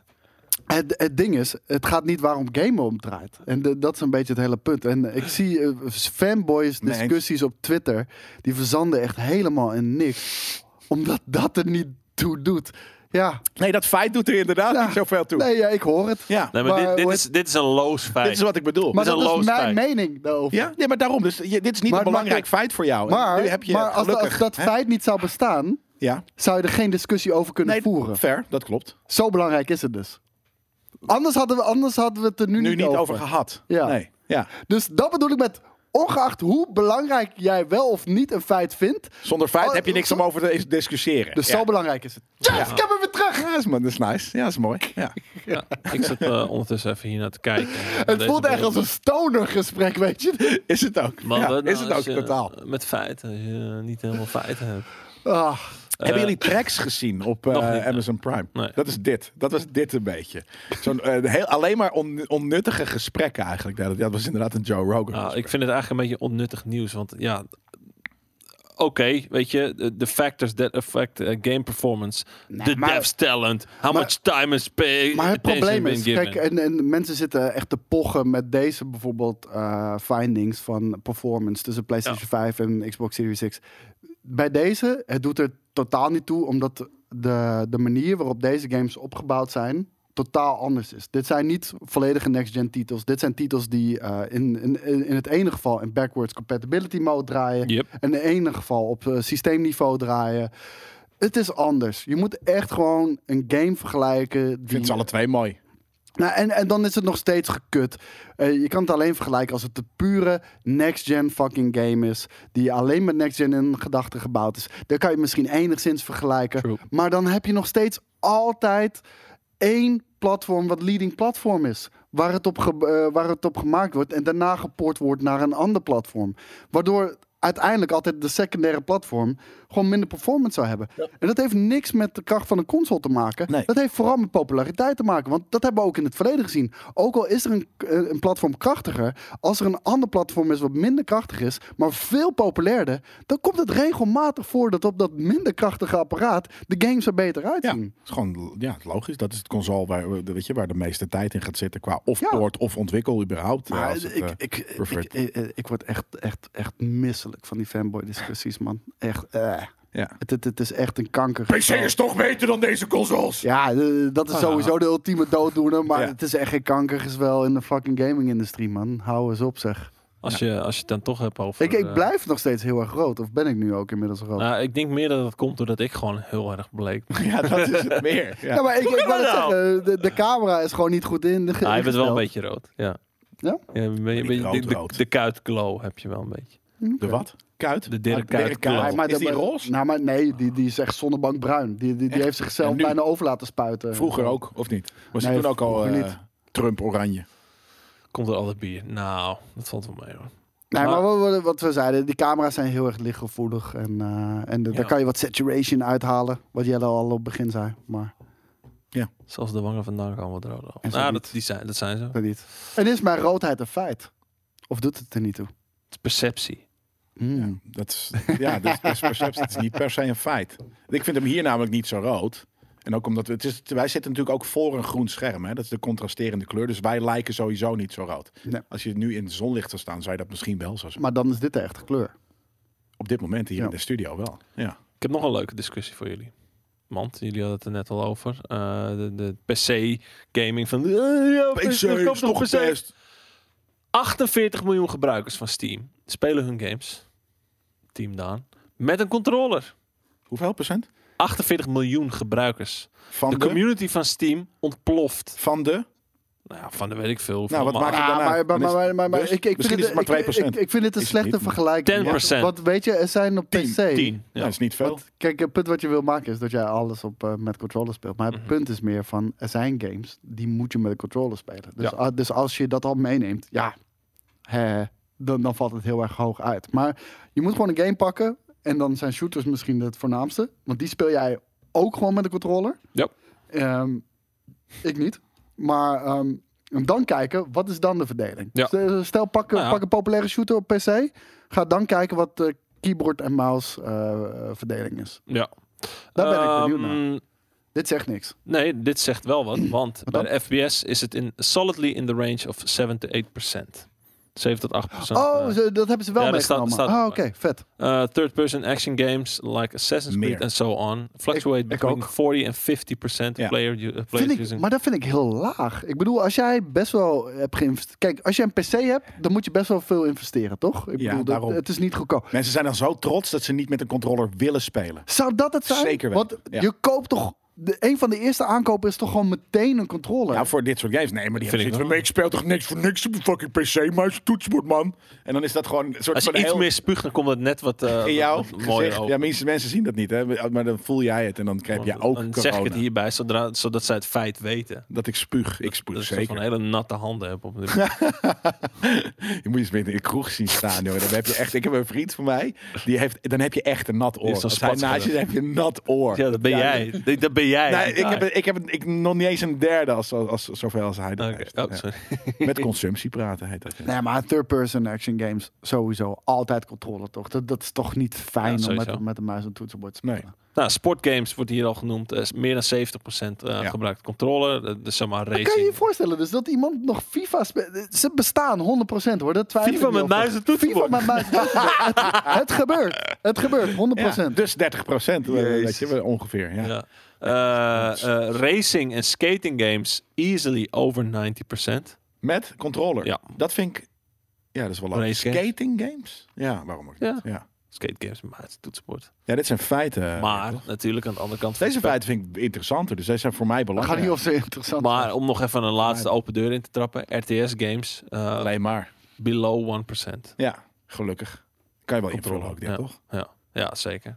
[SPEAKER 1] Het, het ding is, het gaat niet waarom gamen om draait. En de- dat is een beetje het hele punt. En ik zie eh, fanboys
[SPEAKER 3] Nee, eens.
[SPEAKER 1] discussies op Twitter, die verzanden echt helemaal in niks. Omdat dat er niet toe doet. Ja,
[SPEAKER 3] Nee, dat feit doet er inderdaad
[SPEAKER 1] Ja.
[SPEAKER 3] niet zoveel toe.
[SPEAKER 1] nee, ja ik hoor het.
[SPEAKER 3] Ja,
[SPEAKER 2] Nee, maar,
[SPEAKER 1] Maar
[SPEAKER 2] dit, dit,
[SPEAKER 1] hoe
[SPEAKER 2] is, dit is een
[SPEAKER 1] *laughs*
[SPEAKER 2] loos feit.
[SPEAKER 3] dit is wat ik bedoel.
[SPEAKER 1] maar
[SPEAKER 2] is een
[SPEAKER 1] dat is
[SPEAKER 2] loos
[SPEAKER 1] mijn
[SPEAKER 2] feit.
[SPEAKER 1] mening daarover.
[SPEAKER 3] Ja, nee, maar daarom. Dus je- dit is
[SPEAKER 1] Maar
[SPEAKER 3] niet een
[SPEAKER 1] het
[SPEAKER 3] belangrijk
[SPEAKER 1] maakt
[SPEAKER 3] feit voor
[SPEAKER 2] Oh,
[SPEAKER 3] jou.
[SPEAKER 1] Maar,
[SPEAKER 3] nu heb je
[SPEAKER 1] maar als,
[SPEAKER 3] gelukkig,
[SPEAKER 1] als dat
[SPEAKER 3] hè?
[SPEAKER 1] feit niet zou bestaan,
[SPEAKER 3] Ja.
[SPEAKER 1] zou je er geen discussie over kunnen
[SPEAKER 3] Nee,
[SPEAKER 1] voeren.
[SPEAKER 3] fair, dat klopt.
[SPEAKER 1] Zo belangrijk is het dus. Anders hadden we, anders hadden we het er nu,
[SPEAKER 3] Nu niet over, gehad.
[SPEAKER 1] Ja.
[SPEAKER 3] Nee. Ja.
[SPEAKER 1] Dus dat bedoel ik met. Ongeacht hoe belangrijk jij wel of niet een feit vindt.
[SPEAKER 3] Zonder feit
[SPEAKER 1] Oh,
[SPEAKER 3] heb je niks om over te discussiëren.
[SPEAKER 1] Dus
[SPEAKER 3] ja.
[SPEAKER 1] zo belangrijk is het. Yes, ik heb hem weer terug!
[SPEAKER 3] Ja, is, man, dat is nice. Ja, dat is mooi. Ja. *laughs*
[SPEAKER 2] Ja, ik zit eh, ondertussen even hier naar te kijken.
[SPEAKER 1] *laughs* Het voelt echt als een stoner gesprek, weet je.
[SPEAKER 3] Is het ook.
[SPEAKER 2] Maar
[SPEAKER 3] Ja,
[SPEAKER 2] wat
[SPEAKER 3] is
[SPEAKER 2] nou
[SPEAKER 3] het ook
[SPEAKER 2] als je-
[SPEAKER 3] totaal.
[SPEAKER 2] Met feiten, als je niet helemaal feiten hebt.
[SPEAKER 1] Ah,
[SPEAKER 3] Hebben jullie tracks gezien op eh,
[SPEAKER 2] nog niet,
[SPEAKER 3] Amazon Prime?
[SPEAKER 2] Nee.
[SPEAKER 3] Dat is dit. Dat was dit een beetje. Zo'n, eh, heel, alleen maar on- onnuttige gesprekken eigenlijk. Ja, Dat, dat was inderdaad een Joe Rogan.
[SPEAKER 2] Nou,
[SPEAKER 3] gesprek.
[SPEAKER 2] ik vind het eigenlijk een beetje onnuttig nieuws. Want ja, oké, weet je, de- de factors that affect eh, game performance.
[SPEAKER 1] Nee,
[SPEAKER 2] the
[SPEAKER 1] maar-
[SPEAKER 2] devs talent. How much time is paid.
[SPEAKER 1] maar het probleem is, kijk, eh, en, en mensen zitten echt te pochen met deze bijvoorbeeld eh, findings van performance tussen PlayStation 5 en Xbox Series 6. Bij deze, het doet er totaal niet toe, omdat de, de manier waarop deze games opgebouwd zijn, totaal anders is. Dit zijn niet volledige next-gen titels. Dit zijn titels die eh, in, in, in in het ene geval in backwards compatibility mode draaien.
[SPEAKER 2] Yep.
[SPEAKER 1] En in het ene geval op eh, systeemniveau draaien. Het is anders. Je moet echt gewoon een game vergelijken. Die...
[SPEAKER 3] ik vind ze alle twee mooi.
[SPEAKER 1] Nou, en, en dan is het nog steeds gekut. Eh, je kan het alleen vergelijken als het de pure next-gen fucking game is. Die alleen met next-gen in gedachten gebouwd is. Dan kan je het misschien enigszins vergelijken.
[SPEAKER 2] True.
[SPEAKER 1] Maar dan heb je nog steeds altijd één platform wat leading platform is. Waar het, op ge- eh, waar het op gemaakt wordt en daarna gepoord wordt naar een ander platform. Waardoor uiteindelijk altijd de secundaire platform gewoon minder performance zou hebben. En dat heeft niks met de kracht van een console te maken.
[SPEAKER 3] Nee.
[SPEAKER 1] Dat heeft vooral met populariteit te maken. Want dat hebben we ook in het verleden gezien. Ook al is er een, eh, een platform krachtiger, als er een ander platform is wat minder krachtig is, maar veel populairder, dan komt het regelmatig voor dat op dat minder krachtige apparaat de games er beter
[SPEAKER 3] Ja,
[SPEAKER 1] uitzien.
[SPEAKER 3] het is gewoon ja, logisch. Dat is het console waar, we- weet je, waar de meeste tijd in gaat zitten qua of
[SPEAKER 1] Ja.
[SPEAKER 3] poort of ontwikkel überhaupt. Ja,
[SPEAKER 1] Maar
[SPEAKER 3] als het,
[SPEAKER 1] ik,
[SPEAKER 3] eh,
[SPEAKER 1] ik,
[SPEAKER 3] perfect.
[SPEAKER 1] ik, ik, ik word echt, echt, echt misselijk van die fanboy-discussies, man. Echt, eh.
[SPEAKER 3] ja.
[SPEAKER 1] het, het, het is echt een kanker.
[SPEAKER 3] toch beter dan deze consoles.
[SPEAKER 1] Ja, eh, dat is sowieso de ultieme dooddoener, maar
[SPEAKER 3] Ah. Ja.
[SPEAKER 1] het is echt geen kankergezwel in de fucking gaming-industrie, man. Hou eens op, zeg.
[SPEAKER 2] Als, je, als je het dan toch hebt over...
[SPEAKER 1] Ik, ik
[SPEAKER 2] eh,
[SPEAKER 1] blijf nog steeds heel erg rood. Of ben ik nu ook inmiddels rood?
[SPEAKER 2] nou, ik denk meer dat het komt doordat ik gewoon heel erg
[SPEAKER 1] *laughs*
[SPEAKER 2] bleek. ben.
[SPEAKER 3] *laughs* Ja, dat is het meer. Ja.
[SPEAKER 1] Ja, maar ik, ik wou net
[SPEAKER 2] dat nou?
[SPEAKER 1] zeggen, de, de camera is gewoon niet goed in. De,
[SPEAKER 2] Ah, je bent wel een beetje rood, ja.
[SPEAKER 1] Ja?
[SPEAKER 2] een beetje- een beetje-
[SPEAKER 3] rood,
[SPEAKER 2] de, de,
[SPEAKER 3] rood.
[SPEAKER 2] de kuitglow heb je wel een beetje.
[SPEAKER 3] De wat? Kuit?
[SPEAKER 2] De Dirk
[SPEAKER 3] Ah, Dirk
[SPEAKER 2] Kuyt
[SPEAKER 3] Kuyt.
[SPEAKER 2] Kloon.
[SPEAKER 1] maar
[SPEAKER 3] is
[SPEAKER 1] dat-
[SPEAKER 3] die roze?
[SPEAKER 1] Nou, maar nee, die, die is echt zonnebankbruin. Die, die, die
[SPEAKER 3] Echt?
[SPEAKER 1] heeft zichzelf
[SPEAKER 3] En nu?
[SPEAKER 1] bijna over laten spuiten.
[SPEAKER 3] Vroeger ook, of niet? Was hij
[SPEAKER 1] Nee,
[SPEAKER 3] toen ook al
[SPEAKER 1] vroeger
[SPEAKER 3] eh,
[SPEAKER 1] niet.
[SPEAKER 3] Trump oranje?
[SPEAKER 2] Komt er altijd bier? Nou, dat valt wel mee hoor.
[SPEAKER 1] Nee,
[SPEAKER 2] Maar-
[SPEAKER 1] maar wat, we- wat we zeiden, die camera's zijn heel erg lichtgevoelig. En, eh, en de-
[SPEAKER 2] Ja.
[SPEAKER 1] daar kan je wat saturation uithalen. Wat Jelle al op het begin zei. Maar
[SPEAKER 2] Zelfs de wangen vandaan komen wat rood af.
[SPEAKER 1] En zo
[SPEAKER 2] Nou,
[SPEAKER 1] niet.
[SPEAKER 2] dat, die zijn, dat zijn ze. Het
[SPEAKER 1] dat niet. En is mijn roodheid een feit? Of doet het er niet toe?
[SPEAKER 2] is perceptie.
[SPEAKER 1] Hmm.
[SPEAKER 3] Dat is, ja, dat is best perceptie. Het is niet per se een feit. Ik vind hem hier namelijk niet zo rood. En ook omdat we, het is, wij zitten natuurlijk ook voor een groen scherm. Hè? Dat is de contrasterende kleur. Dus wij lijken sowieso niet zo rood.
[SPEAKER 1] Nee.
[SPEAKER 3] Als je nu in het zonlicht zou staan, zou je dat misschien wel zo zijn.
[SPEAKER 1] Maar dan is dit de echte kleur.
[SPEAKER 3] Op dit moment hier
[SPEAKER 1] Ja.
[SPEAKER 3] in de studio wel. Ja.
[SPEAKER 2] Ik heb nog een leuke discussie voor jullie. Want jullie hadden het er net al over. Eh, de, de PC gaming van... eh, ja, koop nog een PC. 48 miljoen gebruikers van Steam spelen hun games. Team Daan. Met een controller.
[SPEAKER 3] Hoeveel procent?
[SPEAKER 2] 48 miljoen gebruikers.
[SPEAKER 3] Van
[SPEAKER 2] de
[SPEAKER 3] de,
[SPEAKER 2] community van Steam ontploft.
[SPEAKER 3] van de...
[SPEAKER 2] Nou, ja, van de weet ik veel.
[SPEAKER 3] Nou, wat
[SPEAKER 2] van-
[SPEAKER 3] maakt het
[SPEAKER 1] Ah,
[SPEAKER 3] dan
[SPEAKER 1] maar,
[SPEAKER 3] uit?
[SPEAKER 1] maar,
[SPEAKER 3] Dan
[SPEAKER 1] maar,
[SPEAKER 3] is-
[SPEAKER 1] maar, maar
[SPEAKER 3] dus
[SPEAKER 1] ik, ik,
[SPEAKER 3] misschien
[SPEAKER 1] vind
[SPEAKER 3] is het maar
[SPEAKER 1] ik-
[SPEAKER 3] 2%.
[SPEAKER 1] Ik, ik vind het een
[SPEAKER 3] Is
[SPEAKER 1] slechte
[SPEAKER 3] niet-
[SPEAKER 1] vergelijking.
[SPEAKER 2] 10%.
[SPEAKER 1] Want weet je, er zijn op PC...
[SPEAKER 2] 10.
[SPEAKER 3] Ja, dat Nou, is niet veel.
[SPEAKER 1] Want, kijk, het punt wat je wil maken is dat jij alles op, eh, met controller speelt. Maar het
[SPEAKER 2] Mhm.
[SPEAKER 1] punt is meer van, er zijn games die moet je met een controller spelen. Dus,
[SPEAKER 2] Ja.
[SPEAKER 1] ah, dus als je dat al meeneemt, ja, hè, Eh, dan, dan valt het heel erg hoog uit. Maar je moet gewoon een game pakken en dan zijn shooters misschien het voornaamste. Want die speel jij ook gewoon met een controller.
[SPEAKER 2] Ja.
[SPEAKER 1] Ehm, ik niet. Maar ehm, en dan kijken, wat is dan de verdeling?
[SPEAKER 2] Ja.
[SPEAKER 1] Stel- eh, Stel, pak, een-
[SPEAKER 2] Nou ja.
[SPEAKER 1] pak een populaire shooter op PC. Ga dan kijken wat de keyboard en mouse eh, eh, verdeling is.
[SPEAKER 2] Ja.
[SPEAKER 1] Daar ben ik benieuwd naar.
[SPEAKER 2] Ehm,
[SPEAKER 1] Dit zegt niks.
[SPEAKER 2] Nee, dit zegt wel
[SPEAKER 3] *clears throat*
[SPEAKER 2] wat, want bij
[SPEAKER 1] dan?
[SPEAKER 2] de FPS is het in, solidly in the range of 7 to 8 procent. 7 tot eh, 8 procent.
[SPEAKER 1] Oh, ze- dat hebben ze wel
[SPEAKER 2] ja, daar staat-
[SPEAKER 1] meegenomen.
[SPEAKER 2] staat-
[SPEAKER 1] Ah, oké, vet.
[SPEAKER 2] Third-person eh, action games like Assassin's
[SPEAKER 3] Meer.
[SPEAKER 2] Creed and so on fluctuate
[SPEAKER 1] Ik- ik
[SPEAKER 2] between
[SPEAKER 1] ook.
[SPEAKER 2] 40 en 50 procent
[SPEAKER 3] Ja.
[SPEAKER 2] player, u- uh, players
[SPEAKER 1] Vind ik,
[SPEAKER 2] using.
[SPEAKER 1] maar dat vind ik heel laag. Ik bedoel, als jij best wel hebt geïnvesteerd... Kijk, als je een PC hebt, dan moet je best wel veel investeren, toch? Ik
[SPEAKER 3] Ja,
[SPEAKER 1] bedoel, dat-
[SPEAKER 3] daarom.
[SPEAKER 1] het is niet goedkoop.
[SPEAKER 3] Mensen zijn dan zo trots dat ze niet met een controller willen spelen.
[SPEAKER 1] Zou dat het zijn?
[SPEAKER 3] Zeker wel,
[SPEAKER 1] Want
[SPEAKER 3] ja.
[SPEAKER 1] je koopt toch... De, een van de eerste aankopen is toch gewoon meteen een controller?
[SPEAKER 3] Nou, voor dit soort games. Nee, maar die
[SPEAKER 2] Oh. Vind ik
[SPEAKER 3] hebben zoiets
[SPEAKER 2] wel.
[SPEAKER 3] van, ik speel toch niks voor niks op een fucking PC, maar een toetsenbord, man. En dan is dat gewoon een soort
[SPEAKER 2] Als
[SPEAKER 3] van
[SPEAKER 2] je iets
[SPEAKER 3] heel...
[SPEAKER 2] meer spuugt, dan komt het net wat, eh,
[SPEAKER 3] in jouw
[SPEAKER 2] wat- wat mooier
[SPEAKER 3] gezicht.
[SPEAKER 2] over.
[SPEAKER 3] Ja, mensen, mensen zien dat niet, hè? maar dan voel jij het en dan krijg je
[SPEAKER 2] dan
[SPEAKER 3] ook corona.
[SPEAKER 2] zeg ik het hierbij, zodra, zodat zij het feit weten.
[SPEAKER 3] Dat ik spuug, ik spuug
[SPEAKER 2] Dat ik
[SPEAKER 3] zeker.
[SPEAKER 2] van hele natte handen heb.
[SPEAKER 3] *laughs*
[SPEAKER 2] Op dit moment.
[SPEAKER 3] Je moet je eens binnen in de kroeg zien staan, joh. Dan heb je echt, ik heb een vriend van mij, die heeft, dan heb je echt een nat
[SPEAKER 2] is
[SPEAKER 3] oor.
[SPEAKER 2] zo'n
[SPEAKER 3] Als hij
[SPEAKER 2] spatschiller.
[SPEAKER 3] naast je is, heb je een nat oor.
[SPEAKER 2] ja, dat ben jij. Dat- Dat ben jij. Ah.
[SPEAKER 3] Nee, ik heb, ik heb ik, nog niet eens een derde als, als, als- zoveel als hij dat
[SPEAKER 2] Oké.
[SPEAKER 3] heeft.
[SPEAKER 2] Oh,
[SPEAKER 3] Ja.
[SPEAKER 2] sorry.
[SPEAKER 3] Met consumptie praten heet dat. ja.
[SPEAKER 1] Nee, maar third-person action games sowieso altijd controle, toch? Dat, dat is toch niet fijn om
[SPEAKER 2] sowieso.
[SPEAKER 1] met, met een muis en toetsenbord te
[SPEAKER 3] Nee.
[SPEAKER 1] spelen?
[SPEAKER 2] Nou, sportgames wordt hier al genoemd. eh, meer dan 70% eh
[SPEAKER 3] Ja.
[SPEAKER 2] gebruikt controller. eh, Dus zeg maar
[SPEAKER 1] Maar Kan je je
[SPEAKER 2] racing.
[SPEAKER 1] voorstellen dus dat iemand nog FIFA speelt? Ze bestaan 100% hoor, dat twijfel ik
[SPEAKER 2] FIFA
[SPEAKER 1] niet
[SPEAKER 2] met
[SPEAKER 1] over.
[SPEAKER 2] muis en toetsenbord.
[SPEAKER 1] FIFA met muis en toetsenbord. het, het gebeurt. Het gebeurt, 100%.
[SPEAKER 3] Ja, dus 30 procent, weet je, wel, ongeveer. Ja.
[SPEAKER 2] Ja. Eh, eh, racing en skating games easily over 90%.
[SPEAKER 3] Met controller.
[SPEAKER 2] Ja.
[SPEAKER 3] Dat vind ik... Ja, dat is wel leuk.
[SPEAKER 2] Race games.
[SPEAKER 3] Skating games? Ja, waarom ook
[SPEAKER 2] Ja.
[SPEAKER 3] niet? Ja.
[SPEAKER 2] Skate games met muis en toetsenbord.
[SPEAKER 3] Ja, dit zijn feiten.
[SPEAKER 2] maar natuurlijk aan de andere kant. van
[SPEAKER 3] Deze
[SPEAKER 2] het spel-
[SPEAKER 3] feiten vind ik interessanter, dus deze zijn voor mij
[SPEAKER 1] Ik ga
[SPEAKER 3] belangrijk.
[SPEAKER 1] niet of ze interessant
[SPEAKER 2] Maar om nog even een laatste open deur in te trappen. RTS games eh,
[SPEAKER 3] Alleen maar.
[SPEAKER 2] below 1%.
[SPEAKER 3] Ja, gelukkig. Kan je wel invullen ook, dit,
[SPEAKER 2] ja.
[SPEAKER 3] toch?
[SPEAKER 2] Ja. ja, zeker.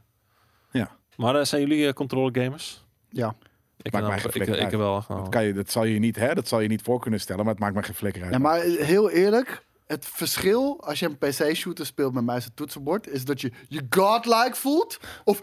[SPEAKER 3] Ja.
[SPEAKER 2] Maar eh, zijn jullie eh, controller gamers?
[SPEAKER 1] Ja.
[SPEAKER 2] Ik,
[SPEAKER 3] Maakt
[SPEAKER 2] ben
[SPEAKER 3] mij
[SPEAKER 2] ook-
[SPEAKER 3] geen
[SPEAKER 2] ik, eh,
[SPEAKER 3] flikker
[SPEAKER 2] ik
[SPEAKER 3] uit.
[SPEAKER 2] heb wel
[SPEAKER 3] Dat,
[SPEAKER 2] genomen.
[SPEAKER 3] kan je, dat, zal je niet, hè, dat zal je niet voor kunnen stellen, maar het maakt me geen flikker uit.
[SPEAKER 1] Ja, maar heel eerlijk, het verschil als je een PC-shooter speelt met muis en toetsenbord is dat je je godlike voelt. Of.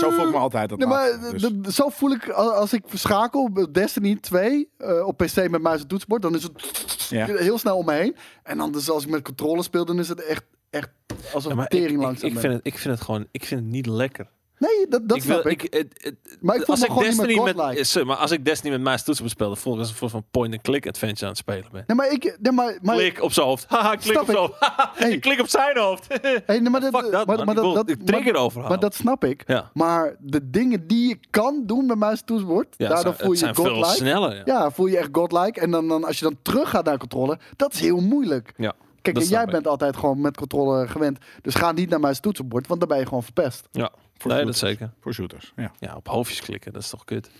[SPEAKER 3] Zo voel ik me altijd dat
[SPEAKER 1] Nee, maar
[SPEAKER 3] laatste, dus.
[SPEAKER 1] d- d- zo voel ik a- als ik schakel op Destiny 2 eh, op PC met muis en toetsenbord, dan is het
[SPEAKER 3] Ja.
[SPEAKER 1] heel snel om me heen. En dan dus als ik met controle speel, dan is het echt, echt alsof
[SPEAKER 2] Ja, maar ik,
[SPEAKER 1] tering
[SPEAKER 2] ik,
[SPEAKER 1] langzaam
[SPEAKER 2] ik
[SPEAKER 1] ben.
[SPEAKER 2] vind het, ik vind het gewoon ik vind het niet lekker.
[SPEAKER 1] Nee, dat, dat
[SPEAKER 2] ik
[SPEAKER 1] snap
[SPEAKER 2] wil,
[SPEAKER 1] ik.
[SPEAKER 2] het- het-
[SPEAKER 1] Maar ik voel
[SPEAKER 2] als
[SPEAKER 1] me
[SPEAKER 2] ik
[SPEAKER 1] gewoon niet
[SPEAKER 2] Destiny
[SPEAKER 1] meer
[SPEAKER 2] met,
[SPEAKER 1] godlike.
[SPEAKER 2] eh, sorry, maar als ik Destiny met mijn toetsen bespeelde, voelde ik als een soort van point-and-click adventure aan het spelen ben.
[SPEAKER 1] Nee, maar ik... Nee, maar, maar,
[SPEAKER 2] klik op zijn hoofd. Haha, klik
[SPEAKER 1] Snap
[SPEAKER 2] op zijn
[SPEAKER 1] ik.
[SPEAKER 2] hoofd. Haha,
[SPEAKER 1] *laughs* Hey.
[SPEAKER 2] ik Klik op zijn hoofd. *laughs*
[SPEAKER 1] Hey, nee, maar dat,
[SPEAKER 2] Fuck dat,
[SPEAKER 1] maar,
[SPEAKER 2] man.
[SPEAKER 1] maar
[SPEAKER 2] Ik wil
[SPEAKER 1] dat,
[SPEAKER 2] de trigger
[SPEAKER 1] maar-
[SPEAKER 2] overhalen.
[SPEAKER 1] Maar dat snap ik.
[SPEAKER 2] Ja.
[SPEAKER 1] Maar de dingen die je kan doen met muis en toetsenbord,
[SPEAKER 2] Ja,
[SPEAKER 1] daardoor
[SPEAKER 2] het
[SPEAKER 1] voel je je
[SPEAKER 2] zijn veel
[SPEAKER 1] godlike.
[SPEAKER 2] sneller. Ja.
[SPEAKER 1] Ja, voel je echt godlike. En dan, dan als je dan terug gaat naar controle, dat is heel moeilijk.
[SPEAKER 2] Ja.
[SPEAKER 1] Kijk,
[SPEAKER 2] Dat
[SPEAKER 1] en
[SPEAKER 2] snap
[SPEAKER 1] jij
[SPEAKER 2] ik.
[SPEAKER 1] bent altijd gewoon met controle gewend. Dus ga niet naar mijn toetsenbord, want dan ben je gewoon verpest.
[SPEAKER 2] Ja,
[SPEAKER 3] Voor
[SPEAKER 2] nee, dat
[SPEAKER 3] shooters.
[SPEAKER 2] zeker.
[SPEAKER 3] Voor shooters, ja.
[SPEAKER 2] Ja, op hoofdjes klikken, dat is toch kut.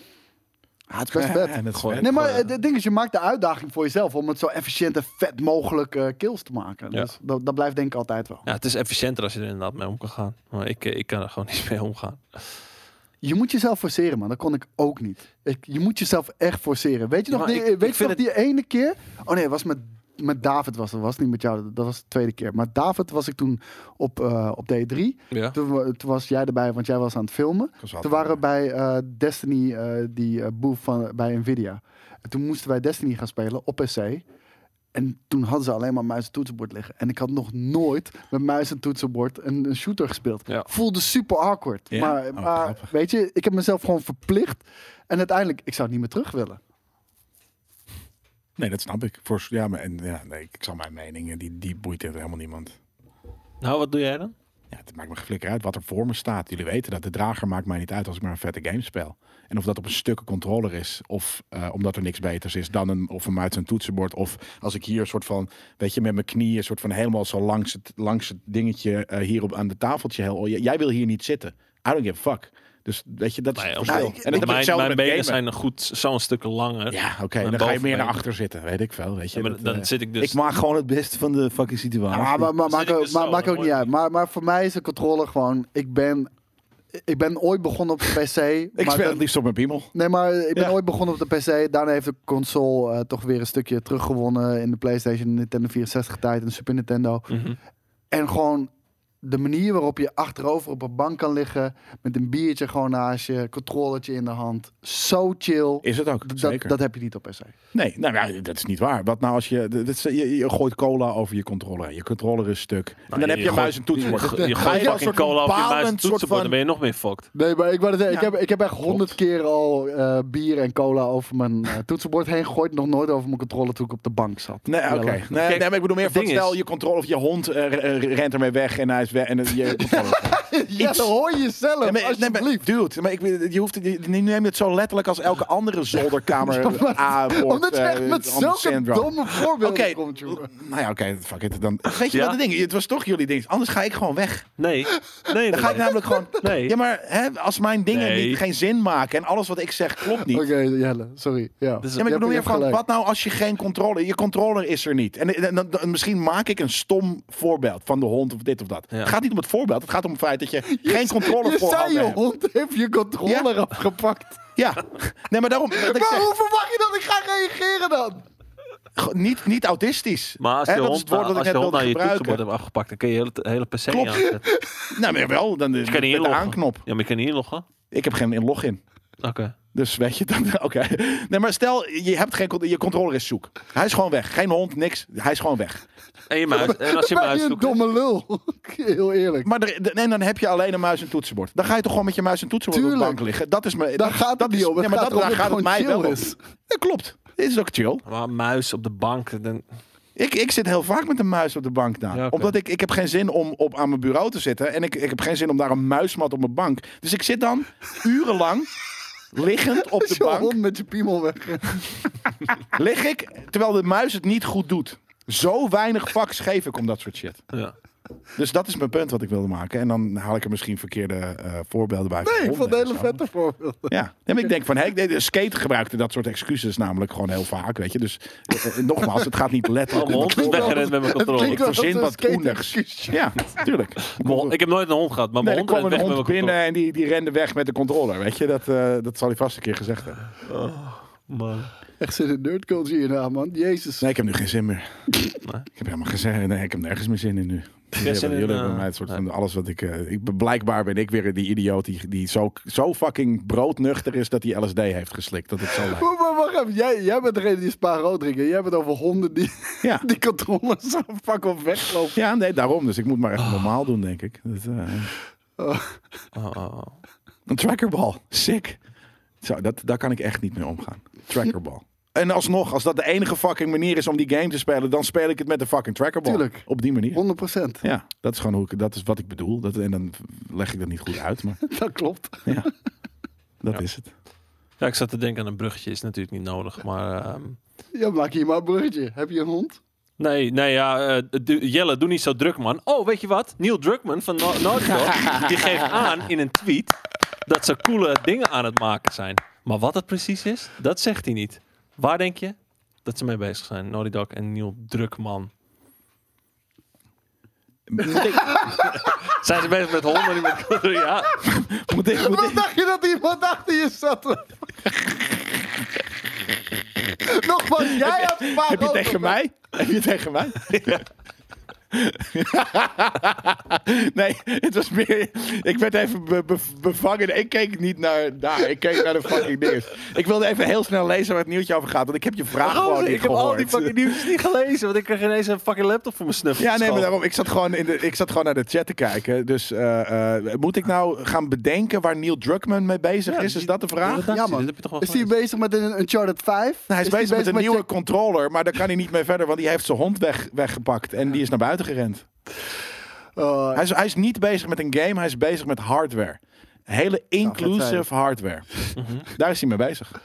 [SPEAKER 1] Ah, het is best vet.
[SPEAKER 3] En het is
[SPEAKER 2] Gooi.
[SPEAKER 3] vet.
[SPEAKER 1] Nee, maar
[SPEAKER 2] Gewoon,
[SPEAKER 1] het het ding is, je maakt de uitdaging voor jezelf om het zo efficiënt en vet mogelijk eh, kills te maken.
[SPEAKER 2] Ja.
[SPEAKER 1] Dus dat, dat blijft denk ik altijd wel.
[SPEAKER 2] Ja, het is efficiënter als je er inderdaad mee om kan gaan. Maar ik, eh, ik kan er gewoon *laughs* niet mee omgaan.
[SPEAKER 1] Je moet jezelf forceren, man. Dat kon ik ook niet. Ik, je moet jezelf echt forceren. Weet je
[SPEAKER 2] Ja,
[SPEAKER 1] nog,
[SPEAKER 2] maar
[SPEAKER 1] die, eh,
[SPEAKER 2] ik- ik
[SPEAKER 1] weet je
[SPEAKER 2] vind
[SPEAKER 1] nog die ene keer? Oh nee, het was met, met David was dat. was niet met jou. Dat was de tweede keer. Maar David was ik toen op, eh, op D3.
[SPEAKER 2] Ja.
[SPEAKER 1] Toen, wa- toen was jij erbij, want jij was aan het filmen.
[SPEAKER 3] was wel
[SPEAKER 1] Toen waren we bij eh, Destiny, eh, die eh boef van, bij Nvidia. En toen moesten wij Destiny gaan spelen op PC. En toen hadden ze alleen maar muis en toetsenbord liggen. En ik had nog nooit met muis en toetsenbord een, een shooter gespeeld.
[SPEAKER 2] Ja.
[SPEAKER 1] Voelde super awkward.
[SPEAKER 3] Ja?
[SPEAKER 1] Maar,
[SPEAKER 3] Oh,
[SPEAKER 1] maar
[SPEAKER 3] grappig.
[SPEAKER 1] weet je, ik heb mezelf gewoon verplicht. En uiteindelijk, ik zou het niet meer terug willen.
[SPEAKER 3] Nee, dat snap ik. Voor, ja, maar en, ja, nee, ik zal mijn mening, eh, die, die boeit het helemaal niemand.
[SPEAKER 2] Nou, wat doe jij dan?
[SPEAKER 3] Ja, het maakt me geflikker uit wat er voor me staat. Jullie weten dat. De drager maakt mij niet uit als ik maar een vette game speel. En of dat op een stukken controller is, of eh, omdat er niks beters is dan een, of een muis en toetsenbord. Of als ik hier een soort van, weet je, met mijn knieën, een soort van helemaal zo langs het, langs het dingetje eh, hier op, aan de tafeltje. Heel, J- jij wil hier niet zitten. I don't give a fuck. Dus weet je, dat is
[SPEAKER 2] Nee,
[SPEAKER 3] het
[SPEAKER 2] om-
[SPEAKER 3] verschil.
[SPEAKER 1] Nou, ik-
[SPEAKER 3] en dat heb ik
[SPEAKER 2] mijn
[SPEAKER 3] hetzelfde
[SPEAKER 2] mijn
[SPEAKER 3] met
[SPEAKER 2] benen
[SPEAKER 3] gamen.
[SPEAKER 2] zijn een goed zo'n stuk langer.
[SPEAKER 3] Ja, oké. en Dan ga je
[SPEAKER 2] bovenbenen.
[SPEAKER 3] meer naar achter zitten, weet ik veel. Weet je,
[SPEAKER 2] Ja, maar
[SPEAKER 3] Dat,
[SPEAKER 2] dan
[SPEAKER 3] eh,
[SPEAKER 2] zit ik dus.
[SPEAKER 3] Ik maak gewoon het beste van de fucking situatie.
[SPEAKER 1] Ja, maar, maar,
[SPEAKER 2] zit
[SPEAKER 1] maakt
[SPEAKER 2] ik
[SPEAKER 1] ook,
[SPEAKER 2] dus
[SPEAKER 1] maar,
[SPEAKER 2] zo,
[SPEAKER 1] maakt
[SPEAKER 2] dat
[SPEAKER 1] ook niet
[SPEAKER 2] hoort
[SPEAKER 1] uit. Maar, maar voor mij is de controller gewoon... Ik ben, ik ben ooit begonnen op de PC.
[SPEAKER 3] *laughs* ik
[SPEAKER 1] maar
[SPEAKER 3] speel
[SPEAKER 1] dat-
[SPEAKER 3] het liefst op mijn piemel.
[SPEAKER 1] Nee, maar ik ben
[SPEAKER 3] Ja.
[SPEAKER 1] ooit begonnen op de PC. Daarna heeft de console eh, toch weer een stukje teruggewonnen in de PlayStation, Nintendo 64 tijd en de Super Nintendo.
[SPEAKER 2] Mhm.
[SPEAKER 1] En gewoon de manier waarop je achterover op een bank kan liggen met een biertje gewoon naast je, controllertje in de hand. Zo chill.
[SPEAKER 3] Is het ook,
[SPEAKER 1] Dat-
[SPEAKER 3] zeker.
[SPEAKER 1] Dat, dat heb je niet op PC.
[SPEAKER 3] Nee, nou ja, dat is niet waar. Wat nou als je, dat is- je, je gooit cola over je controller. heen. Je controller is stuk. en dan
[SPEAKER 2] Nou, je-
[SPEAKER 3] heb je,
[SPEAKER 2] je
[SPEAKER 3] een muis en
[SPEAKER 2] gooit-
[SPEAKER 3] toetsenbord.
[SPEAKER 2] Je, je
[SPEAKER 3] Ga
[SPEAKER 2] gooit
[SPEAKER 3] je
[SPEAKER 2] fucking
[SPEAKER 3] als soort van
[SPEAKER 2] cola op je muis en
[SPEAKER 3] balend soort
[SPEAKER 2] toetsenbord, dan
[SPEAKER 3] van-
[SPEAKER 2] ben je nog meer fucked.
[SPEAKER 1] Nee, maar ik, wou net zeggen,
[SPEAKER 3] Ja.
[SPEAKER 1] ik, heb, ik heb echt honderd keer al eh, bier en cola over mijn *laughs* eh, toetsenbord heen gegooid. Nog nooit over mijn controller toen ik op de bank zat.
[SPEAKER 3] Nee, oké.
[SPEAKER 1] Jelle.
[SPEAKER 3] Nee,
[SPEAKER 2] Kijk,
[SPEAKER 3] nee, maar ik bedoel meer
[SPEAKER 2] het
[SPEAKER 3] van
[SPEAKER 2] ding
[SPEAKER 3] stel
[SPEAKER 2] is-
[SPEAKER 3] je controle of je hond eh, re- re- rent ermee weg en hij is weg en eh,
[SPEAKER 2] *laughs*
[SPEAKER 3] je controller. is weg.
[SPEAKER 1] Ja, dan hoor je jezelf,
[SPEAKER 3] Nee, maar- nee, maar-
[SPEAKER 1] alsjeblieft.
[SPEAKER 3] *laughs* dude, maar ik, bedoel, je hoeft, je, je neemt het zo letterlijk als elke andere
[SPEAKER 2] *laughs*
[SPEAKER 3] zolderkamer aan boord,
[SPEAKER 1] Omdat je echt
[SPEAKER 3] eh,
[SPEAKER 1] met
[SPEAKER 3] Anders
[SPEAKER 1] zulke
[SPEAKER 3] syndrome.
[SPEAKER 1] domme voorbeelden
[SPEAKER 3] Oké,
[SPEAKER 1] komt, jongen.
[SPEAKER 3] nou ja, oké, fuck it. Dan, weet je
[SPEAKER 2] Ja?
[SPEAKER 3] wat het ding is? Het was toch jullie ding. Anders ga ik gewoon weg. *laughs*
[SPEAKER 2] Nee. Nee,
[SPEAKER 3] Dan ga ik
[SPEAKER 2] nee.
[SPEAKER 3] namelijk gewoon...
[SPEAKER 2] *laughs* Nee.
[SPEAKER 3] Ja, maar hè, als mijn dingen
[SPEAKER 2] Nee.
[SPEAKER 3] niet, geen zin maken en alles wat ik zeg klopt
[SPEAKER 1] *laughs*
[SPEAKER 3] niet.
[SPEAKER 1] Oké, Jelle, sorry. Ja,
[SPEAKER 2] Dus-
[SPEAKER 3] Ja, maar ik bedoel
[SPEAKER 1] Je
[SPEAKER 3] meer
[SPEAKER 1] hebt- je hebt
[SPEAKER 3] van,
[SPEAKER 1] gelijk.
[SPEAKER 3] wat nou als je geen controle... Je controller is er niet. En, en- en- dan- misschien maak ik een stom voorbeeld van de hond of dit of dat.
[SPEAKER 2] Ja.
[SPEAKER 3] Het gaat niet om het voorbeeld. Het gaat om het feit dat je, geen
[SPEAKER 1] *laughs*
[SPEAKER 3] controle
[SPEAKER 1] Je
[SPEAKER 3] voorhanden
[SPEAKER 1] zei je
[SPEAKER 3] hebt.
[SPEAKER 1] hond heeft je controller
[SPEAKER 3] Ja.
[SPEAKER 1] afgepakt.
[SPEAKER 3] Ja. Nee, maar daarom... dat ik
[SPEAKER 1] *laughs* Maar
[SPEAKER 3] zeg,
[SPEAKER 1] hoe verwacht je dat ik ga reageren dan?
[SPEAKER 3] go- niet, niet autistisch.
[SPEAKER 2] Maar als
[SPEAKER 3] Hè,
[SPEAKER 2] je
[SPEAKER 3] dat is
[SPEAKER 2] hond
[SPEAKER 3] het woord
[SPEAKER 2] nou-
[SPEAKER 3] dat ik
[SPEAKER 2] als je
[SPEAKER 3] net
[SPEAKER 2] hond nou
[SPEAKER 3] wilde
[SPEAKER 2] je toetsenbord
[SPEAKER 3] gebruiken.
[SPEAKER 2] hebt afgepakt, dan kun je hele, de hele PC
[SPEAKER 3] Klopt. *laughs*
[SPEAKER 2] aanzetten. Je
[SPEAKER 3] Nou, maar wel. Dan,
[SPEAKER 2] kan niet
[SPEAKER 3] met de
[SPEAKER 2] inloggen.
[SPEAKER 3] aanknop.
[SPEAKER 2] Ja, maar je kan niet inloggen.
[SPEAKER 3] Ik heb geen login.
[SPEAKER 2] Oké.
[SPEAKER 3] Dus weet je, dan, *laughs* oké. Nee, maar stel, je hebt geen, con- je controller is zoek. Hij is gewoon weg. Geen hond, niks. Hij is gewoon weg.
[SPEAKER 2] En je muis. En als je
[SPEAKER 1] ben
[SPEAKER 2] muis
[SPEAKER 1] je een
[SPEAKER 2] zoekt.
[SPEAKER 1] domme lul. *laughs* Heel eerlijk.
[SPEAKER 3] Maar er, nee, dan heb je alleen een muis en toetsenbord. Dan ga je toch gewoon met je muis en toetsenbord op
[SPEAKER 1] Tuurlijk.
[SPEAKER 3] de bank liggen. Dat is mijn.
[SPEAKER 1] Daar
[SPEAKER 3] dat,
[SPEAKER 1] gaat
[SPEAKER 3] dat
[SPEAKER 1] het niet
[SPEAKER 3] is-
[SPEAKER 1] om. Het
[SPEAKER 3] Ja, maar
[SPEAKER 1] gaat
[SPEAKER 3] dat,
[SPEAKER 1] erom dat
[SPEAKER 3] daar gaat
[SPEAKER 1] het
[SPEAKER 3] het mij
[SPEAKER 1] gewoon
[SPEAKER 3] wel
[SPEAKER 1] chill
[SPEAKER 3] om.
[SPEAKER 1] is.
[SPEAKER 3] Dat klopt. Dit is ook chill.
[SPEAKER 2] Maar een muis op de bank. Dan,
[SPEAKER 3] Ik, ik zit heel vaak met een muis op de bank daar.
[SPEAKER 2] Ja, oké.
[SPEAKER 3] Omdat ik, ik heb geen zin om op, aan mijn bureau te zitten. En ik, ik heb geen zin om daar een muismat op mijn bank. Dus ik zit dan
[SPEAKER 1] *laughs*
[SPEAKER 3] urenlang liggend op de
[SPEAKER 1] Is je
[SPEAKER 3] bank.
[SPEAKER 1] hond met je piemel weg.
[SPEAKER 3] Lig ik, terwijl de muis het niet goed doet. Zo weinig fucks geef ik om dat soort shit.
[SPEAKER 2] ja.
[SPEAKER 3] Dus dat is mijn punt wat ik wilde maken. En dan haal ik er misschien verkeerde eh, voorbeelden bij.
[SPEAKER 1] Nee, ik
[SPEAKER 3] Honden
[SPEAKER 1] vond het
[SPEAKER 3] en
[SPEAKER 1] hele
[SPEAKER 3] zo.
[SPEAKER 1] vette voorbeeld.
[SPEAKER 3] Ja, nee, maar ik denk van, hey, nee, de skate gebruikte dat soort excuses namelijk gewoon heel vaak, weet je. Dus eh, eh, nogmaals, het gaat niet letterlijk.
[SPEAKER 2] Oh, mijn
[SPEAKER 3] om-
[SPEAKER 2] hond is weggerend met mijn controle.
[SPEAKER 1] klinkt
[SPEAKER 2] Ik,
[SPEAKER 1] wel
[SPEAKER 3] verzin
[SPEAKER 1] als een
[SPEAKER 3] wat
[SPEAKER 1] skate *laughs*
[SPEAKER 3] oenigs.
[SPEAKER 1] excuus.
[SPEAKER 3] Ja, tuurlijk.
[SPEAKER 2] mijn hond- ik heb nooit een hond gehad, maar
[SPEAKER 3] Nee,
[SPEAKER 2] mijn
[SPEAKER 3] er
[SPEAKER 2] hond
[SPEAKER 3] kwam
[SPEAKER 2] rent
[SPEAKER 3] een
[SPEAKER 2] weg met
[SPEAKER 3] hond
[SPEAKER 2] mijn controle.
[SPEAKER 3] binnen en die, die rende weg met de controller, weet je. Dat, eh, dat zal hij vast een keer gezegd hebben.
[SPEAKER 2] Man.
[SPEAKER 1] Echt zit in nerd culture hierna, man. Jezus.
[SPEAKER 3] Nee, ik heb nu geen zin meer. Ik heb helemaal geen zin Nee, ik heb nergens meer zin in nu. Jullie
[SPEAKER 2] zin
[SPEAKER 3] hebben,
[SPEAKER 2] in,
[SPEAKER 3] jullie hebben
[SPEAKER 2] eh,
[SPEAKER 3] mij het soort van alles wat ik, eh, ik... ben- Blijkbaar ben ik weer die idioot die, die zo, zo fucking broodnuchter is dat hij LSD heeft geslikt. Dat het zo
[SPEAKER 2] *laughs*
[SPEAKER 3] lijkt.
[SPEAKER 1] Maar, maar wacht even, jij, jij bent degene die spa rood drinken. Jij hebt het over honden die, *laughs*
[SPEAKER 3] Ja.
[SPEAKER 1] die controllers zo fuck *laughs* op weglopen.
[SPEAKER 3] Ja, nee, daarom. Dus ik moet maar echt normaal doen, denk ik. Dat, eh,
[SPEAKER 2] Oh, oh, oh.
[SPEAKER 3] een trackerbal. Sick. Zo, dat, daar kan ik echt niet mee omgaan. Trackerbal. En alsnog, als dat de enige fucking manier is om die game te spelen, dan speel ik het met de fucking trackerbal.
[SPEAKER 1] Tuurlijk.
[SPEAKER 3] Op die manier.
[SPEAKER 1] 100 procent. *laughs*
[SPEAKER 3] Ja, dat is gewoon hoe ik, dat is wat ik bedoel. Dat, en dan leg ik dat niet goed uit, maar
[SPEAKER 1] Dat klopt.
[SPEAKER 3] ja. Dat
[SPEAKER 2] Ja.
[SPEAKER 3] is het. *laughs*
[SPEAKER 2] Ja, ik zat te denken aan een bruggetje. Is natuurlijk niet nodig, maar... ehm,
[SPEAKER 1] Ja, maak hier maar een bruggetje. Heb je een hond?
[SPEAKER 2] Nee, nee, ja, eh, du- Jelle, doe niet zo druk, man. Oh, weet je wat? Neil Druckmann van No- Naughty
[SPEAKER 3] *laughs*
[SPEAKER 2] Dog, die geeft aan in een tweet dat ze coole dingen aan het maken zijn. Maar wat het precies is, dat zegt hij niet. Waar denk je dat ze mee bezig zijn? Naughty Dog en Neil Druckmann.
[SPEAKER 3] Moet ik,
[SPEAKER 2] Zijn ze bezig met honden? Met *laughs* kinderen? ja,
[SPEAKER 3] moet ik, moet
[SPEAKER 1] Wat
[SPEAKER 3] ik,
[SPEAKER 1] dacht je dat iemand achter je zat? Nogmaals, jij hebt vaak
[SPEAKER 3] heb je
[SPEAKER 1] ook-
[SPEAKER 3] tegen mij? Heb je tegen mij? *laughs* nee, het was meer. Ik werd even be- be- bevangen. Ik keek niet naar daar. Ik keek naar de fucking dingen. Ik wilde even heel snel lezen waar het nieuwtje over gaat. Want ik heb je vraag
[SPEAKER 2] Gozer,
[SPEAKER 3] gewoon niet
[SPEAKER 2] Oh, ik heb al
[SPEAKER 3] gehoord.
[SPEAKER 2] die fucking nieuws niet gelezen, want ik kreeg ineens een fucking laptop voor mijn snuffel.
[SPEAKER 3] Ja, nee, maar daarom. Ik zat gewoon, in de, ik zat gewoon naar de chat te kijken. Dus eh, eh, moet ik nou gaan bedenken waar Neil Druckmann mee bezig is? Is dat de vraag?
[SPEAKER 1] Ja, man.
[SPEAKER 2] Dat heb je toch wel
[SPEAKER 1] Is hij
[SPEAKER 2] gelezen?
[SPEAKER 1] bezig met een Uncharted 5?
[SPEAKER 3] Hij is, bezig, met een nieuwe
[SPEAKER 1] je-
[SPEAKER 3] controller, maar daar kan hij niet mee verder, want die heeft zijn hond weg, weggepakt en die is naar buiten gerend.
[SPEAKER 1] Oh,
[SPEAKER 3] Hij is, hij is niet bezig met een game, hij is bezig met hardware. Hele
[SPEAKER 1] vet
[SPEAKER 3] inclusive hardware. *laughs* Daar is hij mee bezig.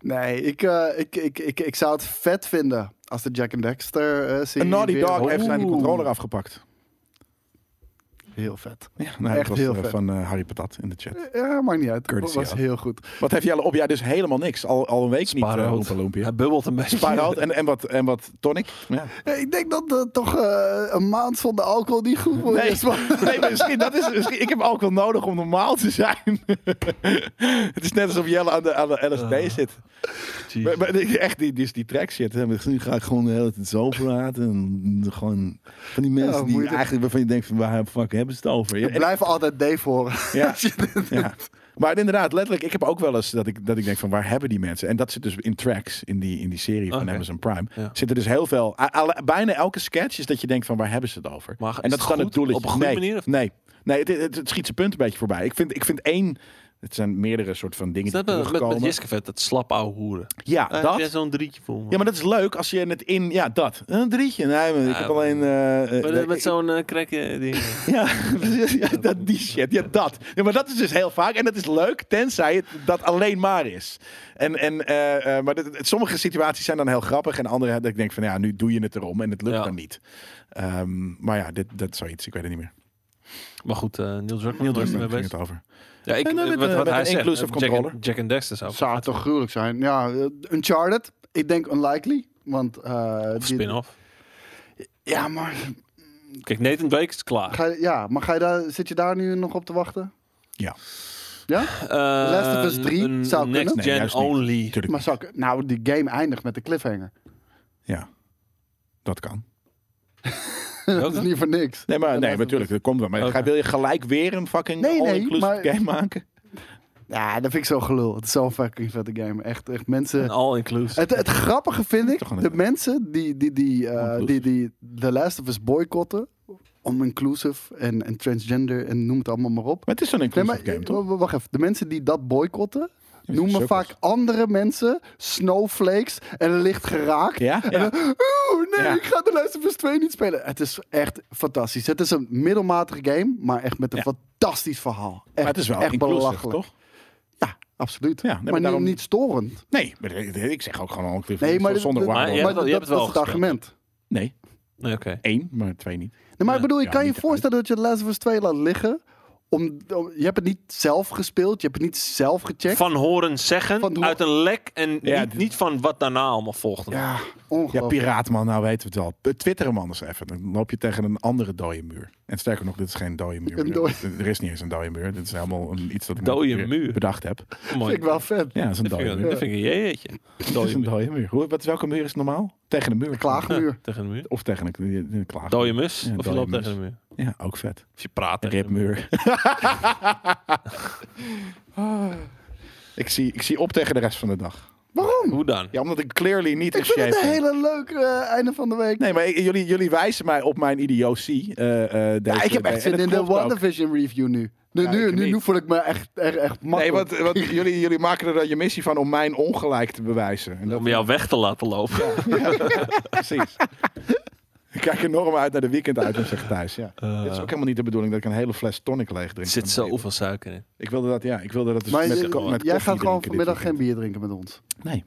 [SPEAKER 1] nee, ik, eh, ik, ik, ik, ik zou het vet vinden als de Jack and Dexter eh serie
[SPEAKER 3] Een Naughty
[SPEAKER 1] weer-
[SPEAKER 3] Dog heeft zijn
[SPEAKER 1] Oeh,
[SPEAKER 3] controller afgepakt.
[SPEAKER 1] Heel vet.
[SPEAKER 3] Ja, nou,
[SPEAKER 1] Echt
[SPEAKER 3] dat was
[SPEAKER 1] heel
[SPEAKER 3] eh,
[SPEAKER 1] vet.
[SPEAKER 3] van eh, Harry Patat in de chat.
[SPEAKER 1] Ja, maakt niet uit. Dat
[SPEAKER 3] Courtesy
[SPEAKER 1] was
[SPEAKER 3] out.
[SPEAKER 1] heel goed.
[SPEAKER 3] Wat heeft Jelle op? Ja, dus helemaal niks. Al, al een week niet
[SPEAKER 2] Spaarrood.
[SPEAKER 3] eh, Roempa Loempia.
[SPEAKER 2] Hij bubbelt een beetje.
[SPEAKER 3] Spaarrood en, en, wat, en wat tonic. Ja.
[SPEAKER 1] Ja, ik denk dat eh, toch eh, een maand zonder alcohol niet goed voor je
[SPEAKER 3] Nee,
[SPEAKER 1] is. maar-
[SPEAKER 3] *laughs* nee, maar misschien, dat is, misschien, ik heb alcohol nodig om normaal te zijn. *laughs* het is net alsof Jelle aan de, aan de LSD zit.
[SPEAKER 2] Jezus.
[SPEAKER 3] Maar, maar die- echt, die, die, die track shit. hè, met- Nu ga ik gewoon de hele tijd zo praten. En gewoon van die mensen die
[SPEAKER 1] moeilijk.
[SPEAKER 3] eigenlijk waarvan je denkt van waar fuck hebben ze het over? Ja,
[SPEAKER 1] We
[SPEAKER 3] en-
[SPEAKER 1] blijven altijd Dave horen. *laughs*
[SPEAKER 3] ja, ja. Maar inderdaad, letterlijk, ik heb ook wel eens dat ik, dat ik denk van waar hebben die mensen? En dat zit dus in tracks in die, in die serie van
[SPEAKER 2] Oké.
[SPEAKER 3] Amazon Prime.
[SPEAKER 2] Ja.
[SPEAKER 3] Zit er dus heel veel, a- alle- bijna elke sketch is dat je denkt van waar hebben ze het over?
[SPEAKER 2] Maar is
[SPEAKER 3] en dat
[SPEAKER 2] het
[SPEAKER 3] dan
[SPEAKER 2] goed?
[SPEAKER 3] het doel
[SPEAKER 2] Op een goede
[SPEAKER 3] nee,
[SPEAKER 2] manier of-
[SPEAKER 3] Nee, nee het, het, het schiet zijn punt een beetje voorbij. Ik vind, ik vind één, het zijn meerdere soort van dingen
[SPEAKER 2] Is dat
[SPEAKER 3] die
[SPEAKER 2] met, Ah, met,
[SPEAKER 3] terugkomen.
[SPEAKER 2] met Jiskevet, dat slap ouwe hoeren?
[SPEAKER 3] ja,
[SPEAKER 2] Daar heb
[SPEAKER 3] dat.
[SPEAKER 2] jij zo'n drietje voor. man.
[SPEAKER 3] Ja, maar dat is leuk als je het in... Ja, dat. Een drietje. Nee, maar ik
[SPEAKER 2] Ja,
[SPEAKER 3] heb alleen... eh, eh,
[SPEAKER 2] Met,
[SPEAKER 3] nee,
[SPEAKER 2] met zo'n eh krekken ding.
[SPEAKER 3] *laughs* Ja, precies. Ja, dat, die shit. Ja, dat. Ja, maar dat is dus heel vaak. En dat is leuk, tenzij het dat alleen maar is. En, en, eh, eh, maar dit- het- sommige situaties zijn dan heel grappig. En andere dat ik denk van, ja, nu doe je het erom. En het lukt
[SPEAKER 2] Ja.
[SPEAKER 3] dan niet. Ehm, maar ja, dit, dat is zoiets. Ik weet het niet meer.
[SPEAKER 2] *laughs* Maar goed, eh Neil Druckmann
[SPEAKER 3] Daar
[SPEAKER 2] was er
[SPEAKER 3] ging
[SPEAKER 2] mee bezig.
[SPEAKER 3] het over.
[SPEAKER 2] Ja, ik,
[SPEAKER 3] En dan met,
[SPEAKER 2] wat,
[SPEAKER 3] eh,
[SPEAKER 2] wat
[SPEAKER 3] met
[SPEAKER 2] hij
[SPEAKER 3] een
[SPEAKER 2] zegt,
[SPEAKER 3] inclusive
[SPEAKER 2] eh, Jack,
[SPEAKER 3] controller.
[SPEAKER 2] and- Jack and Dexter zou
[SPEAKER 1] Zou het toch gruwelijk zijn? Ja, eh, Uncharted. Ik denk unlikely. Want, eh,
[SPEAKER 2] Of
[SPEAKER 1] die-
[SPEAKER 2] spin-off.
[SPEAKER 1] ja, maar,
[SPEAKER 2] Kijk, Nathan Drake is klaar.
[SPEAKER 1] ga je, ja, maar ga je daar, zit je daar nu nog op te wachten?
[SPEAKER 3] Ja.
[SPEAKER 1] Ja?
[SPEAKER 2] Eh,
[SPEAKER 1] Last of Us 3
[SPEAKER 2] een
[SPEAKER 1] zou
[SPEAKER 2] Next
[SPEAKER 1] kunnen.
[SPEAKER 3] Nee,
[SPEAKER 2] gen
[SPEAKER 3] juist niet.
[SPEAKER 2] only.
[SPEAKER 3] Natuurlijk.
[SPEAKER 1] Maar zou ik- nou, die game eindigt met de cliffhanger. *laughs*
[SPEAKER 3] Ja. Dat kan.
[SPEAKER 1] dat is niet voor niks.
[SPEAKER 3] Nee, maar,
[SPEAKER 1] En
[SPEAKER 3] nee,
[SPEAKER 1] dat-
[SPEAKER 3] natuurlijk. Dat komt wel. Maar
[SPEAKER 2] Oké.
[SPEAKER 3] ga, wil je gelijk weer een fucking
[SPEAKER 1] Nee, nee,
[SPEAKER 3] all-inclusive
[SPEAKER 1] maar-
[SPEAKER 3] game maken?
[SPEAKER 1] Ja, dat vind ik zo gelul. Het is zo'n fucking vette game. Echt, echt mensen...
[SPEAKER 2] Een all-inclusive.
[SPEAKER 1] Het, het grappige vind ik,
[SPEAKER 3] Toch een-
[SPEAKER 1] de mensen die, die, die, eh,
[SPEAKER 3] Inclusive.
[SPEAKER 1] die, die The Last of Us boycotten, om inclusive en, en transgender en noem het allemaal maar op.
[SPEAKER 3] Maar het is zo'n
[SPEAKER 1] Nee,
[SPEAKER 3] inclusive
[SPEAKER 1] maar
[SPEAKER 3] game, toch?
[SPEAKER 1] w- w- wacht even. De mensen die dat boycotten,
[SPEAKER 3] Ja,
[SPEAKER 1] noemen
[SPEAKER 3] sukkels.
[SPEAKER 1] vaak andere mensen snowflakes en licht geraakt.
[SPEAKER 3] Ja?
[SPEAKER 1] En
[SPEAKER 3] Ja.
[SPEAKER 1] dan, oeh, nee,
[SPEAKER 3] Ja.
[SPEAKER 1] ik ga de Last of Us 2 niet spelen. Het is echt fantastisch. Het is een middelmatige game, maar echt met een
[SPEAKER 3] Ja.
[SPEAKER 1] fantastisch verhaal. Echt,
[SPEAKER 3] Maar het is wel
[SPEAKER 1] echt
[SPEAKER 3] inclusive,
[SPEAKER 1] belachelijk.
[SPEAKER 3] toch?
[SPEAKER 1] Ja, absoluut.
[SPEAKER 3] Ja, nee, maar
[SPEAKER 1] maar niet-
[SPEAKER 3] daarom-
[SPEAKER 1] niet storend.
[SPEAKER 3] Nee, maar ik zeg ook gewoon ongeveer
[SPEAKER 1] Nee, maar
[SPEAKER 3] zonder
[SPEAKER 1] dat- dat-
[SPEAKER 2] Maar
[SPEAKER 3] waarborg.
[SPEAKER 2] je hebt
[SPEAKER 1] Maar
[SPEAKER 2] het- je
[SPEAKER 1] dat dat
[SPEAKER 2] hebt het
[SPEAKER 1] is
[SPEAKER 2] wel
[SPEAKER 1] het
[SPEAKER 2] gespeeld.
[SPEAKER 1] argument.
[SPEAKER 3] Nee,
[SPEAKER 2] Nee, Oké.
[SPEAKER 3] één, maar twee niet.
[SPEAKER 1] Nee, maar ik
[SPEAKER 2] Ja.
[SPEAKER 1] bedoel, je
[SPEAKER 3] Ja,
[SPEAKER 1] kan je
[SPEAKER 3] niet
[SPEAKER 1] voorstellen dat je The Last of Us 2 laat liggen. Om, om- je hebt het niet zelf gespeeld, je hebt het niet zelf gecheckt.
[SPEAKER 2] Van horen zeggen,
[SPEAKER 1] Van ho-
[SPEAKER 2] uit een lek en
[SPEAKER 3] Ja,
[SPEAKER 2] niet,
[SPEAKER 3] dit-
[SPEAKER 2] niet van wat daarna allemaal volgt.
[SPEAKER 1] Ja,
[SPEAKER 3] Ja,
[SPEAKER 1] ongelooflijk.
[SPEAKER 3] piraatman, nou weten we het wel. Twitter man eens even. Dan loop je tegen een andere dode muur. En sterker nog, dit is geen dode muur.
[SPEAKER 1] Een dode-
[SPEAKER 3] Er is niet eens een dode muur. Dit is helemaal een, iets dat ik
[SPEAKER 2] Dode
[SPEAKER 3] net
[SPEAKER 2] muur.
[SPEAKER 3] bedacht heb.
[SPEAKER 2] Mooi.
[SPEAKER 1] vind ik wel vet.
[SPEAKER 3] Ja, dat is een
[SPEAKER 2] Dat
[SPEAKER 3] dode
[SPEAKER 2] vind ik-
[SPEAKER 3] muur.
[SPEAKER 2] dat vind ik een jeetje.
[SPEAKER 3] Dat is een dode muur. Hoe, wat, welke muur is het normaal? Tegen de muur.
[SPEAKER 1] Klaagmuur.
[SPEAKER 2] Tegen de muur.
[SPEAKER 3] Of tegen een, een klaag.
[SPEAKER 2] Dode mus.
[SPEAKER 3] Ja,
[SPEAKER 2] of je
[SPEAKER 3] dode
[SPEAKER 2] loopt
[SPEAKER 3] mus.
[SPEAKER 2] tegen de muur.
[SPEAKER 3] Ja, ook vet.
[SPEAKER 2] Of je praat tegen de muur.
[SPEAKER 3] Ripmuur. *laughs* ik, zie, ik zie op tegen de rest van de dag.
[SPEAKER 1] Waarom?
[SPEAKER 2] Hoe dan?
[SPEAKER 3] Ja, omdat ik clearly niet in
[SPEAKER 1] Ik vind
[SPEAKER 3] shape
[SPEAKER 1] het een
[SPEAKER 3] ben.
[SPEAKER 1] hele leuke eh, einde van de week.
[SPEAKER 3] Nee, maar ik- jullie, jullie wijzen mij op mijn idiotie. eh, eh, deze-
[SPEAKER 1] ja, ik heb
[SPEAKER 3] en
[SPEAKER 1] echt
[SPEAKER 3] dat
[SPEAKER 1] zin in de
[SPEAKER 3] klopt ook.
[SPEAKER 1] WandaVision review nu. Nu,
[SPEAKER 3] Ja,
[SPEAKER 1] nu,
[SPEAKER 3] ik
[SPEAKER 1] nu, nu
[SPEAKER 3] niet.
[SPEAKER 1] voel ik me echt, echt, echt
[SPEAKER 3] Nee,
[SPEAKER 1] makkelijk.
[SPEAKER 3] want,
[SPEAKER 1] *laughs*
[SPEAKER 3] want jullie, jullie maken er dan je missie van om mijn ongelijk te bewijzen. En dat,
[SPEAKER 2] Om jou weg te laten lopen.
[SPEAKER 3] *laughs*
[SPEAKER 2] *laughs*
[SPEAKER 1] *laughs*
[SPEAKER 3] precies. Ik kijk enorm uit naar de weekend uit, zegt Thijs. *laughs* Ja.
[SPEAKER 2] Eh.
[SPEAKER 3] Dit is ook helemaal niet de bedoeling dat ik een hele fles tonic leeg
[SPEAKER 2] Er
[SPEAKER 3] drink.
[SPEAKER 2] zit zoveel suiker in.
[SPEAKER 3] Ik wilde dat, ja. Ik wilde dat dus
[SPEAKER 1] maar
[SPEAKER 3] met,
[SPEAKER 1] je-
[SPEAKER 3] ko- met
[SPEAKER 1] jij
[SPEAKER 3] koffie
[SPEAKER 1] gaat gewoon
[SPEAKER 3] drinken dit
[SPEAKER 1] vanmiddag geen
[SPEAKER 3] weekend.
[SPEAKER 1] bier drinken met ons.
[SPEAKER 3] Nee.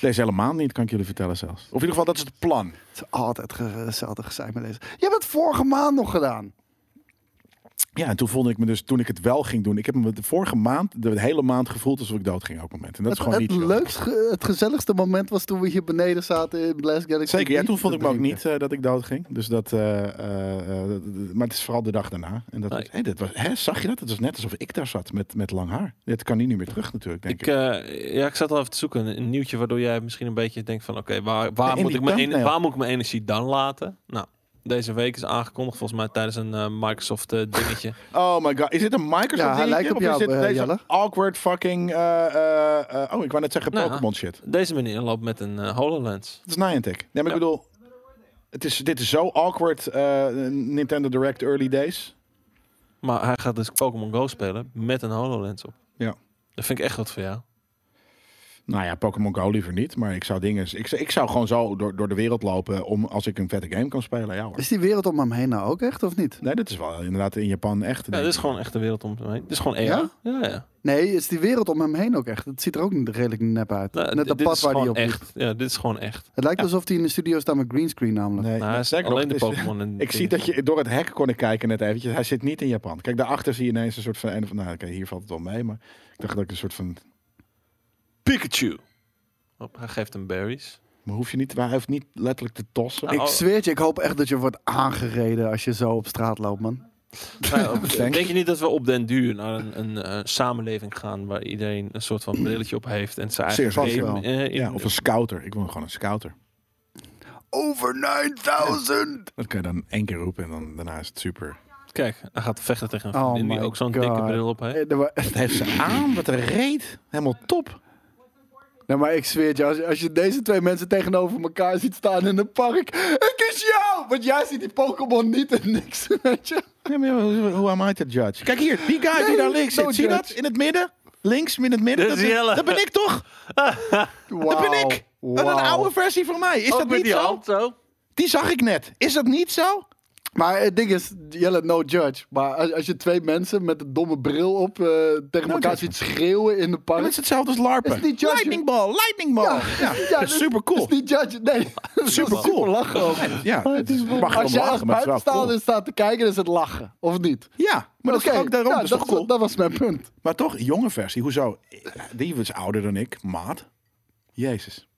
[SPEAKER 3] Deze helemaal niet, kan ik jullie vertellen zelfs. Of in ieder geval, dat is het plan.
[SPEAKER 1] Het is altijd ge- hetzelfde gezeik met deze. Je hebt het vorige maand nog gedaan.
[SPEAKER 3] Ja, en toen voelde ik me dus, toen ik het wel ging doen. Ik heb me de vorige maand, de hele maand gevoeld alsof ik dood ging op het moment. En dat is
[SPEAKER 1] het
[SPEAKER 3] gewoon
[SPEAKER 1] het
[SPEAKER 3] niet chill.
[SPEAKER 1] leukste, het gezelligste moment was toen we hier beneden zaten in Blast Galaxy.
[SPEAKER 3] Zeker, ja,
[SPEAKER 1] bier
[SPEAKER 3] toen vond
[SPEAKER 1] te
[SPEAKER 3] ik me ook
[SPEAKER 1] drinken.
[SPEAKER 3] niet eh, dat ik dood ging. Dus dat, eh, eh, eh, d- d- maar het is vooral de dag daarna. En dat
[SPEAKER 2] Nee.
[SPEAKER 3] was, hé, dit was, hè, zag je dat? Het was net alsof ik daar zat met, met lang haar. Dit kan hier niet meer terug natuurlijk, denk ik.
[SPEAKER 2] Ik, eh, ja, ik zat al even te zoeken. Een nieuwtje waardoor jij misschien een beetje denkt van... Oké, waar, waar,
[SPEAKER 3] En
[SPEAKER 2] moet
[SPEAKER 3] die nou
[SPEAKER 2] ik mijn
[SPEAKER 3] thumbnail.
[SPEAKER 2] ener- waar moet ik mijn energie dan laten? Nou, deze week is aangekondigd volgens mij tijdens een eh, Microsoft eh,
[SPEAKER 3] *laughs*
[SPEAKER 2] dingetje.
[SPEAKER 3] Oh my god, is dit een Microsoft
[SPEAKER 1] Ja, hij
[SPEAKER 3] dingetje?
[SPEAKER 1] lijkt op
[SPEAKER 3] Of
[SPEAKER 1] jou,
[SPEAKER 3] is dit
[SPEAKER 1] eh,
[SPEAKER 3] deze
[SPEAKER 1] Jelle.
[SPEAKER 3] awkward fucking... eh, eh, eh, oh, ik wou net zeggen
[SPEAKER 2] Nou,
[SPEAKER 3] Pokémon shit.
[SPEAKER 2] Deze meneer loopt met een eh, HoloLens.
[SPEAKER 3] Het is Niantic. Nee, maar
[SPEAKER 2] Ja.
[SPEAKER 3] ik bedoel... Het is, dit is zo awkward eh, Nintendo Direct early days.
[SPEAKER 2] Maar hij gaat dus Pokémon Go spelen met een HoloLens op.
[SPEAKER 3] Ja.
[SPEAKER 2] Dat vind ik echt wat voor jou.
[SPEAKER 3] Nou ja, Pokémon Go liever niet, maar ik zou dingen... Ik, zou- ik zou gewoon zo door, door de wereld lopen om, als ik een vette game kan spelen. Ja hoor.
[SPEAKER 1] Is die wereld om hem heen nou ook echt of niet?
[SPEAKER 3] Nee, dat is wel inderdaad in Japan echt.
[SPEAKER 2] Ja, dit is gewoon echt de wereld om me heen. Dit is gewoon AR.
[SPEAKER 1] Ja?
[SPEAKER 2] Ja? Ja, ja.
[SPEAKER 1] Nee, is die wereld om hem heen ook echt? Het ziet er ook redelijk nep uit.
[SPEAKER 2] Nou,
[SPEAKER 1] Net
[SPEAKER 2] dit-
[SPEAKER 1] dat
[SPEAKER 2] dit
[SPEAKER 1] pad
[SPEAKER 2] is
[SPEAKER 1] waar die
[SPEAKER 2] gewoon
[SPEAKER 1] op liep.
[SPEAKER 2] echt. Ja, dit is gewoon echt.
[SPEAKER 1] Het lijkt
[SPEAKER 2] Ja.
[SPEAKER 1] alsof hij in de studio staat met greenscreen namelijk.
[SPEAKER 3] Nee,
[SPEAKER 2] Nou, hij is
[SPEAKER 3] sterker nog,
[SPEAKER 2] alleen de
[SPEAKER 3] het is-
[SPEAKER 2] Pokémon. en
[SPEAKER 3] *laughs* Ik zie
[SPEAKER 2] dingen.
[SPEAKER 3] dat je door het hek kon ik kijken net eventjes. Hij zit niet in Japan. Kijk, daarachter zie je ineens een soort van... een of- Nou, oké, hier valt het wel mee, maar ik dacht dat ik een soort van...
[SPEAKER 2] Pikachu. Hop, hij geeft hem berries.
[SPEAKER 3] Maar hoef je niet, maar hij hoeft niet letterlijk te tossen.
[SPEAKER 2] Nou,
[SPEAKER 1] Ik zweer het je, ik hoop echt dat je wordt aangereden als je zo op straat loopt, man.
[SPEAKER 2] Nou,
[SPEAKER 3] *laughs*
[SPEAKER 2] op-
[SPEAKER 3] Thanks.
[SPEAKER 2] denk je niet dat we op den duur naar een, een, eh, samenleving gaan waar iedereen een soort van brilletje op heeft en zijn eigen
[SPEAKER 3] Zeer vast
[SPEAKER 2] game,
[SPEAKER 1] wel.
[SPEAKER 2] eh, in-
[SPEAKER 3] ja, of een scouter. Ik wil gewoon een scouter.
[SPEAKER 1] Over 9000!
[SPEAKER 3] Dat kan je dan één keer roepen en dan, daarna is het super.
[SPEAKER 2] Kijk, hij gaat vechten tegen een
[SPEAKER 1] Oh
[SPEAKER 2] vriendin die
[SPEAKER 1] my
[SPEAKER 2] ook zo'n
[SPEAKER 1] God.
[SPEAKER 2] dikke bril op heeft.
[SPEAKER 1] Eh, nee, maar-
[SPEAKER 3] Het heeft ze aan, wat een reet. Helemaal top.
[SPEAKER 1] Nee, maar ik zweer het je, als, je- als je deze twee mensen tegenover elkaar ziet staan in een park. Ik kies jou! Want jij ziet die Pokémon niet en niks, *laughs* weet je.
[SPEAKER 3] Ja, maar hoe- hoe am I to judge? Kijk hier, die guy die daar links
[SPEAKER 1] no
[SPEAKER 3] zit. Zie je dat?
[SPEAKER 1] judge.
[SPEAKER 3] In het midden? Links, in het midden.
[SPEAKER 2] Dat is Jelle.
[SPEAKER 3] dat ben ik toch?
[SPEAKER 1] Wauw.
[SPEAKER 3] Dat ben ik. Wat
[SPEAKER 1] Wauw.
[SPEAKER 3] Een oude versie van mij. Is
[SPEAKER 2] Ook
[SPEAKER 3] dat
[SPEAKER 2] met
[SPEAKER 3] niet
[SPEAKER 2] die
[SPEAKER 3] zo?
[SPEAKER 2] hand zo.
[SPEAKER 3] Die zag ik net. Is dat niet zo?
[SPEAKER 1] Maar het ding is, Jelle, no judge. Maar als, als je twee mensen met een domme bril op eh, tegen
[SPEAKER 3] No
[SPEAKER 1] elkaar
[SPEAKER 3] judgment.
[SPEAKER 1] ziet schreeuwen in de
[SPEAKER 3] Dat
[SPEAKER 1] park.
[SPEAKER 3] is hetzelfde als LARPen.
[SPEAKER 1] Is niet judge-
[SPEAKER 3] lightning ball, lightning ball. Ja,
[SPEAKER 1] *laughs*
[SPEAKER 3] dat is
[SPEAKER 1] dus-
[SPEAKER 3] super cool.
[SPEAKER 1] is niet judge, *laughs* nee.
[SPEAKER 3] Super cool.
[SPEAKER 1] lachen ook.
[SPEAKER 3] Ja, het is- mag
[SPEAKER 1] als
[SPEAKER 3] je
[SPEAKER 1] je als
[SPEAKER 3] wel lachen, maar het is wel cool.
[SPEAKER 1] buitenstaander staat te kijken, is het lachen, of niet?
[SPEAKER 3] Ja, maar dat is
[SPEAKER 1] Oké,
[SPEAKER 3] toch ook daarom
[SPEAKER 1] ja,
[SPEAKER 3] dat is
[SPEAKER 1] dat,
[SPEAKER 3] toch cool.
[SPEAKER 1] dat was mijn punt.
[SPEAKER 3] Maar toch, jonge versie. Hoezo? Die was ouder dan ik, maat. Jezus.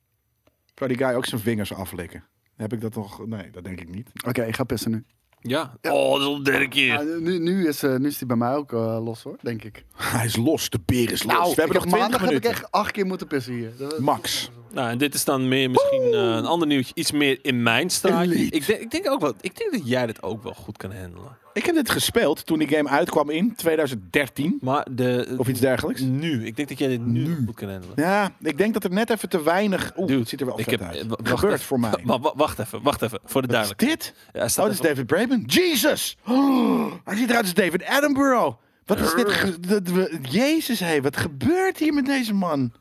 [SPEAKER 3] Zou die guy ook zijn vingers aflikken? Heb ik dat nog? Nee, dat denk ik niet.
[SPEAKER 1] Oké, ik ga pissen nu.
[SPEAKER 2] Ja. Oh, dat is al de derde keer.
[SPEAKER 1] nu, nu, is, eh, nu is die bij mij ook eh, los hoor, denk ik.
[SPEAKER 3] Hij is los. De beer is los.
[SPEAKER 1] Nou,
[SPEAKER 3] Nou, We hebben nog 20
[SPEAKER 1] maandag heb ik
[SPEAKER 3] minuten.
[SPEAKER 1] echt acht keer moeten pissen hier. Dat-
[SPEAKER 3] Max.
[SPEAKER 2] Nou, en dit is dan meer misschien eh, een ander nieuwtje. Iets meer in mijn straatje.
[SPEAKER 3] Elite.
[SPEAKER 2] Ik denk, ik denk ook wel. Ik denk dat jij dit ook wel goed kan handelen.
[SPEAKER 3] Ik heb dit gespeeld toen die game uitkwam in 2013
[SPEAKER 2] Maar de...
[SPEAKER 3] of iets dergelijks.
[SPEAKER 2] Nu. Ik denk dat jij dit nu, goed kan handelen.
[SPEAKER 3] Ja, ik denk dat er net even te weinig. Oeh,
[SPEAKER 2] Dude,
[SPEAKER 3] het ziet er wel
[SPEAKER 2] ik
[SPEAKER 3] vet
[SPEAKER 2] heb-
[SPEAKER 3] uit.
[SPEAKER 2] eh, wa- wacht
[SPEAKER 3] Gebeurt
[SPEAKER 2] even.
[SPEAKER 3] voor mij.
[SPEAKER 2] Wa- wa- wacht even, wacht even. Voor de
[SPEAKER 3] Wat is
[SPEAKER 2] duidelijkheid.
[SPEAKER 3] dit?
[SPEAKER 2] Ja, hij staat
[SPEAKER 3] Oh, dit is
[SPEAKER 2] even-
[SPEAKER 3] David Braben. Jesus! *gasps* Oh, hij ziet eruit als David Attenborough. Wat is dit? ge- dat we- Jezus, hé, wat gebeurt hier met deze man?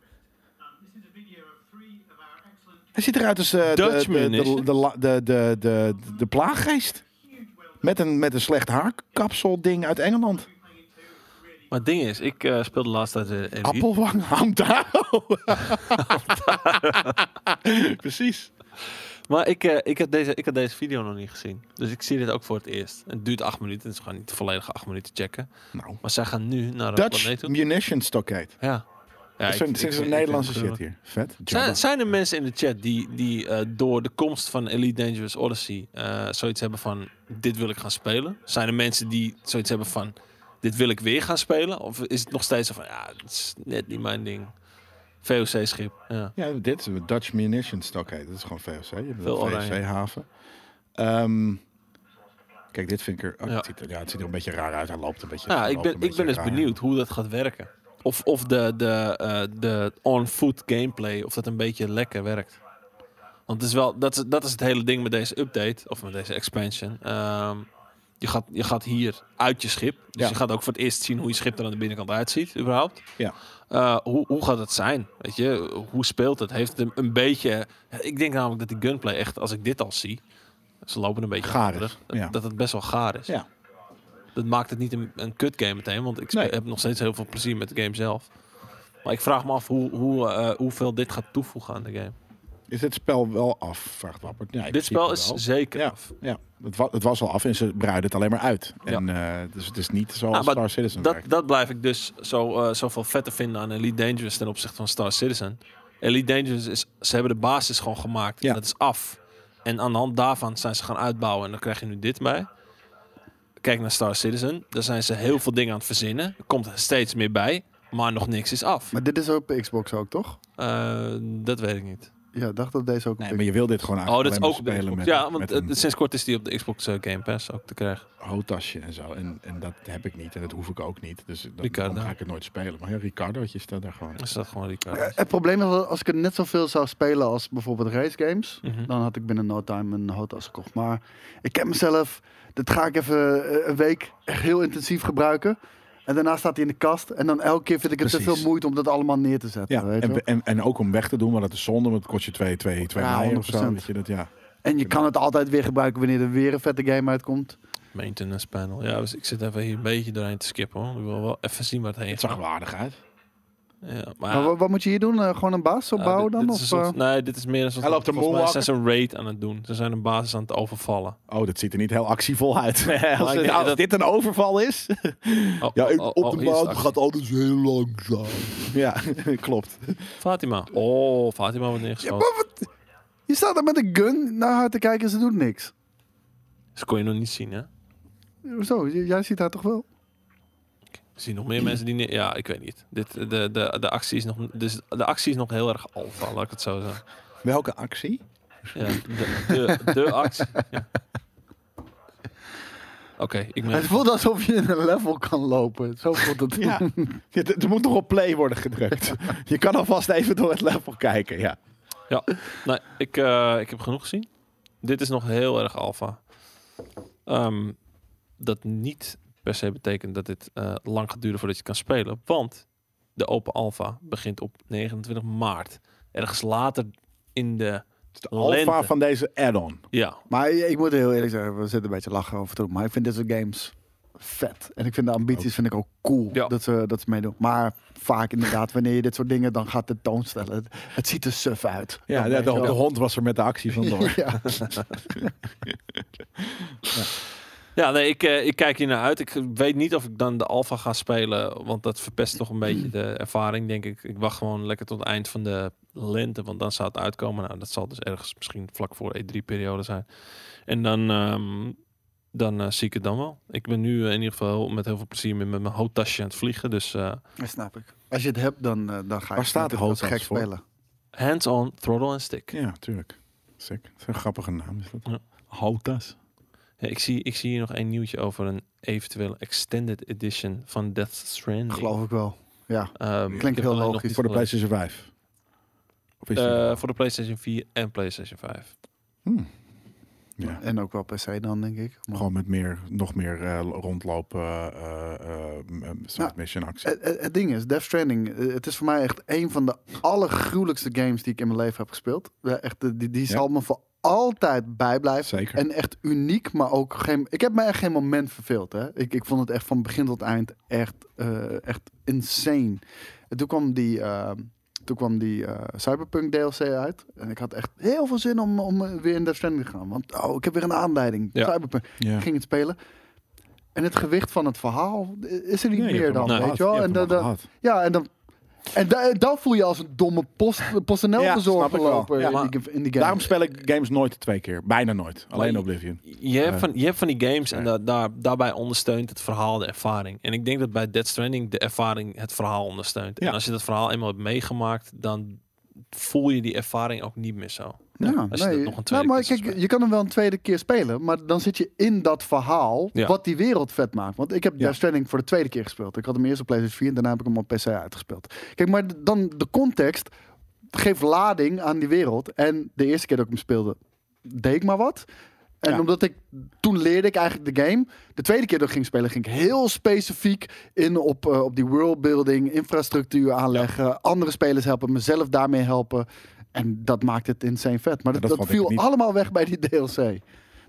[SPEAKER 3] Hij ziet eruit als eh, de-
[SPEAKER 2] Dutchman,
[SPEAKER 3] de,
[SPEAKER 2] is
[SPEAKER 3] de,
[SPEAKER 2] het?
[SPEAKER 3] de, la- de, de, de, de plaaggeest. Met een, met een slecht haarkapsel ding uit Engeland.
[SPEAKER 2] Maar het ding is, ik eh, speelde laatst uit de Elite.
[SPEAKER 3] Appelwang, *laughs* Nou, Hamtaro. Precies.
[SPEAKER 2] Maar ik, eh, ik, had deze, ik had deze video nog niet gezien. Dus ik zie dit ook voor het eerst. Het duurt acht minuten, dus we gaan niet de volledige acht minuten checken.
[SPEAKER 3] Nou,
[SPEAKER 2] Maar zij gaan nu naar een planeet
[SPEAKER 3] Dutch
[SPEAKER 2] toe.
[SPEAKER 3] Munition Stockade.
[SPEAKER 2] Ja. ja
[SPEAKER 3] Dat
[SPEAKER 2] ik-
[SPEAKER 3] zijn-
[SPEAKER 2] ik-
[SPEAKER 3] Dit is
[SPEAKER 2] ik-
[SPEAKER 3] een
[SPEAKER 2] ik-
[SPEAKER 3] Nederlandse
[SPEAKER 2] ik-
[SPEAKER 3] shit hier. Vet. Jabba.
[SPEAKER 2] Zijn, zijn er mensen in de chat die, die eh, door de komst van Elite Dangerous Odyssey eh, zoiets hebben van dit wil ik gaan spelen? Zijn er mensen die zoiets hebben van dit wil ik weer gaan spelen? Of is het nog steeds zo van ja, het is net niet mijn ding. VOC schip. Ja.
[SPEAKER 3] Ja, dit is een Dutch Munition Stockade. Dat is gewoon VOC. Je hebt
[SPEAKER 2] Veel
[SPEAKER 3] een
[SPEAKER 2] oranje.
[SPEAKER 3] VOC-haven. Ehm, kijk, dit vind ik er... oh,
[SPEAKER 2] Ja.
[SPEAKER 3] het ziet er- ja, het ziet er een beetje raar uit. Hij loopt een beetje...
[SPEAKER 2] Nou,
[SPEAKER 3] hij
[SPEAKER 2] ik
[SPEAKER 3] loopt
[SPEAKER 2] ben,
[SPEAKER 3] een
[SPEAKER 2] ik ben
[SPEAKER 3] beetje
[SPEAKER 2] dus
[SPEAKER 3] raar.
[SPEAKER 2] benieuwd hoe dat gaat werken. Of, of de, de, eh, de on-foot gameplay, of dat een beetje lekker werkt. Want het is wel, dat, is, dat is het hele ding met deze update, of met deze expansion. Ehm, je, gaat, je gaat hier uit je schip. Dus
[SPEAKER 3] Ja.
[SPEAKER 2] je gaat ook voor het eerst zien hoe je schip er aan de binnenkant uitziet, überhaupt.
[SPEAKER 3] Ja.
[SPEAKER 2] Eh, hoe, hoe gaat het zijn? Weet je, hoe speelt het? Heeft het een, een beetje... Ik denk namelijk dat die gunplay echt, als ik dit al zie... Ze lopen een beetje
[SPEAKER 3] Gaar
[SPEAKER 2] achterig,
[SPEAKER 3] is, ja.
[SPEAKER 2] Dat het best wel gaar is.
[SPEAKER 3] Ja.
[SPEAKER 2] Dat maakt het niet een, een kut game meteen, want ik spe-
[SPEAKER 3] Nee.
[SPEAKER 2] heb nog steeds heel veel plezier met de game zelf. Maar ik vraag me af hoe, hoe, eh, hoeveel dit gaat toevoegen aan de game.
[SPEAKER 3] Is het spel wel af? Vraagt Wappert. Ja, in
[SPEAKER 2] dit spel is
[SPEAKER 3] principe wel.
[SPEAKER 2] zeker
[SPEAKER 3] Ja.
[SPEAKER 2] af.
[SPEAKER 3] Ja, het, wa- het was al af en ze breiden het alleen maar uit.
[SPEAKER 2] Ja.
[SPEAKER 3] En, eh, dus het is niet zoals
[SPEAKER 2] Nou, maar
[SPEAKER 3] Star Citizen
[SPEAKER 2] Dat,
[SPEAKER 3] werkt.
[SPEAKER 2] dat blijf ik dus zo, eh, zoveel vetter vinden aan Elite Dangerous ten opzichte van Star Citizen. Elite Dangerous is, ze hebben de basis gewoon gemaakt.
[SPEAKER 3] Ja.
[SPEAKER 2] En dat is af. En aan de hand daarvan zijn ze gaan uitbouwen. En dan krijg je nu dit bij. Kijk naar Star Citizen. Daar zijn ze heel veel dingen aan het verzinnen. Er komt steeds meer bij. Maar nog niks is af.
[SPEAKER 1] Maar dit is ook op Xbox ook, toch?
[SPEAKER 2] Eh, dat weet ik niet.
[SPEAKER 1] Ja, ik dacht dat deze ook op
[SPEAKER 3] Nee, maar je wil dit gewoon
[SPEAKER 2] Oh,
[SPEAKER 3] eigenlijk
[SPEAKER 2] dat is ook op de
[SPEAKER 3] alleen maar
[SPEAKER 2] Xbox.
[SPEAKER 3] spelen
[SPEAKER 2] ja,
[SPEAKER 3] met,
[SPEAKER 2] want
[SPEAKER 3] met
[SPEAKER 2] het-
[SPEAKER 3] een
[SPEAKER 2] sinds kort is die op de Xbox eh, Game Pass ook te krijgen.
[SPEAKER 3] hoofdtasje en zo. En, en dat heb ik niet en dat hoef ik ook niet. Dus dan,
[SPEAKER 2] Ricardo.
[SPEAKER 3] dan ga ik het nooit spelen. Maar ja, Ricardootje staat daar gewoon.
[SPEAKER 2] Dus Is dat gewoon die
[SPEAKER 1] Eh,
[SPEAKER 2] kaart?
[SPEAKER 1] Het probleem is dat als ik het net zoveel zou spelen als bijvoorbeeld race games,
[SPEAKER 2] Mhm.
[SPEAKER 3] Nou.
[SPEAKER 1] dan had ik binnen no time een hotas gekocht. Maar ik heb mezelf, dat ga ik even eh, een week echt heel intensief gebruiken. En daarna staat hij in de kast. En dan elke keer vind ik het te
[SPEAKER 3] Precies.
[SPEAKER 1] veel moeite om dat allemaal neer te zetten.
[SPEAKER 3] Ja,
[SPEAKER 1] weet je wel.
[SPEAKER 3] en,
[SPEAKER 1] en,
[SPEAKER 3] en, en ook om weg te doen, want dat is zonde, want het kost je 2, 2, 2
[SPEAKER 1] Ja,
[SPEAKER 3] of zo.
[SPEAKER 1] 100%.
[SPEAKER 3] Weet je, dat, ja.
[SPEAKER 1] je kan het altijd weer gebruiken wanneer er weer een vette game uitkomt.
[SPEAKER 2] Maintenance panel. Ja, dus ik zit even hier een beetje doorheen te skippen hoor. Ik wil wel even zien waar het heen
[SPEAKER 3] Het zag
[SPEAKER 2] gaat.
[SPEAKER 3] er wel aardig uit.
[SPEAKER 2] Ja,
[SPEAKER 1] Maar
[SPEAKER 2] maar
[SPEAKER 1] wa- wat moet je hier doen? Eh, gewoon een baas
[SPEAKER 2] Ja,
[SPEAKER 1] opbouwen
[SPEAKER 2] dit-
[SPEAKER 1] dan?
[SPEAKER 2] dit is
[SPEAKER 1] Of,
[SPEAKER 2] een soort-
[SPEAKER 1] eh,
[SPEAKER 2] nee, dit is meer een soort.
[SPEAKER 3] Hij loopt een
[SPEAKER 2] volgens mij
[SPEAKER 3] molwakker.
[SPEAKER 2] zijn ze een raid aan het doen. Ze zijn een basis aan het overvallen.
[SPEAKER 3] Oh, dat ziet er niet heel actievol *laughs* uit. als
[SPEAKER 2] ik denk
[SPEAKER 3] als
[SPEAKER 2] dat-
[SPEAKER 3] dit een overval *laughs* is.
[SPEAKER 2] Oh,
[SPEAKER 3] Ja,
[SPEAKER 2] oh, oh, oh, hier is de actie.
[SPEAKER 3] alles heel langzaam. *laughs* Ja, klopt.
[SPEAKER 2] Fatima. Oh, Fatima wordt
[SPEAKER 1] ja,
[SPEAKER 2] neergeschoten.
[SPEAKER 1] maar wat- Je staat er met een gun naar haar te kijken en ze doet niks.
[SPEAKER 2] Dat kon je nog niet zien, hè?
[SPEAKER 1] Zo, j- jij ziet haar toch wel?
[SPEAKER 2] Er zien nog meer mensen die. neer- Ja, ik weet niet. Dit, de, de, de, actie is nog, dus de actie is nog heel erg alfa, laat ik het zo zeggen.
[SPEAKER 3] Welke actie?
[SPEAKER 2] Ja, de, de, de actie. Ja. Oké, ik ben.
[SPEAKER 1] Het voelt alsof je in een level kan lopen. Zo voelt
[SPEAKER 2] *laughs*
[SPEAKER 1] het.
[SPEAKER 3] *laughs* Ja, Ja, d- er moet nog op play worden *laughs* gedrukt. Je kan alvast even door het level kijken, ja.
[SPEAKER 2] Nee, ik, eh, ik heb genoeg gezien. Dit is nog heel erg alfa. Ehm, dat niet per se betekent dat dit eh, lang gaat duren voordat je het kan spelen. Want de open alfa begint op 29 maart. Ergens later in de...
[SPEAKER 3] Het is de
[SPEAKER 2] Lente.
[SPEAKER 3] alfa van deze add-on.
[SPEAKER 2] Ja,
[SPEAKER 1] Maar ik moet heel eerlijk zeggen, we zitten een beetje lachen over toe. Maar ik vind dit soort games vet. En ik vind de ambities vind ik ook cool
[SPEAKER 2] Ja.
[SPEAKER 1] dat, ze, dat ze meedoen. Maar vaak inderdaad, wanneer je dit soort dingen dan gaat tentoonstellen. Het, het ziet er suf uit.
[SPEAKER 3] Ja,
[SPEAKER 1] Dan
[SPEAKER 3] de,
[SPEAKER 1] weet
[SPEAKER 3] de,
[SPEAKER 1] je
[SPEAKER 3] de
[SPEAKER 1] wel.
[SPEAKER 3] hond was er met de actie *laughs* vandoor.
[SPEAKER 1] *laughs* Ja.
[SPEAKER 2] ja nee, ik, eh, ik kijk hier naar uit. Ik weet niet of ik dan de alfa ga spelen. Want dat verpest toch een
[SPEAKER 1] Hmm.
[SPEAKER 2] beetje de ervaring, denk ik. Ik wacht gewoon lekker tot het eind van de lente. Want dan zou het uitkomen. Nou, dat zal dus ergens misschien vlak voor E3-periode zijn. En dan, ehm, dan eh, zie ik het dan wel. Ik ben nu eh, in ieder geval met heel veel plezier met met mijn hoofdtasje aan het vliegen. Dus eh,
[SPEAKER 1] Dat snap ik. Als je het hebt, dan, eh, dan ga je
[SPEAKER 3] Waar staat
[SPEAKER 1] het
[SPEAKER 3] Hotas
[SPEAKER 1] gek
[SPEAKER 3] voor?
[SPEAKER 1] spelen.
[SPEAKER 2] hands on, throttle en stick.
[SPEAKER 3] Ja, tuurlijk. Sick. Dat is een grappige naam, is dat?
[SPEAKER 2] Ja.
[SPEAKER 3] Hotas.
[SPEAKER 2] Ja, ik, zie, ik zie hier nog één nieuwtje over een eventuele extended edition van Death Stranding.
[SPEAKER 1] Geloof ik wel. Ja.
[SPEAKER 2] Ehm,
[SPEAKER 1] Klinkt
[SPEAKER 2] ik heb
[SPEAKER 1] heel
[SPEAKER 2] alleen nog
[SPEAKER 1] logisch.
[SPEAKER 2] niet
[SPEAKER 3] Voor de
[SPEAKER 2] gelezen.
[SPEAKER 3] PlayStation 5. Of is die-
[SPEAKER 2] Eh, voor de PlayStation 4 en PlayStation 5.
[SPEAKER 3] Hmm. Ja.
[SPEAKER 1] En ook wel per se dan, denk ik. Maar-
[SPEAKER 3] Gewoon met meer, nog meer eh, rondlopen, eh, eh, eh, m- m- side
[SPEAKER 1] Nou,
[SPEAKER 3] mission actie.
[SPEAKER 1] Het, het- het ding is, Death Stranding, eh, het is voor mij echt een van de allergruwelijkste games die ik in mijn leven heb gespeeld. Ja, Echt, eh, die die
[SPEAKER 3] Ja.
[SPEAKER 1] zal me voor altijd bijblijven.
[SPEAKER 3] Zeker.
[SPEAKER 1] eh, En echt uniek, maar ook geen. Ik heb me echt geen moment verveeld. Hè. Ik, ik vond het echt van begin tot eind echt, eh, echt insane. En toen kwam die, eh, toen kwam die eh, Cyberpunk DLC uit. En ik had echt heel veel zin om, om eh, weer in Death Stranding te gaan. Want oh, ik heb weer een aanleiding.
[SPEAKER 2] Ja.
[SPEAKER 1] Cyberpunk.
[SPEAKER 3] ja.
[SPEAKER 1] Ik ging het spelen. En het gewicht van het verhaal eh, is er niet
[SPEAKER 3] Nee, je
[SPEAKER 1] meer
[SPEAKER 3] hebt hem
[SPEAKER 1] dan,
[SPEAKER 2] al
[SPEAKER 1] weet
[SPEAKER 3] gehad.
[SPEAKER 1] je wel?
[SPEAKER 3] Je
[SPEAKER 1] en
[SPEAKER 3] hebt hem
[SPEAKER 1] dan,
[SPEAKER 3] al
[SPEAKER 1] dan-
[SPEAKER 3] gehad.
[SPEAKER 1] ja, en dan, en da- dan voel je als een domme
[SPEAKER 3] *laughs*
[SPEAKER 1] post, PostNL
[SPEAKER 3] Ja,
[SPEAKER 1] bezorger
[SPEAKER 3] snap ik wel.
[SPEAKER 1] lopen
[SPEAKER 3] Ja,
[SPEAKER 1] in,
[SPEAKER 2] maar
[SPEAKER 1] die, in die game.
[SPEAKER 3] Daarom speel ik games nooit twee keer. Bijna nooit. Alleen
[SPEAKER 2] je-
[SPEAKER 3] Oblivion.
[SPEAKER 2] Je hebt,
[SPEAKER 3] Ja.
[SPEAKER 2] van, je hebt van die games en da-
[SPEAKER 3] Ja.
[SPEAKER 2] daar, daarbij ondersteunt het verhaal de ervaring. En ik denk dat bij Dead Stranding de ervaring het verhaal ondersteunt.
[SPEAKER 3] Ja.
[SPEAKER 2] En als je dat verhaal eenmaal hebt meegemaakt, dan voel je die ervaring ook niet meer zo.
[SPEAKER 1] Ja,
[SPEAKER 2] als je dat nog een tweede
[SPEAKER 1] maar
[SPEAKER 2] keer
[SPEAKER 1] kijk,
[SPEAKER 2] zou spelen.
[SPEAKER 1] je kan hem wel een tweede keer spelen, maar dan zit je in dat verhaal
[SPEAKER 2] Ja.
[SPEAKER 1] wat die wereld vet maakt. Want ik heb
[SPEAKER 3] Ja.
[SPEAKER 1] Death Stranding voor de tweede keer gespeeld. Ik had hem eerst op PlayStation 4 en daarna heb ik hem op PC uitgespeeld. Kijk, maar d- dan de context geeft lading aan die wereld. En de eerste keer dat ik hem speelde, deed ik maar wat. En
[SPEAKER 3] Ja.
[SPEAKER 1] omdat ik toen leerde ik eigenlijk de game. De tweede keer dat ik ging spelen, ging ik heel specifiek in op, eh, op die worldbuilding, infrastructuur aanleggen, andere spelers helpen, mezelf daarmee helpen. En dat maakt het insane vet. Maar
[SPEAKER 3] Ja,
[SPEAKER 1] dat,
[SPEAKER 3] dat
[SPEAKER 1] dat
[SPEAKER 3] vond ik
[SPEAKER 1] viel
[SPEAKER 3] niet.
[SPEAKER 1] allemaal weg bij die DLC.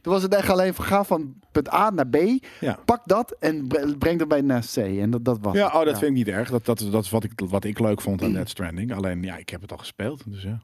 [SPEAKER 1] Toen was het echt alleen van ga van punt A naar B.
[SPEAKER 3] Ja.
[SPEAKER 1] Pak dat en bre- breng dat bij naar C. En dat, dat was
[SPEAKER 3] Ja,
[SPEAKER 1] het.
[SPEAKER 3] oh, dat vind ik niet erg. Dat, dat, dat is wat ik, wat ik leuk vond aan Dead Stranding. Alleen, ja, ik heb het al gespeeld. Dus ja.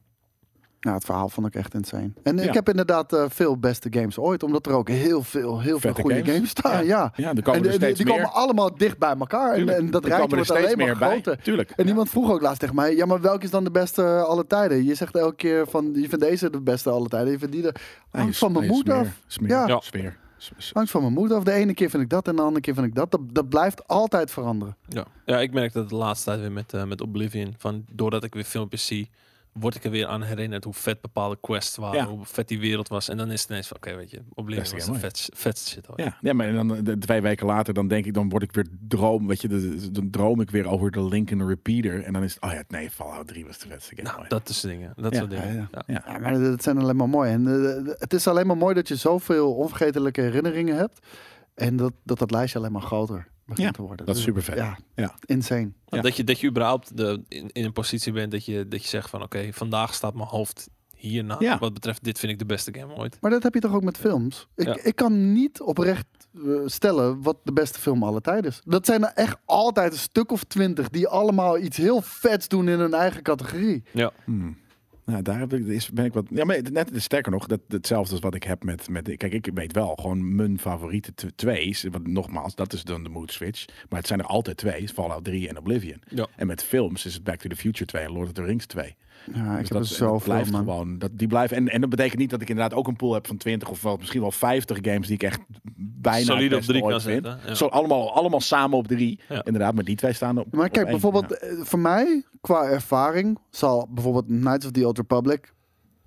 [SPEAKER 1] Nou, het verhaal vond ik echt insane. En
[SPEAKER 3] Ja.
[SPEAKER 1] ik heb inderdaad eh, veel beste games ooit, omdat er ook heel veel, heel veel
[SPEAKER 3] Vette
[SPEAKER 1] goede games,
[SPEAKER 3] games.
[SPEAKER 1] staan. Ja.
[SPEAKER 3] Ja, er komen
[SPEAKER 1] en
[SPEAKER 3] er
[SPEAKER 1] die- die,
[SPEAKER 3] steeds
[SPEAKER 1] die
[SPEAKER 3] meer.
[SPEAKER 1] komen allemaal dicht bij elkaar. En,
[SPEAKER 3] Tuurlijk.
[SPEAKER 1] en dat
[SPEAKER 3] Er komen
[SPEAKER 1] rijtje
[SPEAKER 3] er
[SPEAKER 1] wordt
[SPEAKER 3] steeds
[SPEAKER 1] alleen maar
[SPEAKER 3] meer bij.
[SPEAKER 1] groter.
[SPEAKER 3] Tuurlijk.
[SPEAKER 1] En iemand vroeg ook laatst tegen mij, ja, maar welke is dan de beste eh, alle tijden? Je zegt elke keer van, je vindt deze de beste alle tijden, je vindt die de...
[SPEAKER 3] Nee,
[SPEAKER 1] Hangt van mijn
[SPEAKER 3] nee,
[SPEAKER 1] moed
[SPEAKER 3] smeer,
[SPEAKER 1] af.
[SPEAKER 3] Smeer,
[SPEAKER 1] Ja.
[SPEAKER 2] Ja.
[SPEAKER 3] smeer. S- s-
[SPEAKER 1] Hangt van mijn moed af. De ene keer vind ik dat en de andere keer vind ik dat. Dat, dat blijft altijd veranderen.
[SPEAKER 2] Ja. ja, ik merk dat de laatste tijd weer met, eh, met Oblivion. Van, doordat ik weer filmpjes zie, word ik er weer aan herinnerd hoe vet bepaalde quests waren.
[SPEAKER 3] Ja.
[SPEAKER 2] Hoe vet die wereld was. En dan is het ineens van, oké, weet je,
[SPEAKER 3] Best
[SPEAKER 2] Oblivion was
[SPEAKER 3] heel
[SPEAKER 2] de vetste, vetste shit ooit.
[SPEAKER 3] Ja, ja, maar dan eh, de- twee weken later, dan denk ik, dan word ik weer droom, weet je, de- de- dan droom ik weer over de Lincoln Repeater. En dan is het, oh ja, nee, Fallout 3 was de beste game.
[SPEAKER 2] Nou,
[SPEAKER 3] ooit.
[SPEAKER 2] dat is dingen. Dat
[SPEAKER 3] Ja,
[SPEAKER 2] soort dingen.
[SPEAKER 1] ja,
[SPEAKER 2] Ja.
[SPEAKER 1] Ja, maar dat zijn alleen maar mooi. En eh, d- het is alleen maar mooi dat je zoveel onvergetelijke herinneringen hebt. En dat dat, dat lijstje alleen maar groter begint
[SPEAKER 3] Ja,
[SPEAKER 1] te worden.
[SPEAKER 3] dat
[SPEAKER 1] Dus,
[SPEAKER 3] is supervet.
[SPEAKER 1] Ja,
[SPEAKER 3] Ja.
[SPEAKER 1] insane.
[SPEAKER 2] Want
[SPEAKER 3] Ja.
[SPEAKER 2] Dat, je, dat je überhaupt de, in, in een positie bent dat je, dat je zegt van oké, vandaag staat mijn hoofd hierna.
[SPEAKER 3] Ja.
[SPEAKER 2] Wat betreft dit vind ik de beste game ooit.
[SPEAKER 1] Maar dat heb je toch ook met films? Ik,
[SPEAKER 2] Ja.
[SPEAKER 1] ik kan niet oprecht eh, stellen wat de beste film alle tijden is. Dat zijn er echt altijd een stuk of twintig die allemaal iets heel vets doen in hun eigen categorie.
[SPEAKER 2] Ja,
[SPEAKER 3] Hmm. Nou, daar heb ik, is, ben ik wat. Ja, maar net sterker nog, dat, hetzelfde als wat ik heb met, met. Kijk, ik weet wel gewoon mijn favoriete tw- twee's. Want nogmaals, dat is dan de mood switch. Maar het zijn er altijd twee: is Fallout 3 en Oblivion.
[SPEAKER 2] Ja.
[SPEAKER 3] En met films is het Back to the Future 2 en Lord of the Rings 2.
[SPEAKER 1] Ja, ik
[SPEAKER 3] Dus
[SPEAKER 1] heb er
[SPEAKER 3] dat, dat
[SPEAKER 1] zoveel,
[SPEAKER 3] blijft
[SPEAKER 1] man.
[SPEAKER 3] gewoon. Dat, die blijven, en, en dat betekent niet dat ik inderdaad ook een pool heb van 20 of wel, misschien wel 50 games die ik echt bijna.
[SPEAKER 2] Solide
[SPEAKER 3] het
[SPEAKER 2] op
[SPEAKER 3] beste
[SPEAKER 2] drie
[SPEAKER 3] ooit
[SPEAKER 2] kan
[SPEAKER 3] vind.
[SPEAKER 2] zetten, ja.
[SPEAKER 3] Zo, allemaal, allemaal samen op drie.
[SPEAKER 2] Ja.
[SPEAKER 3] Inderdaad, maar die twee staan op.
[SPEAKER 1] Maar
[SPEAKER 3] op
[SPEAKER 1] kijk,
[SPEAKER 3] één.
[SPEAKER 1] bijvoorbeeld
[SPEAKER 3] Ja.
[SPEAKER 1] eh, voor mij, qua ervaring, zal bijvoorbeeld Knights of the Old Republic,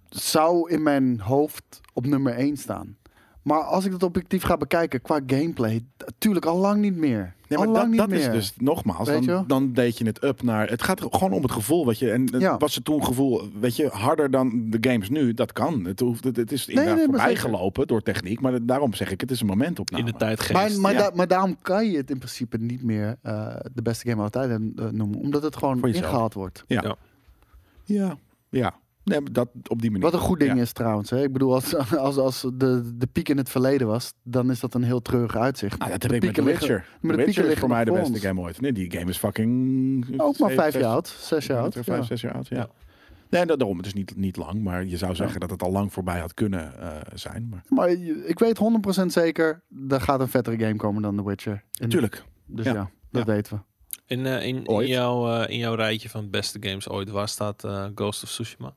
[SPEAKER 1] zou in mijn hoofd op nummer 1 staan. Maar als ik dat objectief ga bekijken, qua gameplay, natuurlijk al lang niet meer.
[SPEAKER 3] Nee, maar
[SPEAKER 1] Allang
[SPEAKER 3] dat,
[SPEAKER 1] niet
[SPEAKER 3] dat is
[SPEAKER 1] meer.
[SPEAKER 3] dus nogmaals,
[SPEAKER 1] Weet je wel?
[SPEAKER 3] dan, dan deed je het up naar. Het gaat er gewoon om het gevoel. Wat je, en het
[SPEAKER 1] Ja.
[SPEAKER 3] was het toen gevoel, weet je, harder dan de games nu? Dat kan. Het, hoeft, het, het is inderdaad
[SPEAKER 1] nee, maar
[SPEAKER 3] voorbij
[SPEAKER 1] zeker.
[SPEAKER 3] gelopen door techniek. Maar daarom zeg ik, het is een momentopname.
[SPEAKER 2] in de tijd geest.
[SPEAKER 1] Maar, maar,
[SPEAKER 3] ja.
[SPEAKER 1] da- maar daarom kan je het in principe niet meer eh, de beste game aller tijden eh, noemen. Omdat het gewoon
[SPEAKER 3] Voor jezelf.
[SPEAKER 1] ingehaald wordt.
[SPEAKER 3] Ja.
[SPEAKER 2] Ja.
[SPEAKER 3] Ja. ja. Nee, maar dat op die manier.
[SPEAKER 1] Wat een goed ding
[SPEAKER 3] Ja.
[SPEAKER 1] is trouwens. Hè? Ik bedoel, als, *laughs* als, als de, de piek in het verleden was, dan is dat een heel treurig uitzicht.
[SPEAKER 3] Ah, dat
[SPEAKER 1] De
[SPEAKER 3] heb ik met The
[SPEAKER 1] pieken liggen-
[SPEAKER 3] Witcher.
[SPEAKER 1] maar de
[SPEAKER 3] The
[SPEAKER 1] pieken
[SPEAKER 3] Witcher is
[SPEAKER 1] liggen
[SPEAKER 3] voor mij de
[SPEAKER 1] nog voor ons.
[SPEAKER 3] beste game ooit. Nee, die game is fucking...
[SPEAKER 1] Ook maar
[SPEAKER 3] zeven,
[SPEAKER 1] vijf
[SPEAKER 3] zes-
[SPEAKER 1] jaar oud, zes jaar oud.
[SPEAKER 3] Vijf,
[SPEAKER 1] ja.
[SPEAKER 3] zes jaar oud, ja.
[SPEAKER 2] Ja.
[SPEAKER 3] Nee, da- daarom. Het is niet, niet lang, maar je zou zeggen dat het al lang voorbij had kunnen eh, zijn. Maar...
[SPEAKER 1] Maar je- ik weet 100% zeker, er gaat een vettere game komen dan The Witcher. En-
[SPEAKER 3] Tuurlijk.
[SPEAKER 1] Dus ja,
[SPEAKER 3] ja.
[SPEAKER 1] dat
[SPEAKER 3] Ja.
[SPEAKER 1] weten we.
[SPEAKER 2] In, eh, in, in,
[SPEAKER 3] Ooit.
[SPEAKER 2] jouw, eh, in jouw rijtje van beste games ooit, waar staat eh, Ghost of Tsushima?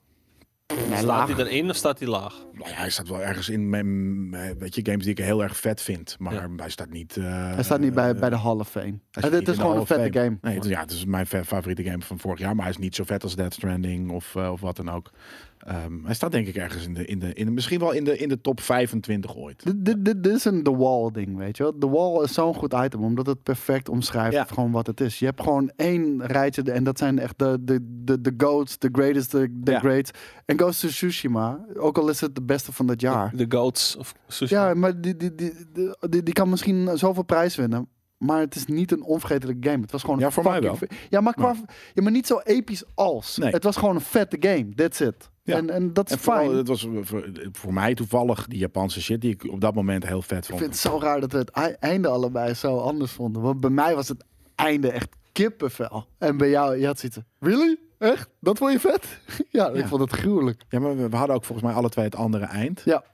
[SPEAKER 1] laag.
[SPEAKER 2] staat hij erin of staat hij laag?
[SPEAKER 3] Nou ja, hij staat wel ergens in mijn, mijn- weet je, games die ik heel erg vet vind. Maar
[SPEAKER 2] Ja.
[SPEAKER 3] hij staat niet... eh,
[SPEAKER 1] Hij staat niet bij, bij de Hall of Fame. En dit is gewoon een vette game.
[SPEAKER 3] Nee, het, is- ja, het is mijn fa- favoriete game van vorig jaar. Maar hij is niet zo vet als Death Stranding of, eh, of wat dan ook. Ehm, hij staat denk ik ergens in de, in de, in de misschien wel in de, in de top 25 ooit.
[SPEAKER 1] Dit, dit, dit, dit is een The Wall ding, weet je wel. The Wall is zo'n goed item, omdat het perfect omschrijft
[SPEAKER 3] Ja.
[SPEAKER 1] gewoon wat het is. Je hebt gewoon één rijtje en dat zijn echt de, de, de, de goats, de greatest, de, de
[SPEAKER 3] Ja.
[SPEAKER 1] greats. En Ghost of Tsushima, ook al is het de beste van dit jaar.
[SPEAKER 2] De Goats of Tsushima?
[SPEAKER 1] Ja, maar die, die, die, die, die, die kan misschien zoveel prijs winnen. Maar het is niet een onvergetelijke game. Het was gewoon
[SPEAKER 3] Ja,
[SPEAKER 1] een
[SPEAKER 3] voor mij
[SPEAKER 1] fucking
[SPEAKER 3] wel.
[SPEAKER 1] ve- Ja maar, qua, ja, maar niet zo episch als.
[SPEAKER 3] Nee.
[SPEAKER 1] Het was gewoon een vette game. That's it.
[SPEAKER 3] Ja.
[SPEAKER 1] En, en dat is
[SPEAKER 3] En vooral,
[SPEAKER 1] fijn.
[SPEAKER 3] het was eh, voor, voor mij toevallig die Japanse shit die ik op dat moment heel vet
[SPEAKER 1] Ik
[SPEAKER 3] vond.
[SPEAKER 1] vind het zo raar dat we het ei- einde allebei zo anders vonden. Want bij mij was het einde echt kippenvel. En bij jou, je had zoiets van, Really? Echt? Dat vond je vet? *laughs* ja, ik
[SPEAKER 3] Ja.
[SPEAKER 1] vond het gruwelijk.
[SPEAKER 3] Ja, maar we, we hadden ook volgens mij alle twee het andere eind.
[SPEAKER 1] Ja.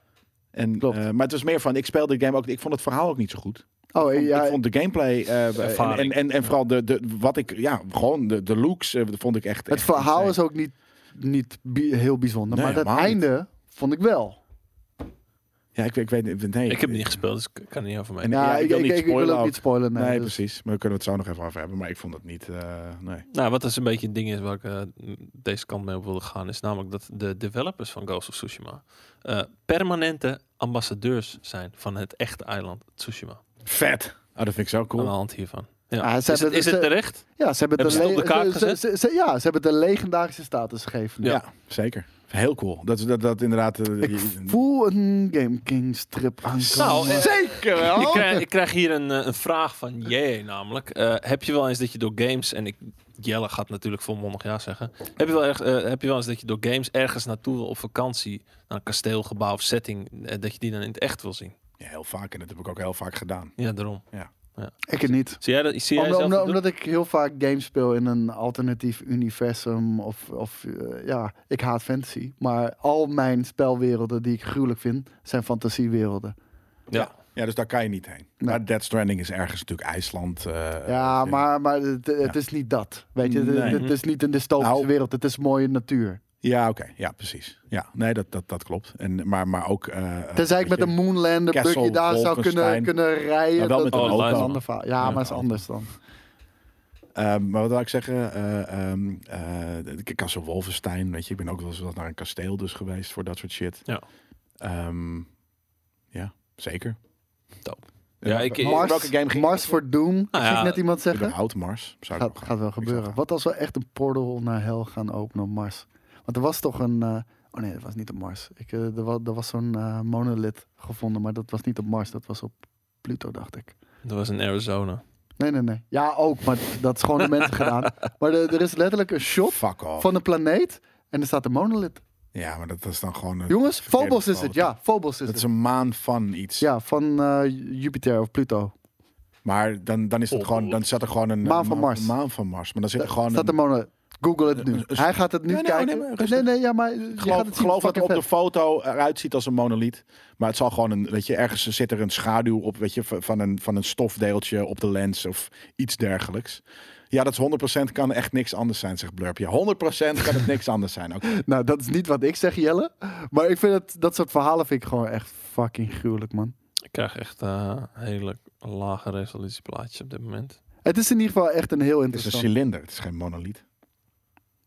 [SPEAKER 3] En,
[SPEAKER 1] Klopt.
[SPEAKER 3] eh, maar het was meer van, ik speelde de game ook, ik vond het verhaal ook niet zo goed.
[SPEAKER 1] Oh,
[SPEAKER 3] vond-
[SPEAKER 1] ja,
[SPEAKER 3] ik vond de gameplay eh, en, en,
[SPEAKER 2] ervaring.
[SPEAKER 3] en, en vooral de, de, wat ik, ja, gewoon de, de looks eh, vond ik echt.
[SPEAKER 1] het
[SPEAKER 3] echt
[SPEAKER 1] verhaal
[SPEAKER 3] insane.
[SPEAKER 1] is ook niet, niet bi- heel bijzonder.
[SPEAKER 3] Nee,
[SPEAKER 1] maar dat
[SPEAKER 3] helemaal niet.
[SPEAKER 1] einde vond ik wel.
[SPEAKER 3] Ja, ik, ik weet niet. Nee,
[SPEAKER 2] Ik heb het niet gespeeld, dus ik kan er niet over mee.
[SPEAKER 3] En-
[SPEAKER 1] Ja,
[SPEAKER 3] Ja, ik
[SPEAKER 1] ik,
[SPEAKER 3] wil
[SPEAKER 1] ik,
[SPEAKER 3] niet
[SPEAKER 1] ik wil
[SPEAKER 3] spoilen
[SPEAKER 1] ook niet
[SPEAKER 3] ook.
[SPEAKER 1] spoilen.
[SPEAKER 3] Nee,
[SPEAKER 1] Nee, dus-
[SPEAKER 3] precies. Maar we kunnen het zo nog even over hebben. Maar ik vond het niet. eh, nee.
[SPEAKER 2] Nou, wat dus een beetje het ding is waar ik eh, deze kant mee op wilde gaan, is namelijk dat de developers van Ghost of Tsushima eh, permanente ambassadeurs zijn van het echte eiland Tsushima.
[SPEAKER 3] Vet. Oh, dat vind ik zo
[SPEAKER 2] Aan de
[SPEAKER 3] cool.
[SPEAKER 2] hand hiervan. Ja.
[SPEAKER 1] Ah, ze
[SPEAKER 2] is,
[SPEAKER 1] hebben
[SPEAKER 2] het, is
[SPEAKER 1] dus,
[SPEAKER 2] het
[SPEAKER 1] eh,
[SPEAKER 2] terecht?
[SPEAKER 1] Ja, ze hebben,
[SPEAKER 2] Hebben ze
[SPEAKER 1] de
[SPEAKER 2] het op de kaart
[SPEAKER 1] ze- ze- ze- ze- ja, ze hebben de legendarische status gegeven.
[SPEAKER 3] Ja.
[SPEAKER 2] Ja.
[SPEAKER 3] zeker. Heel cool. Dat, dat, dat inderdaad. eh,
[SPEAKER 1] Ik
[SPEAKER 3] je-
[SPEAKER 1] voel een Game King strip aan.
[SPEAKER 2] Nou, eh,
[SPEAKER 3] zeker wel.
[SPEAKER 2] Ik E krijg, ik krijg hier een, eh, een vraag van J namelijk. Eh, heb je wel eens dat je door games, en ik Jelle gaat natuurlijk volmondig ja zeggen. Heb je wel, erg, eh, heb je wel eens dat je door games ergens naartoe wil op vakantie, naar een kasteelgebouw of setting, eh, dat je die dan in het echt wil zien?
[SPEAKER 3] Ja, heel vaak. En dat heb ik ook heel vaak gedaan.
[SPEAKER 2] Ja, daarom.
[SPEAKER 1] Ik het niet.
[SPEAKER 2] Zie jij dat? Zie jij
[SPEAKER 1] Omdat,
[SPEAKER 2] zelf dat
[SPEAKER 1] omdat,
[SPEAKER 2] doen?
[SPEAKER 1] omdat ik heel vaak games speel in een alternatief universum. Of, of eh, ja, ik haat fantasy. Maar al mijn spelwerelden die ik gruwelijk vind, zijn fantasiewerelden.
[SPEAKER 2] Ja.
[SPEAKER 3] Ja, dus daar kan je niet heen. Maar Dead Stranding is ergens natuurlijk IJsland. eh,
[SPEAKER 1] Ja,
[SPEAKER 3] eh,
[SPEAKER 1] maar, maar het, het is niet dat. Weet je, het-
[SPEAKER 3] Nee.
[SPEAKER 1] het, is niet een dystopische
[SPEAKER 3] Nou.
[SPEAKER 1] wereld. Het is mooie natuur.
[SPEAKER 3] Ja, oké. Ja, precies. Ja, nee, dat, dat, dat klopt. En, maar, maar ook... eh,
[SPEAKER 1] Tenzij ik
[SPEAKER 3] weet
[SPEAKER 1] met
[SPEAKER 3] je,
[SPEAKER 1] een Moonlander
[SPEAKER 3] Kessel,
[SPEAKER 1] buggy daar zou kunnen,
[SPEAKER 3] Wolkenstein.
[SPEAKER 1] kunnen rijden.
[SPEAKER 3] Maar wel
[SPEAKER 1] dat-
[SPEAKER 3] met
[SPEAKER 1] dat
[SPEAKER 2] een
[SPEAKER 1] is
[SPEAKER 2] auto.
[SPEAKER 1] een ander verhaal. Ja,
[SPEAKER 3] Ja,
[SPEAKER 1] maar het is
[SPEAKER 3] met een
[SPEAKER 1] anders dan.
[SPEAKER 3] Eh, maar wat wil ik zeggen? eh ehm eh, de Castle Wolfenstein, weet je. Ik ben ook wel eens wat naar een kasteel dus geweest voor dat soort shit.
[SPEAKER 2] Ja.
[SPEAKER 3] Ehm, ja, zeker.
[SPEAKER 2] Dope.
[SPEAKER 3] En
[SPEAKER 2] Ja,
[SPEAKER 3] wel-
[SPEAKER 2] ik-
[SPEAKER 3] wel-
[SPEAKER 2] Mars-
[SPEAKER 3] welke game ging
[SPEAKER 1] Mars voor Doom. Ik
[SPEAKER 2] Nou
[SPEAKER 1] zie
[SPEAKER 2] ja,
[SPEAKER 1] net iemand zeggen.
[SPEAKER 3] Überhaupt Mars. Zou ik
[SPEAKER 1] Gaat,
[SPEAKER 3] wel gaan.
[SPEAKER 1] gaat wel gebeuren.
[SPEAKER 3] gaan.
[SPEAKER 1] Wat als we echt een portal naar hel gaan openen op Mars? Want er was toch een... eh, oh nee, dat was niet op Mars. Ik, eh, er, was, er was zo'n eh monolith gevonden, maar dat was niet op Mars. Dat was op Pluto, dacht ik.
[SPEAKER 2] Dat was in Arizona.
[SPEAKER 1] Nee, nee, nee. Ja, ook, maar dat is gewoon de
[SPEAKER 3] *laughs*
[SPEAKER 1] mensen gedaan. Maar de- er is letterlijk een shot
[SPEAKER 3] Fuck off.
[SPEAKER 1] van een planeet en er staat een monolith.
[SPEAKER 3] Ja, maar dat, dat is dan gewoon... Een,
[SPEAKER 1] Jongens,
[SPEAKER 3] verkeerde
[SPEAKER 1] Phobos is het.
[SPEAKER 3] foto.
[SPEAKER 1] Ja, Phobos is
[SPEAKER 3] dat is
[SPEAKER 1] het.
[SPEAKER 3] een maan van iets.
[SPEAKER 1] Ja, van eh, Jupiter of Pluto.
[SPEAKER 3] Maar dan, dan is het
[SPEAKER 2] Oh.
[SPEAKER 3] gewoon... Dan zat er gewoon een...
[SPEAKER 1] Maan
[SPEAKER 3] een
[SPEAKER 1] van Mars.
[SPEAKER 3] Een maan van Mars. Maar dan zit
[SPEAKER 1] Daar
[SPEAKER 3] er gewoon
[SPEAKER 1] staat
[SPEAKER 3] een...
[SPEAKER 1] een monolith. Google het nu.
[SPEAKER 3] een- een-
[SPEAKER 1] Hij gaat het nu
[SPEAKER 3] Ja, nee,
[SPEAKER 1] kijken.
[SPEAKER 3] nee,
[SPEAKER 1] Nee
[SPEAKER 3] maar
[SPEAKER 1] nee,
[SPEAKER 3] rustig.
[SPEAKER 1] ja, maar je gaat
[SPEAKER 3] geloof,
[SPEAKER 1] het zien.
[SPEAKER 3] geloof dat het op
[SPEAKER 1] Fucking
[SPEAKER 3] de foto eruit ziet als een monoliet. Maar het zal gewoon een, weet je, ergens zit er een schaduw op, weet je, van een, van een stofdeeltje op de lens of iets dergelijks. Ja, dat is 100% kan echt niks anders zijn, zegt Blurp. Ja, 100% kan het niks anders zijn. Oké.
[SPEAKER 1] Nou, dat is niet wat ik zeg, Jelle. Maar ik vind het, dat soort verhalen vind ik gewoon echt fucking gruwelijk, man.
[SPEAKER 2] Ik krijg echt eh, hele lage resolutie plaatjes op dit moment.
[SPEAKER 1] Het is in ieder geval echt een heel
[SPEAKER 3] Het is een
[SPEAKER 1] interessant.
[SPEAKER 3] cilinder, het is geen monoliet.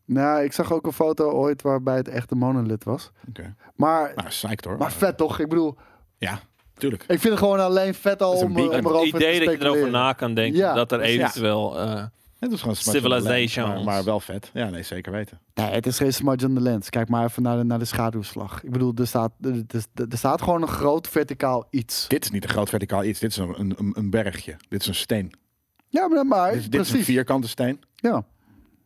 [SPEAKER 1] Nou, ik zag ook een foto ooit waarbij het echt een monolith was.
[SPEAKER 3] Oké.
[SPEAKER 1] Maar,
[SPEAKER 3] Nou, psyched hoor.
[SPEAKER 1] maar vet toch? Ik bedoel,
[SPEAKER 3] Ja, tuurlijk.
[SPEAKER 1] ik vind het gewoon alleen vet al
[SPEAKER 3] Het is een
[SPEAKER 1] om, eh, om
[SPEAKER 3] beacon.
[SPEAKER 1] erover
[SPEAKER 2] Het
[SPEAKER 1] te
[SPEAKER 2] idee dat je erover
[SPEAKER 1] speculeren.
[SPEAKER 2] na kan denken,
[SPEAKER 1] Ja.
[SPEAKER 2] dat er
[SPEAKER 3] Dus ja.
[SPEAKER 2] eventueel... eh,
[SPEAKER 3] Het is gewoon smash on the lens,
[SPEAKER 2] Civilizations.
[SPEAKER 3] Maar, maar wel vet. Ja, nee, zeker weten.
[SPEAKER 1] Nee, het is geen smudge on the lens. Kijk maar even naar de, naar de schaduwslag. Ik bedoel, er staat, er, er- er staat gewoon een groot verticaal iets.
[SPEAKER 3] Dit is niet een groot verticaal iets. Dit is een, een, een- een bergje. Dit is een steen.
[SPEAKER 1] Ja, maar, maar
[SPEAKER 3] Dus Dit, is- dit is een
[SPEAKER 1] precies.
[SPEAKER 3] vierkante steen.
[SPEAKER 1] ja.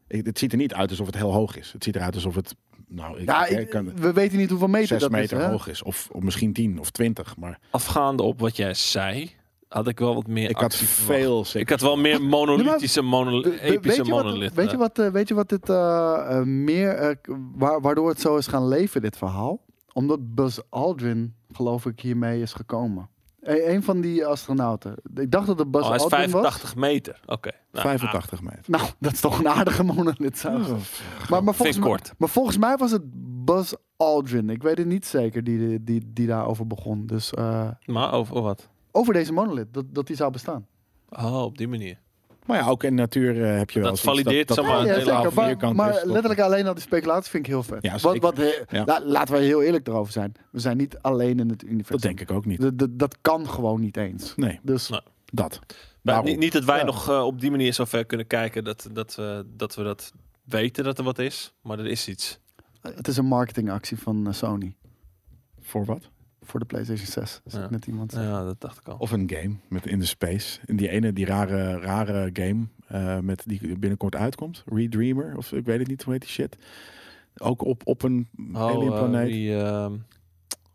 [SPEAKER 3] Ik- het ziet er niet uit alsof het heel hoog is. Het ziet eruit alsof het. Nou, ik,
[SPEAKER 1] Ja,
[SPEAKER 3] ik
[SPEAKER 1] ik-
[SPEAKER 3] kan,
[SPEAKER 1] we weten niet hoeveel meter
[SPEAKER 3] zes
[SPEAKER 1] dat
[SPEAKER 3] meter
[SPEAKER 1] is. hè?
[SPEAKER 3] hoog is. Of, of misschien 10 of 20. Maar
[SPEAKER 2] afgaande op wat jij zei, had ik wel wat meer.
[SPEAKER 3] ik had
[SPEAKER 2] actie verwacht.
[SPEAKER 3] veel
[SPEAKER 2] Ik
[SPEAKER 3] zeker.
[SPEAKER 2] had wel meer monolithische, mono-
[SPEAKER 1] We- we-
[SPEAKER 2] epische
[SPEAKER 1] weet je Wat,
[SPEAKER 2] monolithen.
[SPEAKER 1] weet, je wat, eh, weet je wat dit eh, eh, meer, eh, k- wa- waardoor het zo is gaan leven, dit verhaal? Omdat Buzz Aldrin, geloof ik, hiermee is gekomen. E- een van die astronauten. Ik dacht dat het Buzz
[SPEAKER 2] Oh, hij is
[SPEAKER 1] Aldrin
[SPEAKER 2] 85 meter. Oké.
[SPEAKER 3] Ah,
[SPEAKER 2] Nou,
[SPEAKER 3] 85 meter.
[SPEAKER 1] was. Nou, *laughs* dat is toch een aardige monolith. zou ik zeggen. Maar, maar,
[SPEAKER 2] ah, vind
[SPEAKER 1] volgens
[SPEAKER 2] ik
[SPEAKER 1] mij,
[SPEAKER 2] kort.
[SPEAKER 1] maar volgens mij was het Buzz Aldrin. Ik weet het niet zeker die, die, die daarover begon. Dus eh,
[SPEAKER 2] Maar over over wat?
[SPEAKER 1] over deze monolith, dat, dat die zou bestaan.
[SPEAKER 2] Oh, op die manier.
[SPEAKER 3] Maar ja, ook in natuur eh, heb je wel
[SPEAKER 2] Dat
[SPEAKER 3] eens iets
[SPEAKER 2] valideert zomaar
[SPEAKER 1] Ja,
[SPEAKER 2] een
[SPEAKER 1] ja,
[SPEAKER 2] hele
[SPEAKER 1] zeker.
[SPEAKER 2] halve
[SPEAKER 1] Maar,
[SPEAKER 3] vierkant
[SPEAKER 1] maar
[SPEAKER 3] is toch-
[SPEAKER 1] letterlijk alleen al die speculatie vind ik heel vet.
[SPEAKER 3] Ja,
[SPEAKER 1] wat,
[SPEAKER 3] zeker.
[SPEAKER 1] wat,
[SPEAKER 3] Ja.
[SPEAKER 1] la- laten we heel eerlijk erover zijn. We zijn niet alleen in het universum.
[SPEAKER 3] Dat denk ik ook niet.
[SPEAKER 1] D- d- dat kan gewoon niet eens.
[SPEAKER 3] Nee,
[SPEAKER 1] Dus
[SPEAKER 2] Nee.
[SPEAKER 3] dat.
[SPEAKER 2] Maar
[SPEAKER 3] Daarom.
[SPEAKER 2] niet, niet dat wij
[SPEAKER 1] Ja.
[SPEAKER 2] nog eh, op die manier zo ver kunnen kijken dat, dat, we, dat we dat weten dat er wat is. Maar er is iets.
[SPEAKER 1] het is een marketingactie van eh, Sony
[SPEAKER 3] Voor wat?
[SPEAKER 1] voor de PlayStation 6. Is
[SPEAKER 2] Ja.
[SPEAKER 1] net iemand.
[SPEAKER 2] Ja, dat dacht ik al.
[SPEAKER 3] Of een game met in de space. In die ene, die rare, rare game eh, met die binnenkort uitkomt. Redreamer of ik weet het niet, hoe heet die shit. Ook op, op een
[SPEAKER 2] Oh,
[SPEAKER 3] alien
[SPEAKER 2] eh,
[SPEAKER 3] planeet.
[SPEAKER 2] die, ehm,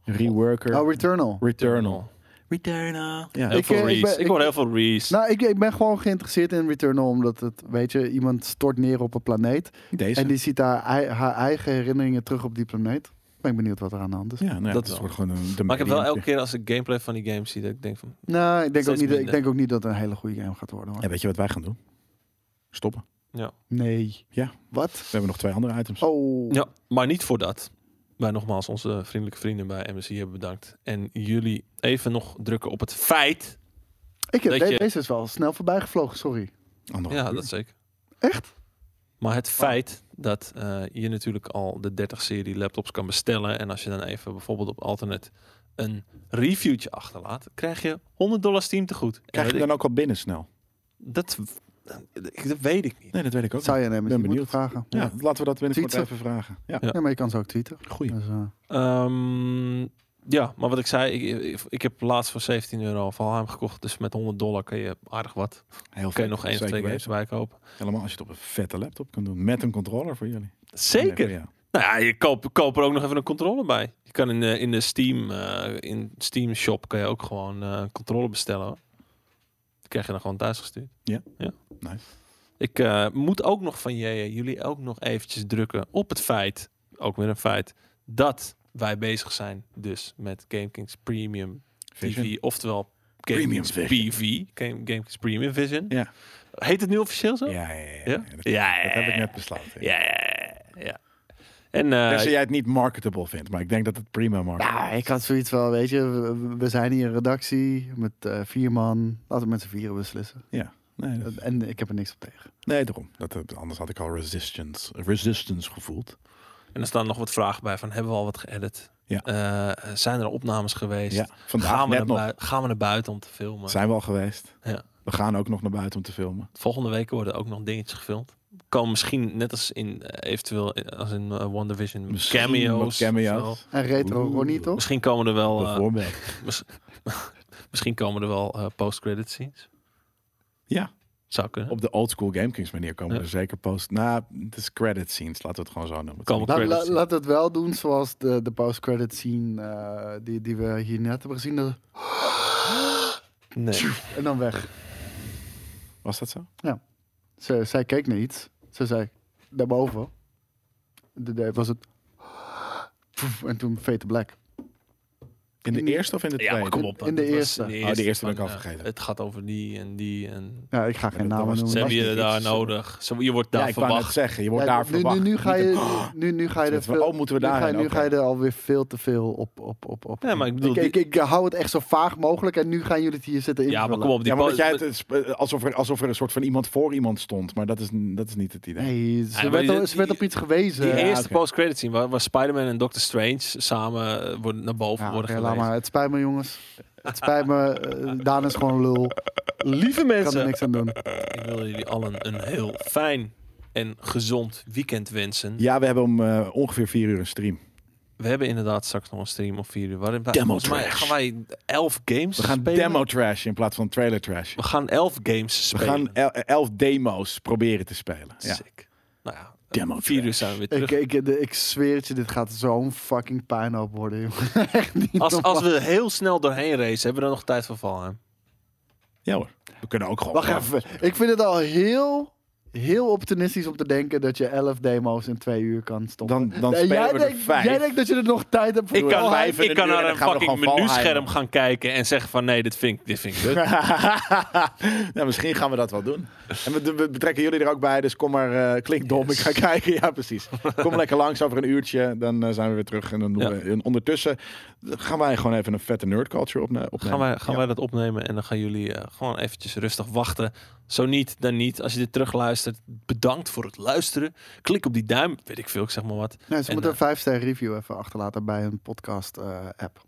[SPEAKER 3] Reworker.
[SPEAKER 1] Oh, Returnal.
[SPEAKER 3] Returnal.
[SPEAKER 2] Returnal.
[SPEAKER 3] Ja.
[SPEAKER 2] Heel
[SPEAKER 1] Ik,
[SPEAKER 2] veel
[SPEAKER 1] eh, ik
[SPEAKER 2] Reese.
[SPEAKER 1] ben-
[SPEAKER 2] Ik,
[SPEAKER 1] ik-
[SPEAKER 2] hoor heel veel Reese.
[SPEAKER 1] Nou, ik, ik ben gewoon geïnteresseerd in Returnal, omdat het, weet je, iemand stort neer op een planeet.
[SPEAKER 3] Deze.
[SPEAKER 1] En die ziet haar, ei- haar eigen herinneringen terug op die planeet. Ben ik benieuwd wat er aan de hand is.
[SPEAKER 3] Ja, nou ja,
[SPEAKER 2] Dat
[SPEAKER 3] dat,
[SPEAKER 2] wel.
[SPEAKER 3] wordt gewoon een... de
[SPEAKER 2] maar ik heb wel elke
[SPEAKER 3] medium.
[SPEAKER 2] keer als ik gameplay van die games zie, dat ik denk van...
[SPEAKER 1] Nou, ik denk, ook
[SPEAKER 2] Steeds
[SPEAKER 1] niet, ik
[SPEAKER 2] minder.
[SPEAKER 1] denk ook niet dat het een hele goede game gaat worden. Hoor.
[SPEAKER 3] Ja, weet je wat wij gaan doen? Stoppen.
[SPEAKER 1] Nee.
[SPEAKER 3] Ja.
[SPEAKER 1] Wat?
[SPEAKER 3] We hebben nog twee andere items.
[SPEAKER 1] Oh.
[SPEAKER 2] Ja, maar niet voor dat. Wij nogmaals onze vriendelijke vrienden bij MSI hebben bedankt. En jullie even nog drukken op het feit.
[SPEAKER 1] Ik heb
[SPEAKER 2] Dat
[SPEAKER 1] de-
[SPEAKER 2] je-
[SPEAKER 1] deze is wel snel voorbij gevlogen, sorry.
[SPEAKER 3] Anderhalf
[SPEAKER 2] Ja,
[SPEAKER 3] uur.
[SPEAKER 2] dat zeker.
[SPEAKER 1] Echt?
[SPEAKER 2] Maar het feit dat eh, je natuurlijk al de 30-serie laptops kan bestellen. En als je dan even bijvoorbeeld op Alternate een reviewtje achterlaat, krijg je 100 dollar Steam te goed.
[SPEAKER 3] Krijg je dan ook al binnen snel?
[SPEAKER 2] dat, dat weet ik niet.
[SPEAKER 3] Nee, dat weet ik ook.
[SPEAKER 1] Zou je hem
[SPEAKER 3] ben
[SPEAKER 1] eens moeten
[SPEAKER 3] benieuwd.
[SPEAKER 1] vragen?
[SPEAKER 3] niet. Ja, laten we dat binnenkort
[SPEAKER 1] Tweeten. Dus, eh,
[SPEAKER 3] even vragen. Ja,
[SPEAKER 1] Ja, maar je kan ze ook tweeten.
[SPEAKER 3] goeie.
[SPEAKER 1] Dus, eh,
[SPEAKER 2] Ehm, Ja, maar wat ik zei, ik, ik, ik heb laatst voor 17 euro Valheim gekocht. Dus met 100 dollar kun je aardig wat.
[SPEAKER 3] Heel
[SPEAKER 2] Kun je
[SPEAKER 3] vet.
[SPEAKER 2] nog één of
[SPEAKER 3] Zeker
[SPEAKER 2] twee games
[SPEAKER 3] weten.
[SPEAKER 2] erbij kopen.
[SPEAKER 3] Helemaal als je het op een vette laptop kunt doen. Met een controller voor jullie.
[SPEAKER 2] Zeker.
[SPEAKER 3] Ja.
[SPEAKER 2] Nou ja, je koopt koop er ook nog even een controller bij. Je kan in de, in de Steam, eh, in Steam Shop kan je ook gewoon eh, een controller bestellen. Hoor. Die krijg je dan gewoon thuis gestuurd.
[SPEAKER 3] Ja.
[SPEAKER 2] ja.
[SPEAKER 3] Nice.
[SPEAKER 2] Ik eh, moet ook nog van je, jullie ook nog eventjes drukken op het feit, ook weer een feit, dat wij bezig zijn dus met GameKings Premium
[SPEAKER 3] Vision.
[SPEAKER 2] TV, oftewel
[SPEAKER 3] Premium
[SPEAKER 2] GameKings
[SPEAKER 3] Vision.
[SPEAKER 2] PV, Game, GameKings Premium Vision.
[SPEAKER 3] Ja.
[SPEAKER 2] Heet het nu officieel zo?
[SPEAKER 3] Ja, ja, ja. ja.
[SPEAKER 2] Oh. Ja?
[SPEAKER 3] Dat,
[SPEAKER 2] Ja,
[SPEAKER 3] dat heb
[SPEAKER 2] ja,
[SPEAKER 3] ik net
[SPEAKER 2] ja.
[SPEAKER 3] besloten.
[SPEAKER 2] Ja, ja, ja, ja. En eh,
[SPEAKER 3] Tenzij jij het niet marketable vindt, maar ik denk dat het prima marketable
[SPEAKER 1] Nou, ik had zoiets wel, weet je, we, we zijn hier een redactie met eh, vier man. Laten we met z'n vieren beslissen. Eh,
[SPEAKER 3] Ja. Nee, dat-
[SPEAKER 1] En ik heb er niks op tegen.
[SPEAKER 3] nee, daarom.
[SPEAKER 2] eh,
[SPEAKER 3] Dat, anders had ik al resistance, resistance gevoeld.
[SPEAKER 2] En er staan nog wat vragen bij van hebben we al wat geëdit?
[SPEAKER 3] Ja.
[SPEAKER 2] Eh, zijn er opnames geweest?
[SPEAKER 3] Ja, vandaag
[SPEAKER 2] gaan, we
[SPEAKER 3] net
[SPEAKER 2] naar
[SPEAKER 3] nog.
[SPEAKER 2] bui- gaan we naar buiten om te filmen?
[SPEAKER 3] Zijn we al geweest.
[SPEAKER 2] Ja.
[SPEAKER 3] We gaan ook nog naar buiten om te filmen.
[SPEAKER 2] Volgende week worden ook nog dingetjes gefilmd. Komen misschien net als in eh, eventueel in- als in eh, One Division
[SPEAKER 3] Misschien
[SPEAKER 2] cameo's.
[SPEAKER 3] wat
[SPEAKER 2] of
[SPEAKER 3] cameo's.
[SPEAKER 2] zo.
[SPEAKER 1] En retro,
[SPEAKER 3] Oeh.
[SPEAKER 1] hoor niet toch?
[SPEAKER 2] Misschien komen er wel, eh,
[SPEAKER 3] Bijvoorbeeld.
[SPEAKER 2] misschien komen er wel eh, post-credit scenes.
[SPEAKER 3] Ja.
[SPEAKER 2] Zou kunnen.
[SPEAKER 3] Op de old school GameKings manier komen
[SPEAKER 2] Ja.
[SPEAKER 3] er zeker post. Nou, het is credit scenes. Laten we het gewoon zo noemen.
[SPEAKER 2] Komen
[SPEAKER 1] Laat,
[SPEAKER 2] credits
[SPEAKER 1] la-
[SPEAKER 2] zien.
[SPEAKER 1] laat het wel doen zoals de, de post-credit scene eh, die, die we hier net hebben gezien. Dat-
[SPEAKER 2] Nee.
[SPEAKER 1] en dan weg.
[SPEAKER 3] Was dat zo?
[SPEAKER 1] Ze, zij keek naar iets. Ze zei, daarboven. De, de, was het... En toen fade to black.
[SPEAKER 3] In de
[SPEAKER 1] In de-
[SPEAKER 3] eerste of in de
[SPEAKER 2] Ja,
[SPEAKER 3] tweede?
[SPEAKER 2] maar kom op.
[SPEAKER 1] In de
[SPEAKER 2] dat was
[SPEAKER 1] eerste.
[SPEAKER 2] in
[SPEAKER 3] Oh, de eerste ben
[SPEAKER 2] van,
[SPEAKER 3] ik al
[SPEAKER 2] eh,
[SPEAKER 3] vergeten.
[SPEAKER 2] het gaat over die en die en...
[SPEAKER 1] Ja, ik ga geen
[SPEAKER 3] dat
[SPEAKER 1] namen
[SPEAKER 3] was-
[SPEAKER 1] noemen.
[SPEAKER 2] Ze hebben
[SPEAKER 1] Ja,
[SPEAKER 2] je daar
[SPEAKER 3] iets, eh,
[SPEAKER 2] nodig. Ze- Je wordt daar
[SPEAKER 3] ja, ik wou net
[SPEAKER 2] verwacht.
[SPEAKER 3] zeggen. Je wordt
[SPEAKER 1] ja,
[SPEAKER 3] daar
[SPEAKER 1] nu, nu,
[SPEAKER 3] verwacht.
[SPEAKER 1] nu ga
[SPEAKER 3] Niet
[SPEAKER 1] je,
[SPEAKER 3] een- Ah,
[SPEAKER 1] nu, nu ga je er
[SPEAKER 3] Met van,
[SPEAKER 1] veel,
[SPEAKER 3] oh, moeten we
[SPEAKER 1] nu
[SPEAKER 3] daarheen?
[SPEAKER 1] ga, je- nu
[SPEAKER 3] Oké.
[SPEAKER 1] ga je er alweer veel te veel op. op, op, op.
[SPEAKER 2] Ja, maar ik bedoel,
[SPEAKER 1] ik,
[SPEAKER 2] die-
[SPEAKER 1] ik, ik hou het echt zo vaag mogelijk en nu gaan jullie het hier zitten in.
[SPEAKER 2] Ja, maar kom op. Die
[SPEAKER 3] Ja, maar dat
[SPEAKER 2] po-
[SPEAKER 3] jij het- het, sp- alsof, er, alsof er een soort van iemand voor iemand stond. Maar dat is, dat is niet het idee.
[SPEAKER 1] Nee, ze,
[SPEAKER 2] Ja, maar
[SPEAKER 1] werd,
[SPEAKER 2] die-
[SPEAKER 1] al- ze werd
[SPEAKER 2] die-
[SPEAKER 1] op iets gewezen.
[SPEAKER 2] Die
[SPEAKER 1] Ja,
[SPEAKER 2] eerste
[SPEAKER 3] oké.
[SPEAKER 2] post-credit scene waar, waar Spider-Man en Doctor Strange samen eh, worden, naar boven
[SPEAKER 1] Ja,
[SPEAKER 2] worden
[SPEAKER 1] oké, laat
[SPEAKER 2] gelezen.
[SPEAKER 1] maar. Het spijt me, jongens. Het spijt me. eh, Daan is gewoon lul.
[SPEAKER 2] Lieve
[SPEAKER 1] Ik kan er
[SPEAKER 2] mensen,
[SPEAKER 1] niks aan doen.
[SPEAKER 2] ik wil jullie allen een heel fijn en gezond weekend wensen.
[SPEAKER 3] Ja, we hebben om eh, ongeveer vier uur een stream.
[SPEAKER 2] We hebben inderdaad straks nog een stream of vier uur. Waarin wij,
[SPEAKER 3] Demo
[SPEAKER 2] volgens mij
[SPEAKER 3] trash.
[SPEAKER 2] gaan wij elf games
[SPEAKER 3] We gaan
[SPEAKER 2] spelen.
[SPEAKER 3] demo trash in plaats van trailer trash.
[SPEAKER 2] We gaan elf games
[SPEAKER 3] We
[SPEAKER 2] spelen.
[SPEAKER 3] gaan el- elf demo's proberen te spelen. Ja.
[SPEAKER 2] Sick. Nou ja,
[SPEAKER 3] Demo
[SPEAKER 2] vier uur
[SPEAKER 3] trash.
[SPEAKER 2] zijn we weer terug.
[SPEAKER 1] Ik, ik, de- ik zweer het je, dit gaat zo'n fucking puinhoop worden. jongen. *laughs* Echt
[SPEAKER 2] *laughs*
[SPEAKER 1] niet
[SPEAKER 2] als,
[SPEAKER 1] normaal.
[SPEAKER 2] als we er heel snel doorheen racen, hebben we dan nog tijd voor vallen.
[SPEAKER 3] Ja hoor. We kunnen ook gewoon.
[SPEAKER 1] Wacht even. Ik vind het al heel, heel optimistisch om te denken dat je 11 demo's in twee uur kan stoppen.
[SPEAKER 3] Dan, dan
[SPEAKER 1] Nee,
[SPEAKER 3] spelen
[SPEAKER 1] jij,
[SPEAKER 3] we er
[SPEAKER 1] denkt,
[SPEAKER 3] vijf.
[SPEAKER 1] jij denkt dat je er nog tijd hebt voor.
[SPEAKER 2] Ik kan,
[SPEAKER 3] vijf in
[SPEAKER 2] ik
[SPEAKER 3] een
[SPEAKER 2] kan
[SPEAKER 3] uur en
[SPEAKER 2] naar
[SPEAKER 3] dan
[SPEAKER 2] een
[SPEAKER 3] gaan we nog
[SPEAKER 2] fucking
[SPEAKER 3] gewoon
[SPEAKER 2] menuscherm
[SPEAKER 3] Valheim.
[SPEAKER 2] gaan kijken en zeggen van nee, dit vind ik, dit vind ik kut.
[SPEAKER 3] *laughs* nou, misschien gaan we dat wel doen. En we, we betrekken jullie er ook bij, dus kom maar, eh, klink dom, ik ga kijken. Ja, precies. Kom lekker langs over een uurtje, dan eh, zijn we weer terug. En dan doen
[SPEAKER 2] Ja.
[SPEAKER 3] we, en ondertussen gaan wij gewoon even een vette nerdculture opne opnemen.
[SPEAKER 2] Gaan, wij, gaan
[SPEAKER 3] Ja.
[SPEAKER 2] wij dat opnemen en dan gaan jullie eh, gewoon eventjes rustig wachten. Zo niet, dan niet. Als je dit terugluistert, bedankt voor het luisteren. Klik op die duim, weet ik veel, ik zeg maar wat.
[SPEAKER 1] Nee, ze
[SPEAKER 2] En,
[SPEAKER 1] moeten
[SPEAKER 2] eh,
[SPEAKER 1] een 5-ster review even achterlaten bij een podcast eh, app.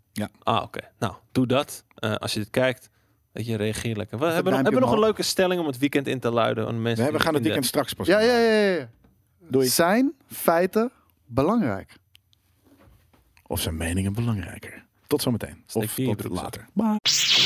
[SPEAKER 2] Ah, oké. Nou, doe dat. Eh, als je dit kijkt, dat je reageert lekker. We hebben, nog,
[SPEAKER 1] duimpje
[SPEAKER 2] hebben nog een
[SPEAKER 1] omhoog.
[SPEAKER 2] leuke stelling om het weekend in te luiden. Aan mensen
[SPEAKER 3] Nee, we
[SPEAKER 2] in-
[SPEAKER 3] gaan het
[SPEAKER 2] in de-
[SPEAKER 3] weekend straks pas.
[SPEAKER 1] Ja,
[SPEAKER 3] doen.
[SPEAKER 1] ja, ja, ja.
[SPEAKER 3] Doei.
[SPEAKER 1] Zijn feiten belangrijk?
[SPEAKER 3] Of zijn meningen belangrijker? Tot zometeen.
[SPEAKER 2] Steek
[SPEAKER 3] Of
[SPEAKER 2] die in je
[SPEAKER 3] tot
[SPEAKER 2] broek,
[SPEAKER 3] later. Bye.